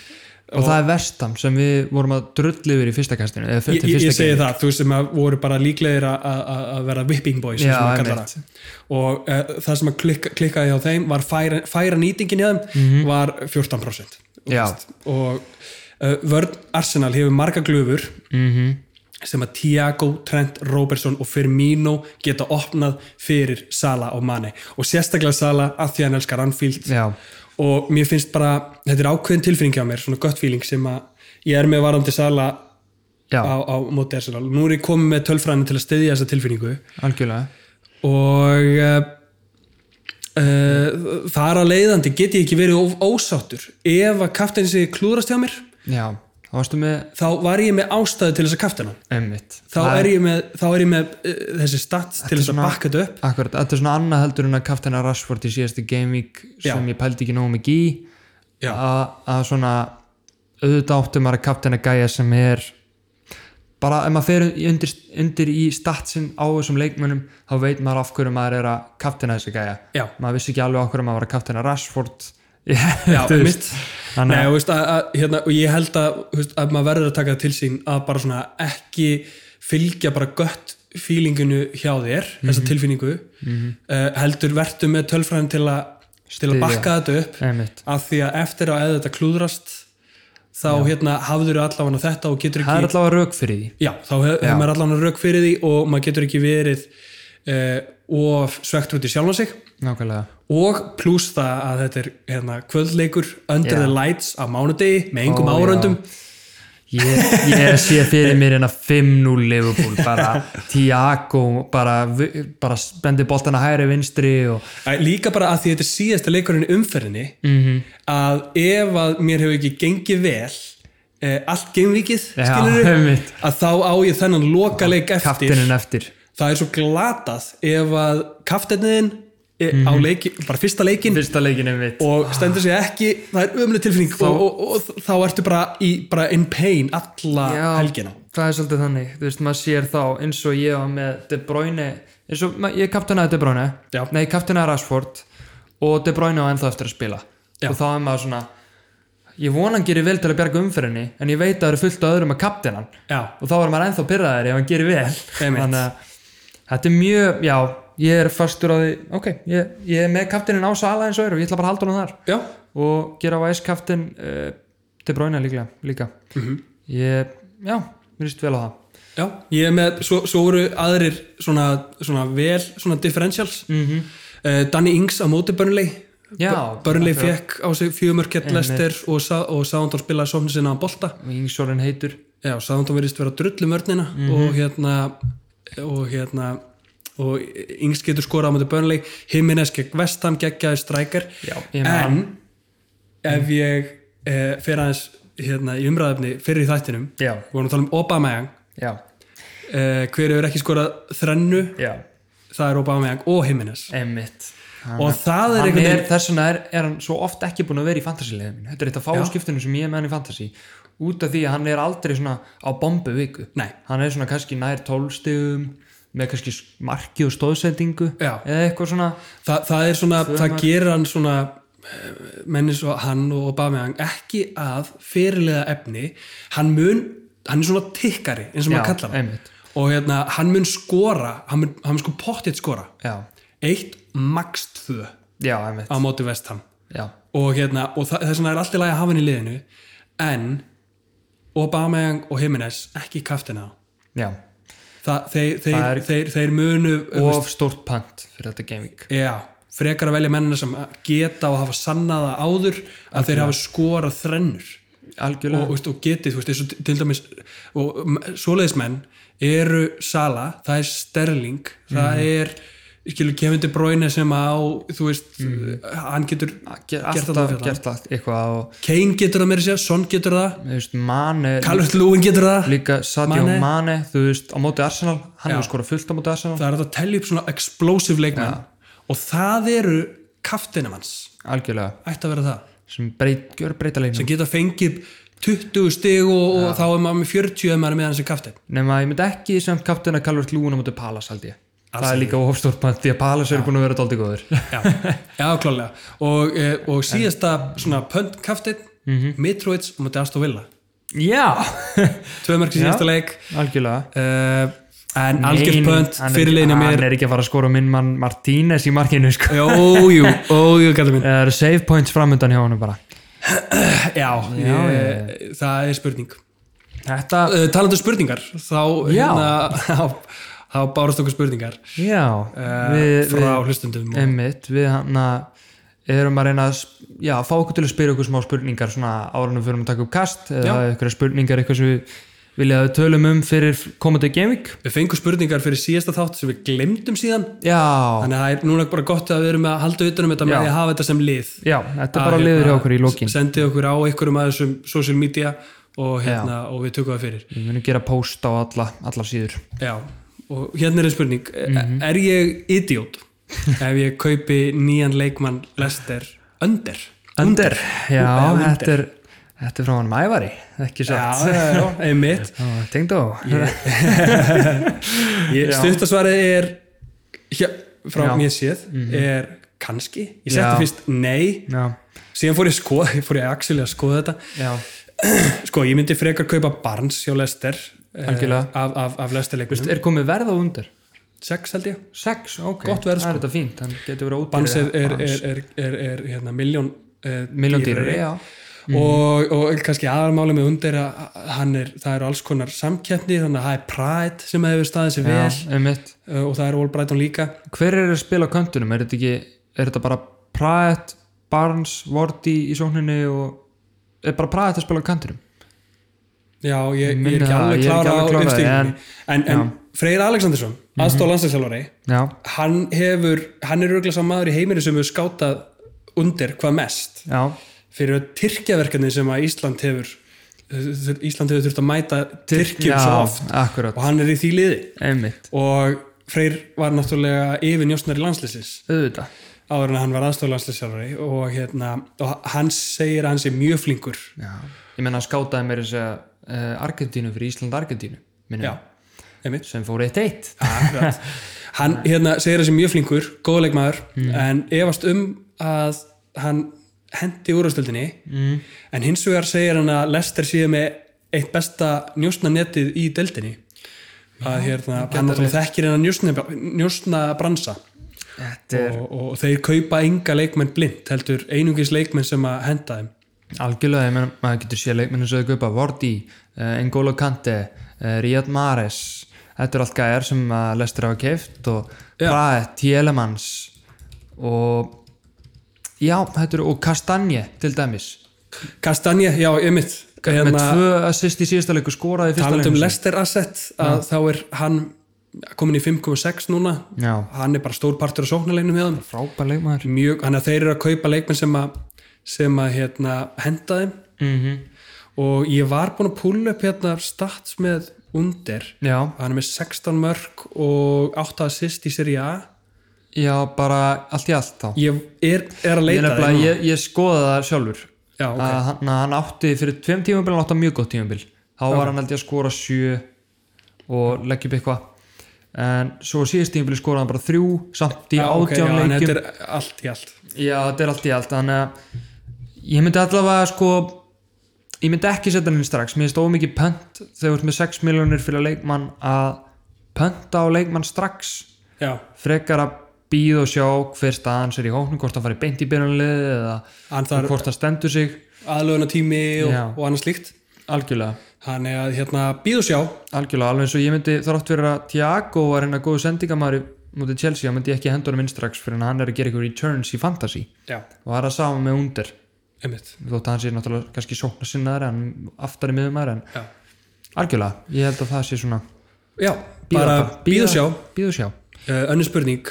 [SPEAKER 2] Og, það er vestam sem við vorum að drulli yfir í fyrsta kastinu. eða
[SPEAKER 1] ég,
[SPEAKER 2] fyrsta-
[SPEAKER 1] ég, ég
[SPEAKER 2] fyrsta
[SPEAKER 1] segi það, þú veist sem að voru bara líklegir að- að að- að vera whipping boys sem
[SPEAKER 2] Já,
[SPEAKER 1] maður kallar
[SPEAKER 2] einmitt.
[SPEAKER 1] það. og uh, það sem að klikka, klikkaði hjá þeim var færa, færa nýtingin í þeim var 14% þú
[SPEAKER 2] Mhm. Já.
[SPEAKER 1] veist. og uh, vörn Arsenal hefur marga glöfur
[SPEAKER 2] Mhm.
[SPEAKER 1] sem að Thiago, Trent, Robertson og Firmino geta opnað fyrir Sala og Mane og sérstaklega Sala að því að hann elskar Anfield
[SPEAKER 2] Já.
[SPEAKER 1] og mér finnst bara, þetta er ákveðin tilfinning hjá mér, svona gött feeling sem að ég er með varandi Sala
[SPEAKER 2] Já,
[SPEAKER 1] á, á móti Arsenal. Nú er ég komið með tölfræðinu til að styðja þessa tilfinningu
[SPEAKER 2] algjörlega.
[SPEAKER 1] og uh, uh, þar að leiðandi get ég ekki verið ó- ósáttur. Ef að kaftin sig klúðrast hjá mér,
[SPEAKER 2] Já, þá varstu með
[SPEAKER 1] þá var ég með ástæðu til þess að kaftina.
[SPEAKER 2] Emmitt.
[SPEAKER 1] Þá er ég með, þá er ég með uh, þessi stats til þess að
[SPEAKER 2] svona-
[SPEAKER 1] bakka þetta upp.
[SPEAKER 2] Akkurat, þetta er svona annað heldur en að kaftina Rashford í síðasti Game Week
[SPEAKER 1] Já.
[SPEAKER 2] sem ég pældi ekki nógu mikið í
[SPEAKER 1] Já.
[SPEAKER 2] að að svona auðvitað áttum maður að kaftina gæja sem er bara ef maður fer í- undir, undir í statsin á þessum leikmönnum þá veit maður af hverju maður er að kaftina þessi gæja
[SPEAKER 1] Já.
[SPEAKER 2] maður vissi ekki alveg af hverju maður var að kaftina Rashford
[SPEAKER 1] Já,
[SPEAKER 2] þú veist.
[SPEAKER 1] mitt. Nei,
[SPEAKER 2] þannig að
[SPEAKER 1] þú veist, að, að, hérna, og ég held að, þú veist, að maður verður að taka það til sín að bara svona ekki fylgja bara gött feelinginu hjá þér, þessa
[SPEAKER 2] Mhm.
[SPEAKER 1] tilfinningu uh, heldur vertu með tölfræðin til að til að
[SPEAKER 2] Styðja.
[SPEAKER 1] bakka þetta upp
[SPEAKER 2] Einmitt.
[SPEAKER 1] af því að eftir að eða þetta klúðrast þá hérna hafður allavega þetta og getur ekki
[SPEAKER 2] það er allavega rauk fyrir því
[SPEAKER 1] Já, þá hef- hefur maður allan rauk fyrir því og maður getur ekki verið uh, of svegt út í sjálfan sig
[SPEAKER 2] nákvæmlega
[SPEAKER 1] og pluss það að þetta er hérna, kvöldleikur under
[SPEAKER 2] Já.
[SPEAKER 1] the lights á mánudegi með engum
[SPEAKER 2] Ó, já.
[SPEAKER 1] áröndum
[SPEAKER 2] ég, ég sé fyrir mér hérna 5-0 Liverpool bara Tiago bara, vi- bara spendi boltana hægri vinstri og
[SPEAKER 1] Æ, líka bara að því þetta er síðasta leikurinn í umferðinni
[SPEAKER 2] Mhm.
[SPEAKER 1] -hmm. að ef að mér hefur ekki gengið vel uh, allt geimvikið
[SPEAKER 2] Já,
[SPEAKER 1] skilurðu,
[SPEAKER 2] einmitt.
[SPEAKER 1] að þá á ég þennan loka leik eftir
[SPEAKER 2] kaftinin eftir
[SPEAKER 1] það er svo glatað ef að kaftinniðin á
[SPEAKER 2] Mhm.
[SPEAKER 1] leiki, bara fyrsta leikin
[SPEAKER 2] fyrsta leikinu mitt
[SPEAKER 1] og stendur sig ekki, það er ömuleg tilfinning og, og, og þá ertu bara, í, bara in pain alla helgina
[SPEAKER 2] það er svolítið þannig, þú veist, maður sér þá eins og ég var með De Bruyne eins og ma- ég kaptinaði De Bruyne
[SPEAKER 1] Já.
[SPEAKER 2] nei, kaptinaði Rashford og De Bruyne á ennþá eftir að spila
[SPEAKER 1] Já.
[SPEAKER 2] og þá er maður svona ég vonan gerir vel til að bjarga umferðinni en ég veit að það eru fullt af öðrum að kaptinan
[SPEAKER 1] Já,
[SPEAKER 2] og þá er maður ennþá pyrraðir ef hann gerir vel
[SPEAKER 1] Einmitt.
[SPEAKER 2] að þetta er mjög, já, ég er fastur á því ok, ég, ég er með kaptinin á sala eins og er og ég ætla bara að halda hann þar
[SPEAKER 1] já,
[SPEAKER 2] og gera Vice Captain uh, til bráina líklega líka
[SPEAKER 1] Mhm.
[SPEAKER 2] ég, já, mér líst vel á það
[SPEAKER 1] já ég er með, svo, svo voru aðrir svona, svona vel, svona differentials mm -hmm. Danny Ings á móti Burnley
[SPEAKER 2] Mhm. Já,
[SPEAKER 1] Burnley
[SPEAKER 2] akkurat.
[SPEAKER 1] fekk á sig fjögumörkett lester og, Sa- og Sándón spilaði sofni sinna á bolta
[SPEAKER 2] Ingsorinn heitur
[SPEAKER 1] Já, Sándón verðist vera drullum örnina
[SPEAKER 2] Mhm.
[SPEAKER 1] og hérna og hérna og Ings getur skorað á móti Burnley Himines gegn Vestham geggjaði strækar
[SPEAKER 2] Já, ég man
[SPEAKER 1] en
[SPEAKER 2] hann.
[SPEAKER 1] ef ég eh, fer aðeins hérna, í umræðafni fyrir í þættinum
[SPEAKER 2] Já.
[SPEAKER 1] við vorum að tala um Obameyang
[SPEAKER 2] já,
[SPEAKER 1] eh, hver hefur ekki skorað þrennu
[SPEAKER 2] já,
[SPEAKER 1] það er Obameyang og Himines
[SPEAKER 2] emmitt
[SPEAKER 1] og það er
[SPEAKER 2] Hann
[SPEAKER 1] einhvern
[SPEAKER 2] er,
[SPEAKER 1] veginn
[SPEAKER 2] þess vegna er, er hann svo oft ekki búin að vera í fantasy-liðið minn Þetta er eitt af fáu skiptunum sem ég er með hann í fantasy Út af því að hann er aldrei svona á bombu viku
[SPEAKER 1] Nei.
[SPEAKER 2] Hann er svona kannski nær tólstigum Með kannski marki og stóðsendingu
[SPEAKER 1] Já.
[SPEAKER 2] Eða eitthvað svona
[SPEAKER 1] það, það er svona, það gerir hann svona menni svo hann og Obameyang ekki að fyrirlega efni hann mun, hann er svona tikkari eins og maður
[SPEAKER 2] Já,
[SPEAKER 1] kallar hann
[SPEAKER 2] einmitt.
[SPEAKER 1] og hérna, hann mun skora hann mun, hann mun sko pottið skora
[SPEAKER 2] Já,
[SPEAKER 1] eitt max tvö
[SPEAKER 2] já, emmitt
[SPEAKER 1] á móti vestam
[SPEAKER 2] Já,
[SPEAKER 1] og, hérna, og þa- þess vegna er allt í lagi að hafa hann í liðinu en Aubameyang og Jimenez ekki kaftina
[SPEAKER 2] já
[SPEAKER 1] Þa, þeir, þeir,
[SPEAKER 2] Það er-
[SPEAKER 1] þeir, þeir munu og...
[SPEAKER 2] Of stórt pant fyrir þetta gaming
[SPEAKER 1] já, frekar að velja mennina sem geta og hafa sannaða áður að þeir hafa skorað þrennur og,
[SPEAKER 2] Algjörlega
[SPEAKER 1] og, veist, og getið, þú veist, eins og til dæmis og m- svoleiðismenn eru Sala, það er Sterling
[SPEAKER 2] Mhm.
[SPEAKER 1] það er, skilur, Kevin De Bruyne sem á, þú veist hann getur,
[SPEAKER 2] Ger,
[SPEAKER 1] Gert
[SPEAKER 2] Mhm. alltaf,
[SPEAKER 1] allan fyrir
[SPEAKER 2] gert allt eitthvað og
[SPEAKER 1] Kane getur það meira sér, Son getur það
[SPEAKER 2] þú veist, Mane
[SPEAKER 1] Calvert-Lewin getur það
[SPEAKER 2] líka Sadio
[SPEAKER 1] Mane.
[SPEAKER 2] Mane. þú veist, á móti Arsenal hann
[SPEAKER 1] Já.
[SPEAKER 2] hefur skorað fullt á móti Arsenal
[SPEAKER 1] það er hægt að tellja upp svona explosive leikmenn og það eru kaftinum hans
[SPEAKER 2] algjörlega,
[SPEAKER 1] ætti að vera það,
[SPEAKER 2] sem breyt, gjör breyta leiknum
[SPEAKER 1] sem geta fengið 20 stig og, og þá er maður með 40 ef maður er með hans sem kaftin
[SPEAKER 2] nema að ég myndi ekki samt kapteina Calvert Lúin á móti Palace held ég það er líka ofstórpant því að Palace eru búin að vera dálítið góður
[SPEAKER 1] já, já klálega og, e, og síðasta svona pönt kaftin mm
[SPEAKER 2] Mhm.
[SPEAKER 1] -hmm. Mitrovic á móti Aston Villa
[SPEAKER 2] já,
[SPEAKER 1] tvö mörg í síðasta leik
[SPEAKER 2] algjörlega
[SPEAKER 1] uh, en algjör
[SPEAKER 2] Nei,
[SPEAKER 1] pönt
[SPEAKER 2] hann er-
[SPEAKER 1] fyrirleginu
[SPEAKER 2] hann
[SPEAKER 1] mér
[SPEAKER 2] er ekki að fara að skora minn mann Martínez í markinu sko.
[SPEAKER 1] ójú, ójú kallar minn
[SPEAKER 2] það eru save points framöndan hjá hann bara
[SPEAKER 1] já, já, það er spurning
[SPEAKER 2] þetta,
[SPEAKER 1] uh, talandu spurningar þá,
[SPEAKER 2] Ah. Já.
[SPEAKER 1] hérna, þá, þá bárast okkur spurningar
[SPEAKER 2] já
[SPEAKER 1] uh,
[SPEAKER 2] við-
[SPEAKER 1] frá
[SPEAKER 2] við-
[SPEAKER 1] hlustundum og,
[SPEAKER 2] Einmitt, við hann erum að reyna að sp- já, fá okkur til að spyrja okkur smá spurningar svona árunum fyrir að taka upp kast eða
[SPEAKER 1] Já.
[SPEAKER 2] eitthvað spurningar, eitthvað sem við vilja að við tölum um fyrir komandi gaming
[SPEAKER 1] við fengum spurningar fyrir síðasta þátt sem við glemdum síðan
[SPEAKER 2] Já,
[SPEAKER 1] þannig að það er núna bara gott að við erum að halda utanum þetta með
[SPEAKER 2] Já.
[SPEAKER 1] því að hafa þetta sem lið
[SPEAKER 2] já,
[SPEAKER 1] Ah,
[SPEAKER 2] þetta
[SPEAKER 1] hérna,
[SPEAKER 2] bara liður hjá okkur í lokin
[SPEAKER 1] sendið okkur á einhverjum að þessum social media og, hérna, og við tökum það fyrir
[SPEAKER 2] Við munum gera post á alla, alla síður
[SPEAKER 1] já, og hérna er einn spurning
[SPEAKER 2] Mhm.
[SPEAKER 1] er ég idiot ef ég kaupi nýjan leikmann Lester Under
[SPEAKER 2] Under, já,
[SPEAKER 1] Já, Under.
[SPEAKER 2] þetta er þetta er frá hann Ævari, ekki satt
[SPEAKER 1] já, já, einmitt
[SPEAKER 2] Tengdó,
[SPEAKER 1] Ég- stuttasvarið er hjá, frá
[SPEAKER 2] Já. Mhm.
[SPEAKER 1] mér séð er kannski, ég
[SPEAKER 2] Já.
[SPEAKER 1] setti fyrst nei
[SPEAKER 2] já,
[SPEAKER 1] síðan fór ég skoð, fór ég actually að skoða þetta
[SPEAKER 2] já
[SPEAKER 1] sko, ég myndi frekar kaupa Barnes hjá Lester
[SPEAKER 2] Algjörlega. Mhm.
[SPEAKER 1] af, af, af lestarleikunum
[SPEAKER 2] er komið verð á undir?
[SPEAKER 1] sex held ég
[SPEAKER 2] 6, ok,
[SPEAKER 1] Gott verð,
[SPEAKER 2] það
[SPEAKER 1] sko.
[SPEAKER 2] er þetta fínt hann getur verið
[SPEAKER 1] bansið er,
[SPEAKER 2] ódýrari.
[SPEAKER 1] er, er, er, er hérna, miljón eh,
[SPEAKER 2] Milljón dýrari, já. Mhm.
[SPEAKER 1] og, og kannski aðarmáli með undir að hann er, það eru alls konar samkeppni þannig að það er Pride sem hefur staðið sér vel
[SPEAKER 2] Já, einmitt.
[SPEAKER 1] eh, og það er All Brighton líka
[SPEAKER 2] hver er að spila á kantunum? Er þetta, ekki, er þetta bara Pratt, Barnes, Vorti í sókninni og er bara Pratt að spila á kantunum?
[SPEAKER 1] já, ég, ég
[SPEAKER 2] Minni
[SPEAKER 1] er ekki
[SPEAKER 2] það,
[SPEAKER 1] alveg
[SPEAKER 2] ég er ekki
[SPEAKER 1] klára
[SPEAKER 2] alveg
[SPEAKER 1] á
[SPEAKER 2] klár á því,
[SPEAKER 1] uppstíðinni en, en Freyr Alexandersson,
[SPEAKER 2] Mhm.
[SPEAKER 1] aðstóð landslagslálari
[SPEAKER 2] Já,
[SPEAKER 1] hann hefur, hann er örgulega sá maður í heiminu sem hefur skátað undir hvað mest
[SPEAKER 2] já,
[SPEAKER 1] fyrir tyrkjaverkefni sem að Ísland hefur Ísland hefur þurft að mæta
[SPEAKER 2] já,
[SPEAKER 1] Tyrkjum svo oft
[SPEAKER 2] akkurat,
[SPEAKER 1] og hann er í því liði
[SPEAKER 2] einmitt,
[SPEAKER 1] og Freyr var náttúrulega yfir njósnari landslýsins
[SPEAKER 2] auðvitað,
[SPEAKER 1] áður en hann var aðstoflandslýsjálfari og, hérna, og hann segir að hann sé mjög flinkur
[SPEAKER 2] já, ég menna að skátaði mér þess að uh, Argentínu fyrir Ísland-Argentínu, minni,
[SPEAKER 1] já, einmitt
[SPEAKER 2] sem fór 1-1.
[SPEAKER 1] Akkurat. hann hérna, segir að sé mjög flinkur góðleikmaður en efast um að hann hendi úrvastöldinni mm. en hins vegar segir hann að Lester sé með eitt besta njósnanettið í deldinni að hérna, hann náttúrulega þekkir hennar njósna, njósna bransa
[SPEAKER 2] Þetta er
[SPEAKER 1] og, og þeir kaupa enga leikmenn blind heldur einungis leikmenn sem að henda þeim
[SPEAKER 2] algjörlega, ég menna, maður getur séð leikmennu sem þau kaupa, Vorti, uh, N'Golo Kante, uh, Riyad Mahrez, þetta er allt gæjar sem að lestir hafa keift og
[SPEAKER 1] Já.
[SPEAKER 2] Praet, Tielemans og já, þetta eru, og Kastanje til dæmis,
[SPEAKER 1] Kastanje, já, Hérna, ymmit
[SPEAKER 2] með tvö assist í síðasta leiku skoraði í fyrsta
[SPEAKER 1] talandi um
[SPEAKER 2] leikum.
[SPEAKER 1] Lester Asset að þá er hann komin í 5,6 núna
[SPEAKER 2] Já,
[SPEAKER 1] hann er bara stór partur af sóknarleginum hjá þeim
[SPEAKER 2] frábær leikmaður.
[SPEAKER 1] mjög, hann að þeir eru að kaupa leikmenn sem að, sem að hérna, henda þeim
[SPEAKER 2] Mm
[SPEAKER 1] og ég var búinn að púla upp hérna stats með undir
[SPEAKER 2] Já,
[SPEAKER 1] hann er með 16 mörg og 8 assist í Serie A
[SPEAKER 2] já, bara allt í allt þá.
[SPEAKER 1] ég er, er að
[SPEAKER 2] Ég,
[SPEAKER 1] leita
[SPEAKER 2] nefnilega, ég, Ah, ég skoða það sjálfur
[SPEAKER 1] Já, ok.
[SPEAKER 2] að hann, hann átti fyrir tveim tímabil hann átti mjög gott tímabil þá var hann held ég að skora sjö og leggja upp eitthvað en svo síðast tímabil skoraði hann bara þrjú samt í
[SPEAKER 1] Já, ok, já,
[SPEAKER 2] átján
[SPEAKER 1] en
[SPEAKER 2] leikjum
[SPEAKER 1] þetta er allt í allt
[SPEAKER 2] já þetta er allt í allt þannig að ég myndi allavega sko ég myndi ekki setja hann inn strax mér finnst ómikið pönt þegar þú ert með 6 miljónir fyrir leikmann að pönta á leikmann strax
[SPEAKER 1] já,
[SPEAKER 2] frekar að býða og sjá hver staðan sér í hóknum, hvort hann fari beint í byrjunlið eða
[SPEAKER 1] Hann þarf-
[SPEAKER 2] hvort hann stendur sig
[SPEAKER 1] aðlöðuna tími og,
[SPEAKER 2] Já.
[SPEAKER 1] og annað slíkt
[SPEAKER 2] algjörlega,
[SPEAKER 1] hann er að hérna býðu sjá
[SPEAKER 2] algjörlega alveg eins og ég myndi þrátt fyrir að Tiago var hérna hennar góðu sendingamæri mútið Chelsea, þá myndi ég ekki henda honum inn strax fyrir en hann er að gera ykkur returns í fantasy
[SPEAKER 1] já,
[SPEAKER 2] og það er að sama með undir
[SPEAKER 1] einmitt
[SPEAKER 2] þótt að hann sé náttúrulega kannski sókna sinnaður en aftari miðumæri en
[SPEAKER 1] já,
[SPEAKER 2] algjörlega, ég held að það sé svona
[SPEAKER 1] já bara býðu sjá
[SPEAKER 2] býðu sjá,
[SPEAKER 1] Uh, Önnu spurning,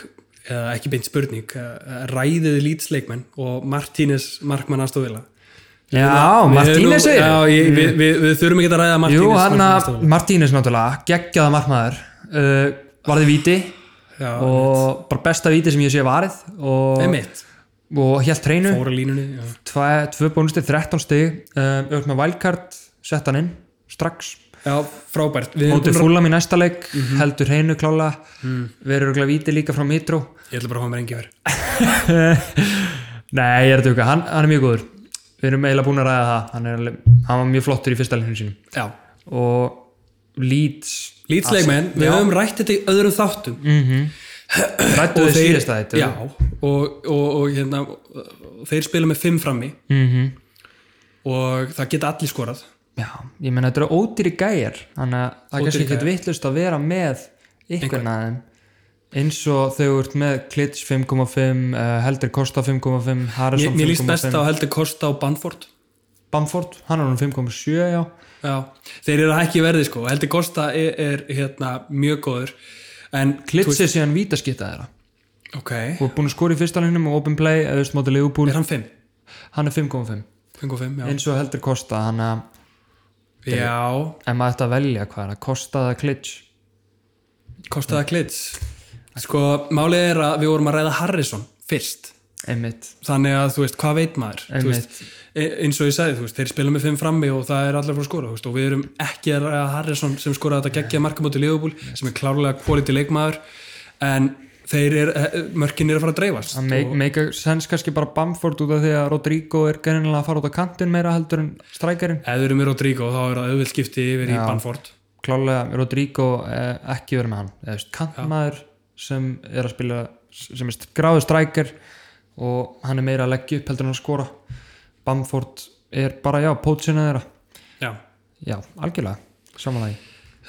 [SPEAKER 1] eða ekki beint spurning, uh, ræðið lýtsleikmenn og Martínez markmann aðstofila.
[SPEAKER 2] já, Martínez segir Mm.
[SPEAKER 1] Já, ég, við, við, við þurfum ekki að ræða Martínez.
[SPEAKER 2] Jú, hann
[SPEAKER 1] markmann
[SPEAKER 2] að
[SPEAKER 1] aðstoðarvéla.
[SPEAKER 2] Martínez náttúrulega, geggjaða markmaður uh, varði víti
[SPEAKER 1] Já,
[SPEAKER 2] og bara besta víti sem ég sé varið og,
[SPEAKER 1] Emitt,
[SPEAKER 2] og hélt treinu
[SPEAKER 1] fóra línunni. Já.
[SPEAKER 2] Tvæ- tvö bónustir, 13 stig um, öll með valkart, sett hann inn strax,
[SPEAKER 1] já, frábært. Við erum búin að...
[SPEAKER 2] mótið
[SPEAKER 1] Mhm. Mm.
[SPEAKER 2] fúlam í næsta leik heldur hreinu klála verður örugglega víti líka frá Mitró
[SPEAKER 1] Ég ætla bara að hafa mér engi verið.
[SPEAKER 2] nei, ég er að tjóka, hann, hann er mjög góður við erum eiginlega búin að ræða það hann, er, alveg- hann var mjög flottur í fyrsta leikinu sínum
[SPEAKER 1] Já,
[SPEAKER 2] og Leeds
[SPEAKER 1] lýtsleikmenn, við höfum rætt þetta í öðrum þáttum.
[SPEAKER 2] mm -hmm. rættu þau síðast að þetta
[SPEAKER 1] Já, og, og, og hérna, og þeir spila með fimm frammi
[SPEAKER 2] Mhm.
[SPEAKER 1] og það geta allir skorað.
[SPEAKER 2] já, ég meina þetta eru ódýri gæjar þannig að það er kannski ekkert vittlust að vera með einhvern af þeim eins og þau ert með Klits 5.5 uh, Helder Kosta 5.5
[SPEAKER 1] Mér,
[SPEAKER 2] Harrison
[SPEAKER 1] mér líst best
[SPEAKER 2] 5.5
[SPEAKER 1] á heldur Kosta og Banford.
[SPEAKER 2] Bamford, hann er hann 5.7 já
[SPEAKER 1] Já, þeir eru að hækki verði sko heldur Kosta er, er hérna mjög góður en
[SPEAKER 2] Klits er síðan vítaskitta þeirra
[SPEAKER 1] ok,
[SPEAKER 2] og er búin að skora í fyrsta leiknum og open play eða veist mótið Leopold,
[SPEAKER 1] er hann 5?
[SPEAKER 2] hann er 5.5
[SPEAKER 1] 5,5, já.
[SPEAKER 2] eins og Helder Kosta hann að,
[SPEAKER 1] já
[SPEAKER 2] en maður ætti að velja hvað er að Kosta það Klits
[SPEAKER 1] Kostaða klits sko, málið er að við vorum að ræða Harrison fyrst,
[SPEAKER 2] einmitt,
[SPEAKER 1] þannig að þú veist, hvað veit maður Þú
[SPEAKER 2] einmitt.
[SPEAKER 1] veist, e- eins og ég sagði, þú veist, þeir spila með 5 frammi og það er allar frá að skora, þú veist, og við erum ekki að ræða Harrison sem skoraði þetta geggja markamóti Leopold, sem er klárlega quality leikmaður en þeir er, mörkin er að fara að dreifast
[SPEAKER 2] Það make, make a sense kannski bara Bamford út af því að Rodrigo er greinilega að fara út á kantinn meira heldur en strækjarinn
[SPEAKER 1] Ef þú eru með Rodrigo þá er það auðvilt skipti yfir í Banford
[SPEAKER 2] klálega Rodrigo eh, ekki verið með hann eða þú veist, kantmaður sem er að spila sem er gráðu strækir og hann er meira að leggja upp heldur en að skora Bamford er bara, já, pótsinu þeirra
[SPEAKER 1] já.
[SPEAKER 2] já, algjörlega, samanlagi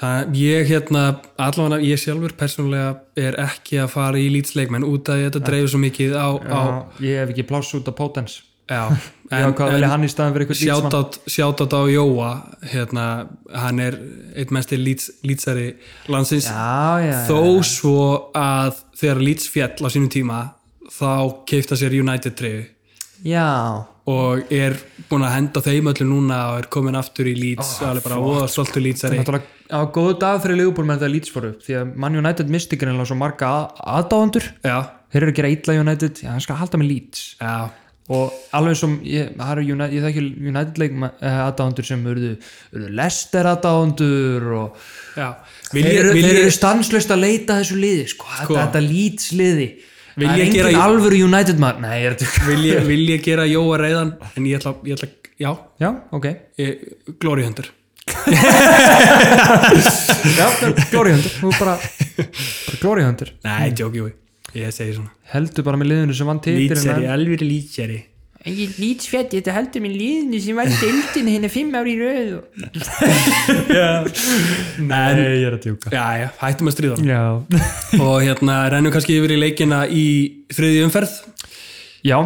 [SPEAKER 1] Það, ég hérna, allavega ég sjálfur persónulega er ekki að fara í lýtsleikmenn út af því að þetta dreifur svo mikið á, á
[SPEAKER 2] já, ég hef ekki pláss út af pótens
[SPEAKER 1] já,
[SPEAKER 2] ég hef hvað að velja hann í staðan fyrir eitthvað lítsmann
[SPEAKER 1] sjátt sjátt á Jóa hérna, hann er eitt mest lýtsari landsins
[SPEAKER 2] já, já, já,
[SPEAKER 1] þó svo að þegar Leeds fjall á sínum tíma þá keifta sér United treyju
[SPEAKER 2] já.
[SPEAKER 1] og er búin að henda þeim öllum núna og er komin aftur í Leeds og alveg bara óða stoltur Leedsari
[SPEAKER 2] náttúrulega á góðu dag fyrir Liverpool með þetta Leeds fóru upp því að Man United misti greinlega svo marga aðdáðandur
[SPEAKER 1] já,
[SPEAKER 2] þeir eru að gera illa United, já hann skal halda með Leeds
[SPEAKER 1] já,
[SPEAKER 2] og alveg sem ég, það eru United, ég þekki United leik aðdáðandur sem urðu, urðu Lester aðdáðandur og
[SPEAKER 1] já
[SPEAKER 2] þeir eru,
[SPEAKER 1] vil
[SPEAKER 2] þeir
[SPEAKER 1] ég,
[SPEAKER 2] eru stanslust að leita að þessu liði sko,
[SPEAKER 1] Sko.
[SPEAKER 2] Þetta, þetta Leeds liði
[SPEAKER 1] Vil
[SPEAKER 2] það er
[SPEAKER 1] ég
[SPEAKER 2] engin
[SPEAKER 1] gera-
[SPEAKER 2] alvöru United maður nei, ég er þetta
[SPEAKER 1] vil, ég, vil ég gera Jóa reyðan en ég ætla, ég ætla já,
[SPEAKER 2] já, ok
[SPEAKER 1] ég, glory hunter
[SPEAKER 2] já, glóriðhundur, þú bara, bara glóriðhundur
[SPEAKER 1] nei, joke, jú, ég segi svona
[SPEAKER 2] heldur bara með liðinu sem vann titilina
[SPEAKER 1] Leedsari, alveg Leedsari
[SPEAKER 3] Ég lít svett, þetta heldur mér líðinu sem var deildin hérna fimm ári í röð og
[SPEAKER 1] en,
[SPEAKER 2] ég er að tjúka
[SPEAKER 1] já, já, hættum að stríða honum.
[SPEAKER 2] Já,
[SPEAKER 1] og hérna, rennum kannski yfir í leikina í þriði umferð E,
[SPEAKER 2] já,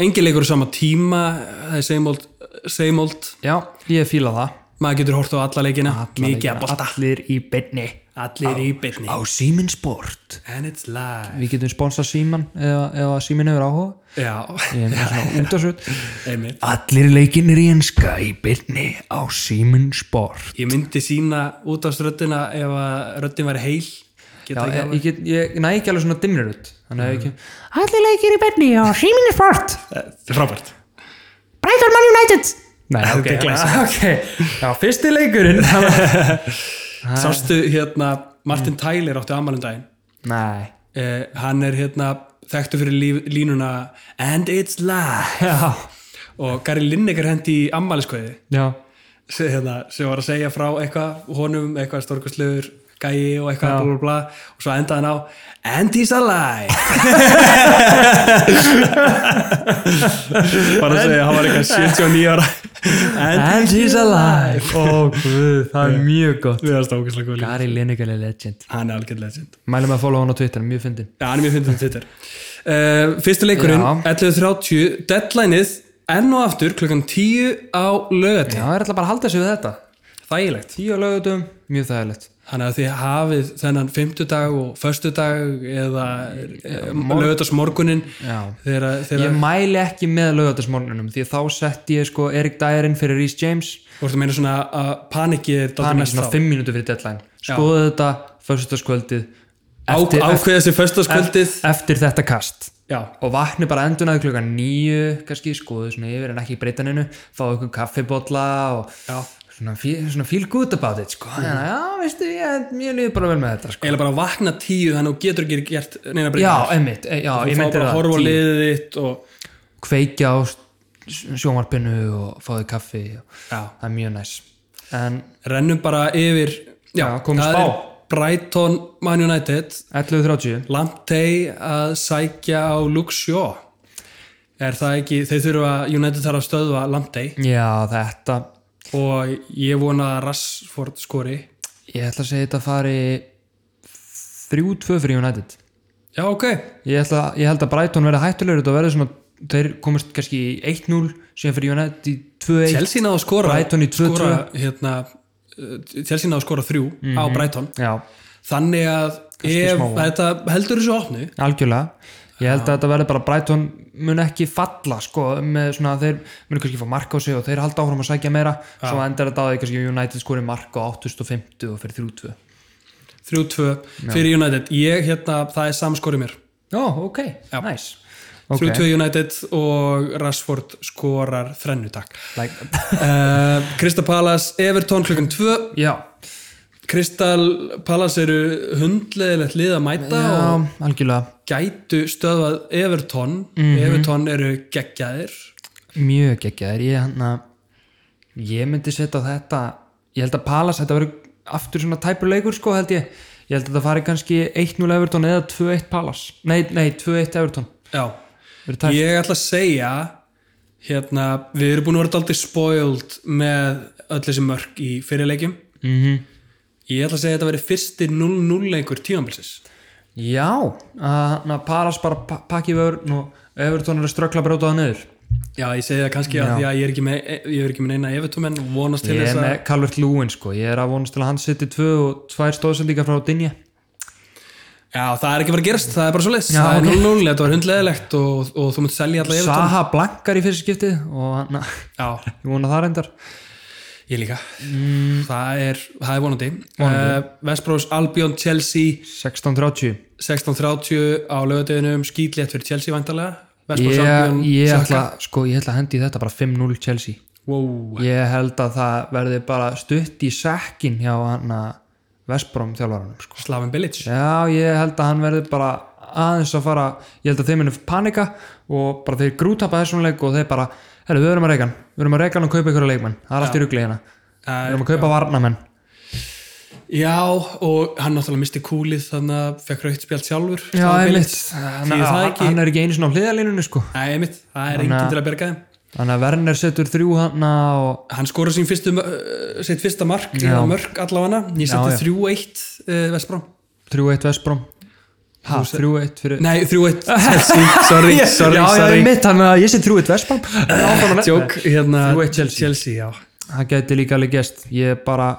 [SPEAKER 1] engin leikur á sama tíma það er same old, same old.
[SPEAKER 2] já ég fíla það
[SPEAKER 1] maður getur hort á alla leikina mikið að bolta
[SPEAKER 2] Allir í beinni
[SPEAKER 1] allir í byrni
[SPEAKER 2] Á Sýmin Sport
[SPEAKER 1] and it's live
[SPEAKER 2] Við getum sponsað Sýman eða, eða Sýmin hefur áhuga
[SPEAKER 1] já,
[SPEAKER 2] Ég er með svona útasut
[SPEAKER 1] einmitt
[SPEAKER 2] Allir leikinir í enska í beinni á Sýmin Sport
[SPEAKER 1] ég myndi sína út af ströddina ef að röddin væri heil
[SPEAKER 2] Já,
[SPEAKER 1] geta ekki
[SPEAKER 2] ég,
[SPEAKER 1] alveg
[SPEAKER 2] ég, get, Mm. ég næ ekki alveg svona dimnir út Þannig að ég ekki
[SPEAKER 3] Allir leikir í benni og síminni sport
[SPEAKER 1] þetta er Eh, frábært
[SPEAKER 3] Brighton Man United
[SPEAKER 2] Nei, ok,
[SPEAKER 1] þetta er glæsilegt.
[SPEAKER 2] ok Já, fyrsti leikurinn það var-
[SPEAKER 1] sástu hérna Martin Tyler átti amalundaginn
[SPEAKER 2] Nei
[SPEAKER 1] eh, hann er hérna þekktu fyrir líf, línuna and it's live
[SPEAKER 2] Já,
[SPEAKER 1] og Gary Lineker hendi í ammaliskveiði
[SPEAKER 2] já,
[SPEAKER 1] sem, hérna, sem var að segja frá eitthvað honum, eitthvað storkuslegur gæi og eitthvað blá blá blá og svo endaði hann á And he's alive bara að segja, hann var eitthvað 79 ára And
[SPEAKER 2] And he's alive Ó, guð, það er mjög gott
[SPEAKER 1] við erum stókislega góð líka.
[SPEAKER 2] Gary Lineker er legend
[SPEAKER 1] hann er algjörn legend
[SPEAKER 2] Mælum að follow hann á Twitter, mjög fyndin
[SPEAKER 1] Já, hann er mjög fyndið um Twitter uh, Fyrsti leikurinn,
[SPEAKER 2] Já.
[SPEAKER 1] 11.30 Deadlineið, enn og aftur klukkan 10 á lögati
[SPEAKER 2] Já, það er alltaf bara að halda sig við þetta
[SPEAKER 1] Þægilegt
[SPEAKER 2] Tíu lögutum, mjög þægilegt
[SPEAKER 1] Þannig að þið hafið þennan fymtudag og föstudag eða lögutast morgunin
[SPEAKER 2] Já.
[SPEAKER 1] þegar, þegar
[SPEAKER 2] Ég mæli ekki með lögatasmornunum því að þá setti ég sko Erik Dærin fyrir Rhys James
[SPEAKER 1] voru að meina svona að panikið er dálítið
[SPEAKER 2] Hann er
[SPEAKER 1] mest
[SPEAKER 2] svona
[SPEAKER 1] þá.
[SPEAKER 2] fimm mínútur fyrir deadline Skoðu þetta, föstudagskvöldið
[SPEAKER 1] Á,
[SPEAKER 2] eftir,
[SPEAKER 1] ákveða sér föstudaskvöldið
[SPEAKER 2] eftir, eftir þetta kast
[SPEAKER 1] Já,
[SPEAKER 2] og vakni bara endunaði klukkan nýju kannski skoðu svona yfir en ekki í breytaninu fá ykkur kaffibotla og
[SPEAKER 1] Já.
[SPEAKER 2] svona, feel, svona feel good about it sko. mm. já, veistu, ég, ég liði bara vel með þetta sko.
[SPEAKER 1] eiginlega bara vakna tíu þannig að þú getur ekki gert neina
[SPEAKER 2] já,
[SPEAKER 1] breytingar
[SPEAKER 2] einmitt, e- já,
[SPEAKER 1] Þú
[SPEAKER 2] ég
[SPEAKER 1] fá
[SPEAKER 2] meinti
[SPEAKER 1] bara að
[SPEAKER 2] það
[SPEAKER 1] horfa á
[SPEAKER 2] tíu.
[SPEAKER 1] liðið þitt og
[SPEAKER 2] kveikja á s- sjónvarpinu og fá þig kaffi og
[SPEAKER 1] Já.
[SPEAKER 2] það er mjög næs en
[SPEAKER 1] rennum bara yfir Já,
[SPEAKER 2] Já, komum
[SPEAKER 1] það
[SPEAKER 2] spá.
[SPEAKER 1] er Brighton Man United
[SPEAKER 2] 11.30
[SPEAKER 1] Lamptey að sækja á Luxjó Er það ekki, þeir þurfa United þarf að stöðva Lamptey
[SPEAKER 2] já, þetta,
[SPEAKER 1] og ég vona að Rashford skori
[SPEAKER 2] ég ætla að segja þetta fari 3-2 fyrir United
[SPEAKER 1] já ok,
[SPEAKER 2] ég, ætla, ég held að Brighton verði hættulegur þetta verði svona, þeir komist kannski í 1-0 síðan fyrir United í 2-1
[SPEAKER 1] Chelsea náðu að skora
[SPEAKER 2] Brighton í 2-2.
[SPEAKER 1] skora, hérna, uh, Chelsea náðu að skora þrjú á
[SPEAKER 2] Mhm.
[SPEAKER 1] Brighton
[SPEAKER 2] já,
[SPEAKER 1] þannig að ef þetta heldur þessu opnu
[SPEAKER 2] algjörlega ég held að þetta verði bara Brighton mun ekki falla sko, með svona að þeir munu kannski fá mark á sig og þeir halda áfram að sækja meira svo endar þetta á því kannski United skori mark á 850 og fyrir 3-2
[SPEAKER 1] 3-2 fyrir United ég, hérna, það er samskorið mér
[SPEAKER 2] Já, ok, já. nice Ok.
[SPEAKER 1] 3-2 United og Rashford skorar þrennu takk
[SPEAKER 2] like,
[SPEAKER 1] uh, Krista Palace, Everton klukkan 2
[SPEAKER 2] Já,
[SPEAKER 1] Kristal Palace eru hundleðilegt lið að mæta og
[SPEAKER 2] já algjörlega
[SPEAKER 1] gætu stöðvað Everton
[SPEAKER 2] Mhm.
[SPEAKER 1] Everton eru geggjaðir
[SPEAKER 2] Mjög geggjaðir Ég, hana, ég myndi setja á þetta Ég held að Palace, þetta verður aftur svona tæpur leikur sko held ég ég held að það fari kannski 1-0 Everton eða 2-1 Palace nei, nei 2-1 Everton
[SPEAKER 1] já
[SPEAKER 2] Verður tæpt.
[SPEAKER 1] Ég ætla að segja hérna, við erum búin að vera daldið spoiled með öll þessi mörk í fyrirleikjum
[SPEAKER 2] mm
[SPEAKER 1] Ég ætla að segja að þetta veri fyrsti 0-0 leikur tímanbilsis
[SPEAKER 2] já, að na, Palace bara pa pakki vörn og Everton eru að ströggla að brjóta það niður
[SPEAKER 1] Já, ég segi það kannski að því að ég er ekki með, e- ég er ekki með neina efutumenn og vonast til
[SPEAKER 2] ég er
[SPEAKER 1] þess að
[SPEAKER 2] með Calvert Lúin sko ég er að vonast til að hann seti 2 og 2 stóðsendingar frá Dinja
[SPEAKER 1] Já, það er ekki bara að gerast, það er bara svo leys
[SPEAKER 2] Já,
[SPEAKER 1] Það er
[SPEAKER 2] ok.
[SPEAKER 1] 0-0, þetta var hundleðilegt og, og þú munt selja alla efutumenn
[SPEAKER 2] Saha blankar í fyrsta skiptið og hann,
[SPEAKER 1] Já,
[SPEAKER 2] ég vona það reyndar
[SPEAKER 1] ég líka
[SPEAKER 2] Mm.
[SPEAKER 1] það, er, það er vonandi, vonandi. Uh, Vestbrós Albion Chelsea
[SPEAKER 2] 16-30
[SPEAKER 1] 16.30 á lögadeginum skýtlétt fyrir Chelsea vantarlega
[SPEAKER 2] ég,
[SPEAKER 1] Vestbrós Albion
[SPEAKER 2] ég,
[SPEAKER 1] Saka.
[SPEAKER 2] ætla, sko, ég ætla að hendi í þetta bara 5-0 Chelsea
[SPEAKER 1] wow.
[SPEAKER 2] ég held að það verði bara stutt í sekkin hjá hann að Vestbrom þjálfaranum sko.
[SPEAKER 1] Slaven Bilic
[SPEAKER 2] já ég held að hann verði bara aðeins að fara, ég held að þeir minni panika og bara þeir grútapa þessum leik og þeir bara, herru við verum að reikan við verum að reikan og kaupa ykkur leikmenn, það er allt í rugli hérna við
[SPEAKER 1] Já,
[SPEAKER 2] verum að kaupa varnamenn
[SPEAKER 1] já og hann náttúrulega misti kúlið þannig að fekk raukt spjald sjálfur
[SPEAKER 2] já
[SPEAKER 1] Slaven Bilic.
[SPEAKER 2] einmitt, hann,
[SPEAKER 1] Því það
[SPEAKER 2] hann,
[SPEAKER 1] ekki-
[SPEAKER 2] hann er ekki einu sinna á hliðalínunni sko
[SPEAKER 1] Nei, einmitt, það er
[SPEAKER 2] Þannig að-
[SPEAKER 1] enginn til að berga þeim
[SPEAKER 2] þannig að Werner setur þrjú hann og
[SPEAKER 1] Hann skorar sín fyrstu, uh, sitt fyrsta mark
[SPEAKER 2] Já.
[SPEAKER 1] eða mörk allavega hana, ég
[SPEAKER 2] Já, já.
[SPEAKER 1] seti 3-1 uh, Vestbró
[SPEAKER 2] 3-1 Vestbrom ha, 3-1 fyrir
[SPEAKER 1] Nei, 3-1 Chelsea, sorry, sorry,
[SPEAKER 2] já, já,
[SPEAKER 1] sorry.
[SPEAKER 2] einmitt, þannig að ég sé 3-1 Vestbrom
[SPEAKER 1] Jók, hérna
[SPEAKER 2] 3-1 Chelsea.
[SPEAKER 1] já
[SPEAKER 2] það gæti líka alveg gest ég bara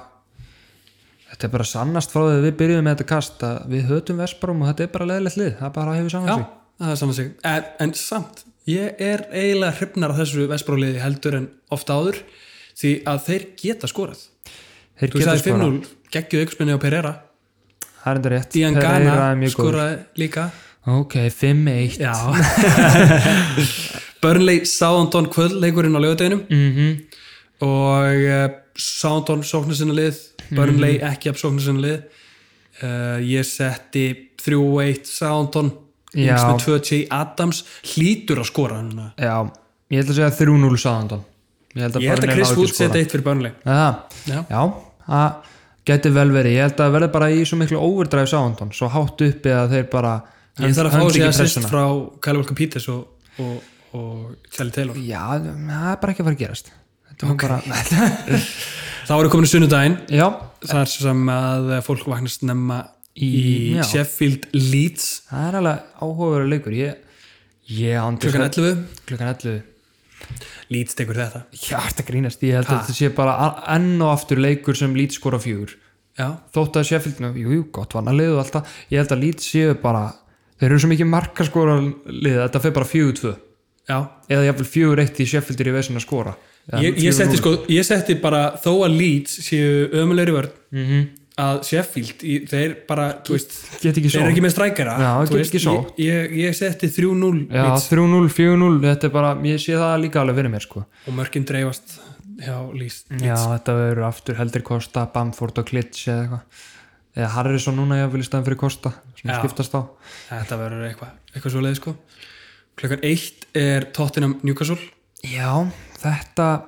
[SPEAKER 2] þetta er bara sannast frá því að við byrjuðum með þetta kast að við hötum Vestbrom og þetta er bara leðilegt lið það bara hefur
[SPEAKER 1] Já,
[SPEAKER 2] saman
[SPEAKER 1] það er saman sig en, en samt, ég er eiginlega hrifnar á þessu Vestbróliði heldur en ofta áður því að þeir geta skorað
[SPEAKER 2] sig þeir
[SPEAKER 1] Þú
[SPEAKER 2] geta
[SPEAKER 1] sagði
[SPEAKER 2] skora,
[SPEAKER 1] 5-0, geggjuð ykkurspinni á Pereira
[SPEAKER 2] það er enda rétt
[SPEAKER 1] Dían
[SPEAKER 2] Pereira
[SPEAKER 1] Gana
[SPEAKER 2] er mjög góður.
[SPEAKER 1] skoraði líka
[SPEAKER 2] ok, 5-1
[SPEAKER 1] Já Burnley Southampton kvöldleikurinn á lögadeginum
[SPEAKER 2] Mhm.
[SPEAKER 1] og uh, Southampton sóknar sinna lið
[SPEAKER 2] Mhm.
[SPEAKER 1] Burnley ekki af sóknar sinna lið uh, ég setti 3-1 Southampton
[SPEAKER 2] Já.
[SPEAKER 1] yngst með 2-10 Adams hlýtur að skora núna
[SPEAKER 2] já, ég ætla að segja 3-0 sáðan ég held að,
[SPEAKER 1] ég held að
[SPEAKER 2] Burnley
[SPEAKER 1] Chris
[SPEAKER 2] nái ekki
[SPEAKER 1] Wood
[SPEAKER 2] skora.
[SPEAKER 1] seti 1 fyrir Burnley
[SPEAKER 2] Já,
[SPEAKER 1] Já.
[SPEAKER 2] já það geti vel verið, ég held að það verði bara í svo miklu overdrive sáhandon, svo hátt uppi að þeir bara
[SPEAKER 1] ég þarf að fá
[SPEAKER 2] höndla
[SPEAKER 1] sér
[SPEAKER 2] ekki
[SPEAKER 1] að sýst
[SPEAKER 2] pressuna.
[SPEAKER 1] frá Kyle Walker Peters og, og, og Kelly Taylor
[SPEAKER 2] Já, það er bara ekki að fara að gerast Þetta var bara
[SPEAKER 1] þá eru komin í sunnudaginn
[SPEAKER 2] Já,
[SPEAKER 1] þar sem að fólk vaknast nefna
[SPEAKER 2] Í-
[SPEAKER 1] í
[SPEAKER 2] já.
[SPEAKER 1] Sheffield Leeds
[SPEAKER 2] það er alveg áhugaverið leikur Ég, ég ándi
[SPEAKER 1] klukkan 11
[SPEAKER 2] Klukkan 11
[SPEAKER 1] Leeds tekur þetta
[SPEAKER 2] Já, þetta grínast, ég held að þetta sé bara a- enn og aftur leikur sem lít skora fjúr
[SPEAKER 1] já,
[SPEAKER 2] Þótt að Sheffield, nú, jú, jú, gott vann að liðu alltaf Ég held að lít séu bara Þeir eru svo mikið markaskora liða, þetta fer bara fjúr tvö
[SPEAKER 1] já.
[SPEAKER 2] eða jafnvel fjögur eitt í Sheffield er í vesin að skora Eða
[SPEAKER 1] Ég, ég,
[SPEAKER 2] 4-0.
[SPEAKER 1] setti sko, ég setti bara þó að Leeds séu ömulegri vörn að Sheffield í, þeir bara, þú veist
[SPEAKER 2] get ekki
[SPEAKER 1] þeir
[SPEAKER 2] sótt.
[SPEAKER 1] eru ekki með strækjara
[SPEAKER 2] Já,
[SPEAKER 1] þú
[SPEAKER 2] get ekki
[SPEAKER 1] ég,
[SPEAKER 2] sótt.
[SPEAKER 1] ég, ég setti 3-0
[SPEAKER 2] Já,
[SPEAKER 1] Leeds
[SPEAKER 2] 3-0, 4-0, þetta er bara ég sé það líka alveg fyrir mér sko
[SPEAKER 1] og mörkin dreifast hjá Leeds
[SPEAKER 2] Já, þetta verður aftur heldur Kosta, Bamford og Klitsch eða eitthvað eða Harrison núna jafnvel í staðan fyrir Kosta sem
[SPEAKER 1] Já.
[SPEAKER 2] skiptast á
[SPEAKER 1] þetta verður eitthvað eitthvað svo leiði sko klukkan 1 er Tottenham Newcastle
[SPEAKER 2] Já, þetta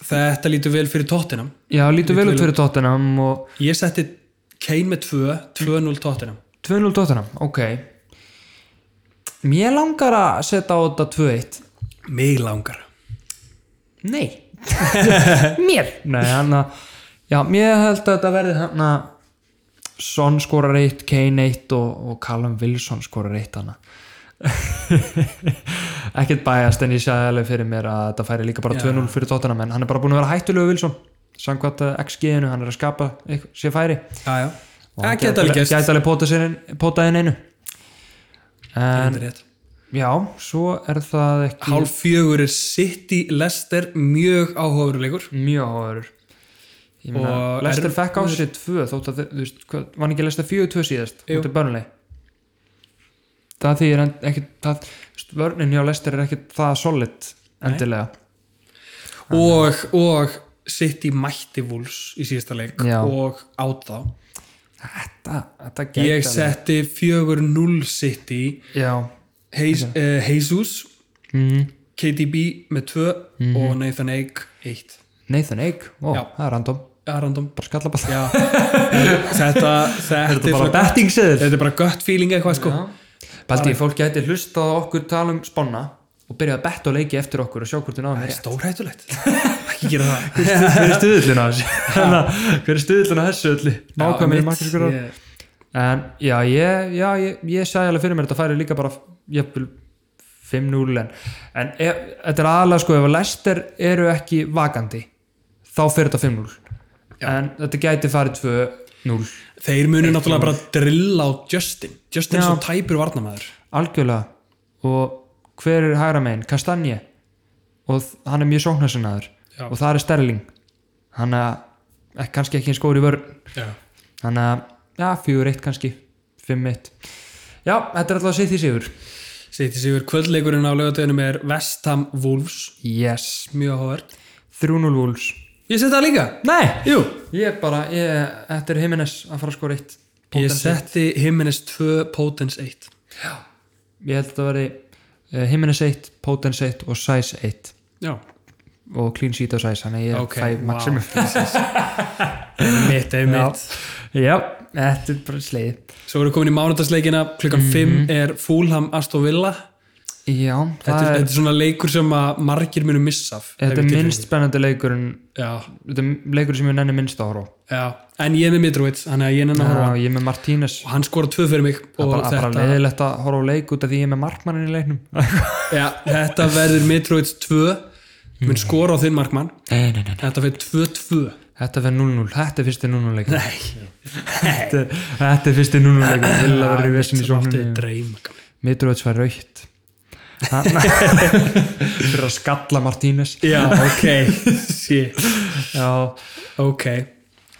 [SPEAKER 1] þetta lítur vel fyrir Tottenham
[SPEAKER 2] Já, lítur vel út fyrir Tottenham og
[SPEAKER 1] ég setti Kane með 2 2-0 Tottenham
[SPEAKER 2] 2-0 Tottenham, ok Mér langar að setja á þetta 2-1
[SPEAKER 1] mig langar
[SPEAKER 2] Nei Mér Nei, hann að Já, mér held að þetta verði hann að Son skorar eitt, Kane eitt og, og Callum Wilson skorar eitt hann Ekkert bæjast en ég sagði alveg fyrir mér að þetta færi líka bara
[SPEAKER 1] Já.
[SPEAKER 2] 2-0 fyrir Tottenham en hann er bara búin að vera hættulegu Wilson samkvæmt eh, að XG-inu, hann er að skapa eitthvað- sér færi
[SPEAKER 1] já, já.
[SPEAKER 2] Og
[SPEAKER 1] Ja,
[SPEAKER 2] hann
[SPEAKER 1] geta Ah, alveg gerst
[SPEAKER 2] gæti alveg potað sér inn- potað inn einu en
[SPEAKER 1] Þetta er rétt.
[SPEAKER 2] já, svo er það ekki
[SPEAKER 1] Hálf fjögur er City Leicester mjög áhugaveruleikur
[SPEAKER 2] mjög áhverjur
[SPEAKER 1] Og
[SPEAKER 2] Lester
[SPEAKER 1] er-
[SPEAKER 2] fekk á sér tvö þótt að þau- þú veist, hvað, var hann ekki Lester fjögur tvö síðast
[SPEAKER 1] Jú.
[SPEAKER 2] út af börnlei það því er ekki það, þú veist, vörnin hjá Lester er ekki það solid endilega
[SPEAKER 1] og, og City mætti Wolves í síðasta leik
[SPEAKER 2] Já.
[SPEAKER 1] og át þá
[SPEAKER 2] þetta, þetta gæti
[SPEAKER 1] ég
[SPEAKER 2] alveg-
[SPEAKER 1] setti 4-0 City
[SPEAKER 2] já,
[SPEAKER 1] Heis, uh, Jesus
[SPEAKER 2] mm, Mhm.
[SPEAKER 1] KDB með 2 og Nathan Ake 1
[SPEAKER 2] Nathan Egg, ó,
[SPEAKER 1] Já.
[SPEAKER 2] það er random
[SPEAKER 1] já, Já, random
[SPEAKER 2] bara skalla bara
[SPEAKER 1] Já. þetta, þetta, er
[SPEAKER 2] bara
[SPEAKER 1] svona-
[SPEAKER 2] betting seður
[SPEAKER 1] þetta er bara gött feeling eitthvað sko
[SPEAKER 2] Paldi, fólk gæti hlustað á okkur tala um sponna og byrjaði að betta og leiki eftir okkur og sjá hvort við náðum rétt
[SPEAKER 1] stórhættulegt ekki gera það
[SPEAKER 2] hver er stuðullin að þessu hver er stuðullin að þessu öllu nákvæmir
[SPEAKER 1] Já,
[SPEAKER 2] margir skur
[SPEAKER 1] ég-
[SPEAKER 2] en já, ég, já, ég, ég sagði alveg fyrir mér að þetta færi líka bara jöfnvel 5-0 en, en ef, þetta er aðalega sko ef að Lester eru ekki vakandi þá fyrir þetta 5-0 en þetta gæti farið 2-0
[SPEAKER 1] þeir munu náttúrulega bara drilla á Justin Justin er
[SPEAKER 2] Já.
[SPEAKER 1] svo tæpur varnamæður
[SPEAKER 2] algjörlega og hver er hægra megin? Kastanje og þ- hann er mjög sóknarsinnaður
[SPEAKER 1] Já.
[SPEAKER 2] og það er Sterling hann er eh, kannski ekki eins góður í vörn þannig að, já, fjögur eitt kannski fimm eitt já, þetta er alltaf að setja í sigur
[SPEAKER 1] Sitt í sigur kvöldleikurinn á lögatöðunum er West Ham Wolves
[SPEAKER 2] yes,
[SPEAKER 1] mjög áhverð
[SPEAKER 2] 3-0 Wolves
[SPEAKER 1] ég seti það líka
[SPEAKER 2] nei,
[SPEAKER 1] Jú.
[SPEAKER 2] ég bara, ég, þetta er Jimenez að fara að skora eitt
[SPEAKER 1] ég
[SPEAKER 2] Potence.
[SPEAKER 1] setti Jimenez 2 Potence 1
[SPEAKER 2] ég held að þetta veri uh, Jimenez 1, Potence 1 og Size 1
[SPEAKER 1] já
[SPEAKER 2] og Clean Sheet og Size, þannig að ég
[SPEAKER 1] Ok,
[SPEAKER 2] fæ
[SPEAKER 1] vá.
[SPEAKER 2] maximum
[SPEAKER 1] mitt, einmitt
[SPEAKER 2] já, þetta er bara sleið
[SPEAKER 1] svo erum við komin í mánudagsleikina klukkan
[SPEAKER 2] Mhm.
[SPEAKER 1] 5 er Fulham Aston Villa
[SPEAKER 2] já,
[SPEAKER 1] þetta, er,
[SPEAKER 2] það er
[SPEAKER 1] þetta er svona leikur sem að margir munu missa af, ef
[SPEAKER 2] þetta er
[SPEAKER 1] ég get-
[SPEAKER 2] minnst spennandi leikurinn
[SPEAKER 1] já,
[SPEAKER 2] þetta er leikurinn sem ég nenni minnst að horfa á.
[SPEAKER 1] já. en ég er með Mitrovic þannig að ég nenni að horfa á
[SPEAKER 2] Já,
[SPEAKER 1] hann.
[SPEAKER 2] ég er með Martínez
[SPEAKER 1] og hann skora tvö fyrir mig
[SPEAKER 2] Það
[SPEAKER 1] og
[SPEAKER 2] er bara, þetta... bara
[SPEAKER 1] þetta,
[SPEAKER 2] leðilegt að horfa á leik út af því ég er með markmannin í leiknum
[SPEAKER 1] já, þetta verður Mitrovic 2
[SPEAKER 2] Hmm.
[SPEAKER 1] mun skora á þinn markmann
[SPEAKER 2] Nei, nei, nei, nei.
[SPEAKER 1] þetta fyrir 2-2
[SPEAKER 2] Þetta fyrir 0-0, þetta er fyrsti 0-0 leikur Nei Þetta er- þetta er fyrsti 0-0 leikur Vil að vera í vesin í
[SPEAKER 1] Þetta er
[SPEAKER 2] sóknunni
[SPEAKER 1] dreim gamli.
[SPEAKER 2] Mitrovic var raukt Fyrir að skalla Martínez
[SPEAKER 1] Já, ok Shit.
[SPEAKER 2] Já,
[SPEAKER 1] Ok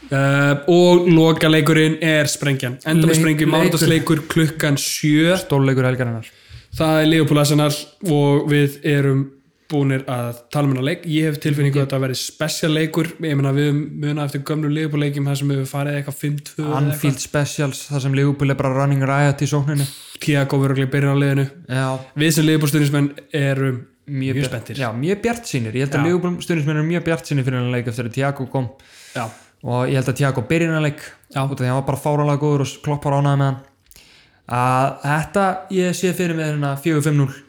[SPEAKER 1] uh, Og lokaleikurinn er sprengjan Enda með
[SPEAKER 2] Leik-
[SPEAKER 1] sprengjum mánudagsleikur klukkan 7
[SPEAKER 2] stórleikur helgarinnar
[SPEAKER 1] Það er Leopold Arsenal og við erum búinir að tala um hennar leik Ég hef tilfinningu að þetta verði spesial leikur Ég meina við höfum muna eftir gömlu Leopold leikim þar sem við höfum farið eitthvað 5-2 eða eitthvað.
[SPEAKER 2] Anfield Specials, það sem Leopold er bara running riot í sóknunni
[SPEAKER 1] Thiago verður ekki byrjun á leiðinu
[SPEAKER 2] Já,
[SPEAKER 1] Við sem Leopold stuðnismenn erum mjög,
[SPEAKER 2] bjart-
[SPEAKER 1] spenntir
[SPEAKER 2] Já, mjög bjart sínir, ég held að
[SPEAKER 1] Já.
[SPEAKER 2] Leopold stundismenn er mjög bjart sínir fyrir hann leik eftir að Tiago kom
[SPEAKER 1] Já.
[SPEAKER 2] og ég held að Tiago byrjir hann leik já. út af því að hann var bara fáralega góður og kloppar ánaði með hann að þetta ég sé fyrir með hérna 4-5-0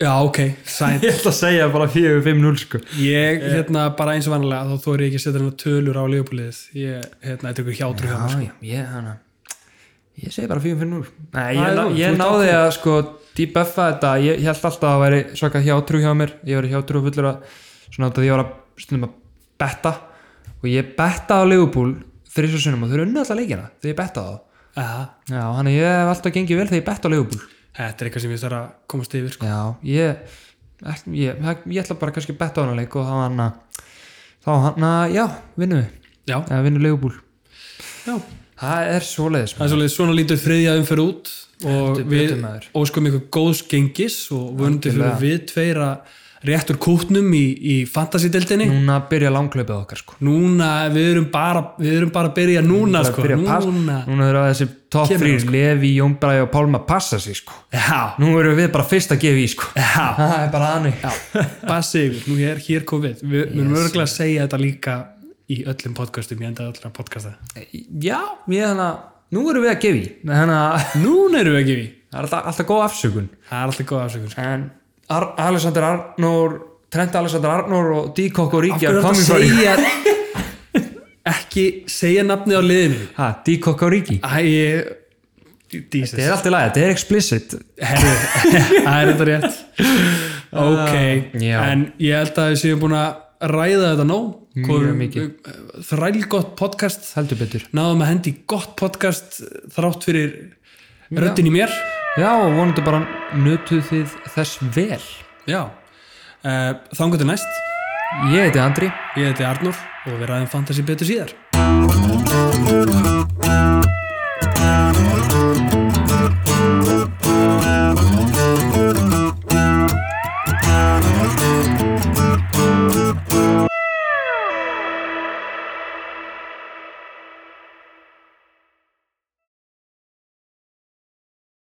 [SPEAKER 1] Já, ok, sæn
[SPEAKER 2] ég held að segja bara 4-5-0 sko.
[SPEAKER 1] Ég, hérna, bara eins og vanlega þá þóri ég ekki að setja hennar tölur á Leopoldið Ég, hérna, þetta er ykkur hjátrú hjá mér, sko.
[SPEAKER 2] já, ég hana ég segi bara 4-5-0 Nei,
[SPEAKER 1] Já,
[SPEAKER 2] ég, ná,
[SPEAKER 1] já, þú
[SPEAKER 2] ég
[SPEAKER 1] ert
[SPEAKER 2] náði að sko debuffa þetta, ég, ég held alltaf að það væri svaka hjátrú hjá mér, ég var hjátrú fullur að svona út af því að ég var að stundum að betta og ég betta á Leopold þrjus og sunnum og þau eru unna alltaf leikina þegar ég betta á það
[SPEAKER 1] Aha.
[SPEAKER 2] já, hann ég hef alltaf gengið vel þegar ég betta á Leopold
[SPEAKER 1] Þetta er eitthvað sem ég þarf að komast yfir sko.
[SPEAKER 2] Já, ég, ekki, ég, ég, ég ætla bara kannski að betta á hana leik og þá hann að, þá hann að, já, vinnum við,
[SPEAKER 1] Já,
[SPEAKER 2] eða vinnum leigubúl.
[SPEAKER 1] já.
[SPEAKER 2] Það er svoleiðis,
[SPEAKER 1] Það er svolítið svona lítur þriðja umferð út og
[SPEAKER 2] Heldur
[SPEAKER 1] við
[SPEAKER 2] betur, maður.
[SPEAKER 1] óskum ykkur góðs gengis og vöndum fyrir
[SPEAKER 2] Algjörlega.
[SPEAKER 1] við tveira réttur kútnum í, í fantasy-deltinni.
[SPEAKER 2] núna byrja langlaupið okkar, sko.
[SPEAKER 1] Núna, við erum bara, við erum bara að byrja núna
[SPEAKER 2] Bara
[SPEAKER 1] sko.
[SPEAKER 2] byrja að passa-
[SPEAKER 1] Núna.
[SPEAKER 2] Núna eru að þessi top
[SPEAKER 1] Kemur sko.
[SPEAKER 2] 3, Levi, Jón Bræði og Pálma passa sig, sko.
[SPEAKER 1] Já,
[SPEAKER 2] Nú eru við bara fyrst að gefa í, sko.
[SPEAKER 1] já.
[SPEAKER 2] Það er bara aðnig.
[SPEAKER 1] Bara sigur, nú er hér COVID. Við yes. munum örgulega að segja þetta líka í öllum podcastum, ég endaði öllum podcasta.
[SPEAKER 2] Já, ég þannig að, nú eru við að gefa í. Þannig að,
[SPEAKER 1] Núna erum við ekki við.
[SPEAKER 2] það er alltaf, alltaf góð afsökun.
[SPEAKER 1] Það er alltaf góð afsökun.
[SPEAKER 2] En Ar Alexander Arnór, Trent Alexander Arnór og Díkokk og Ríkjar
[SPEAKER 1] Af
[SPEAKER 2] komið
[SPEAKER 1] hverju
[SPEAKER 2] frá
[SPEAKER 1] ertu að segja ekki segja nafnið á liðinu
[SPEAKER 2] Ha, Díkokk og Ríki.
[SPEAKER 1] Æ,
[SPEAKER 2] Þetta er
[SPEAKER 1] dísast
[SPEAKER 2] allt í lagi, þetta er explicit
[SPEAKER 1] Herri, það er þetta rétt Ok,
[SPEAKER 2] Ah, já.
[SPEAKER 1] en ég held að við séum búin að ræða þetta nóg Hvor-
[SPEAKER 2] mikið.
[SPEAKER 1] Þrælgott podcast
[SPEAKER 2] Heldur betur
[SPEAKER 1] Náðum að hendi í gott podcast þrátt fyrir röddin í mér
[SPEAKER 2] Já, og vonandi bara nutuð þið þess vel
[SPEAKER 1] Já, uh, þangur til næst
[SPEAKER 2] Ég heiti Andri
[SPEAKER 1] Ég heiti Arnur og við ræðum fantasy betur síðar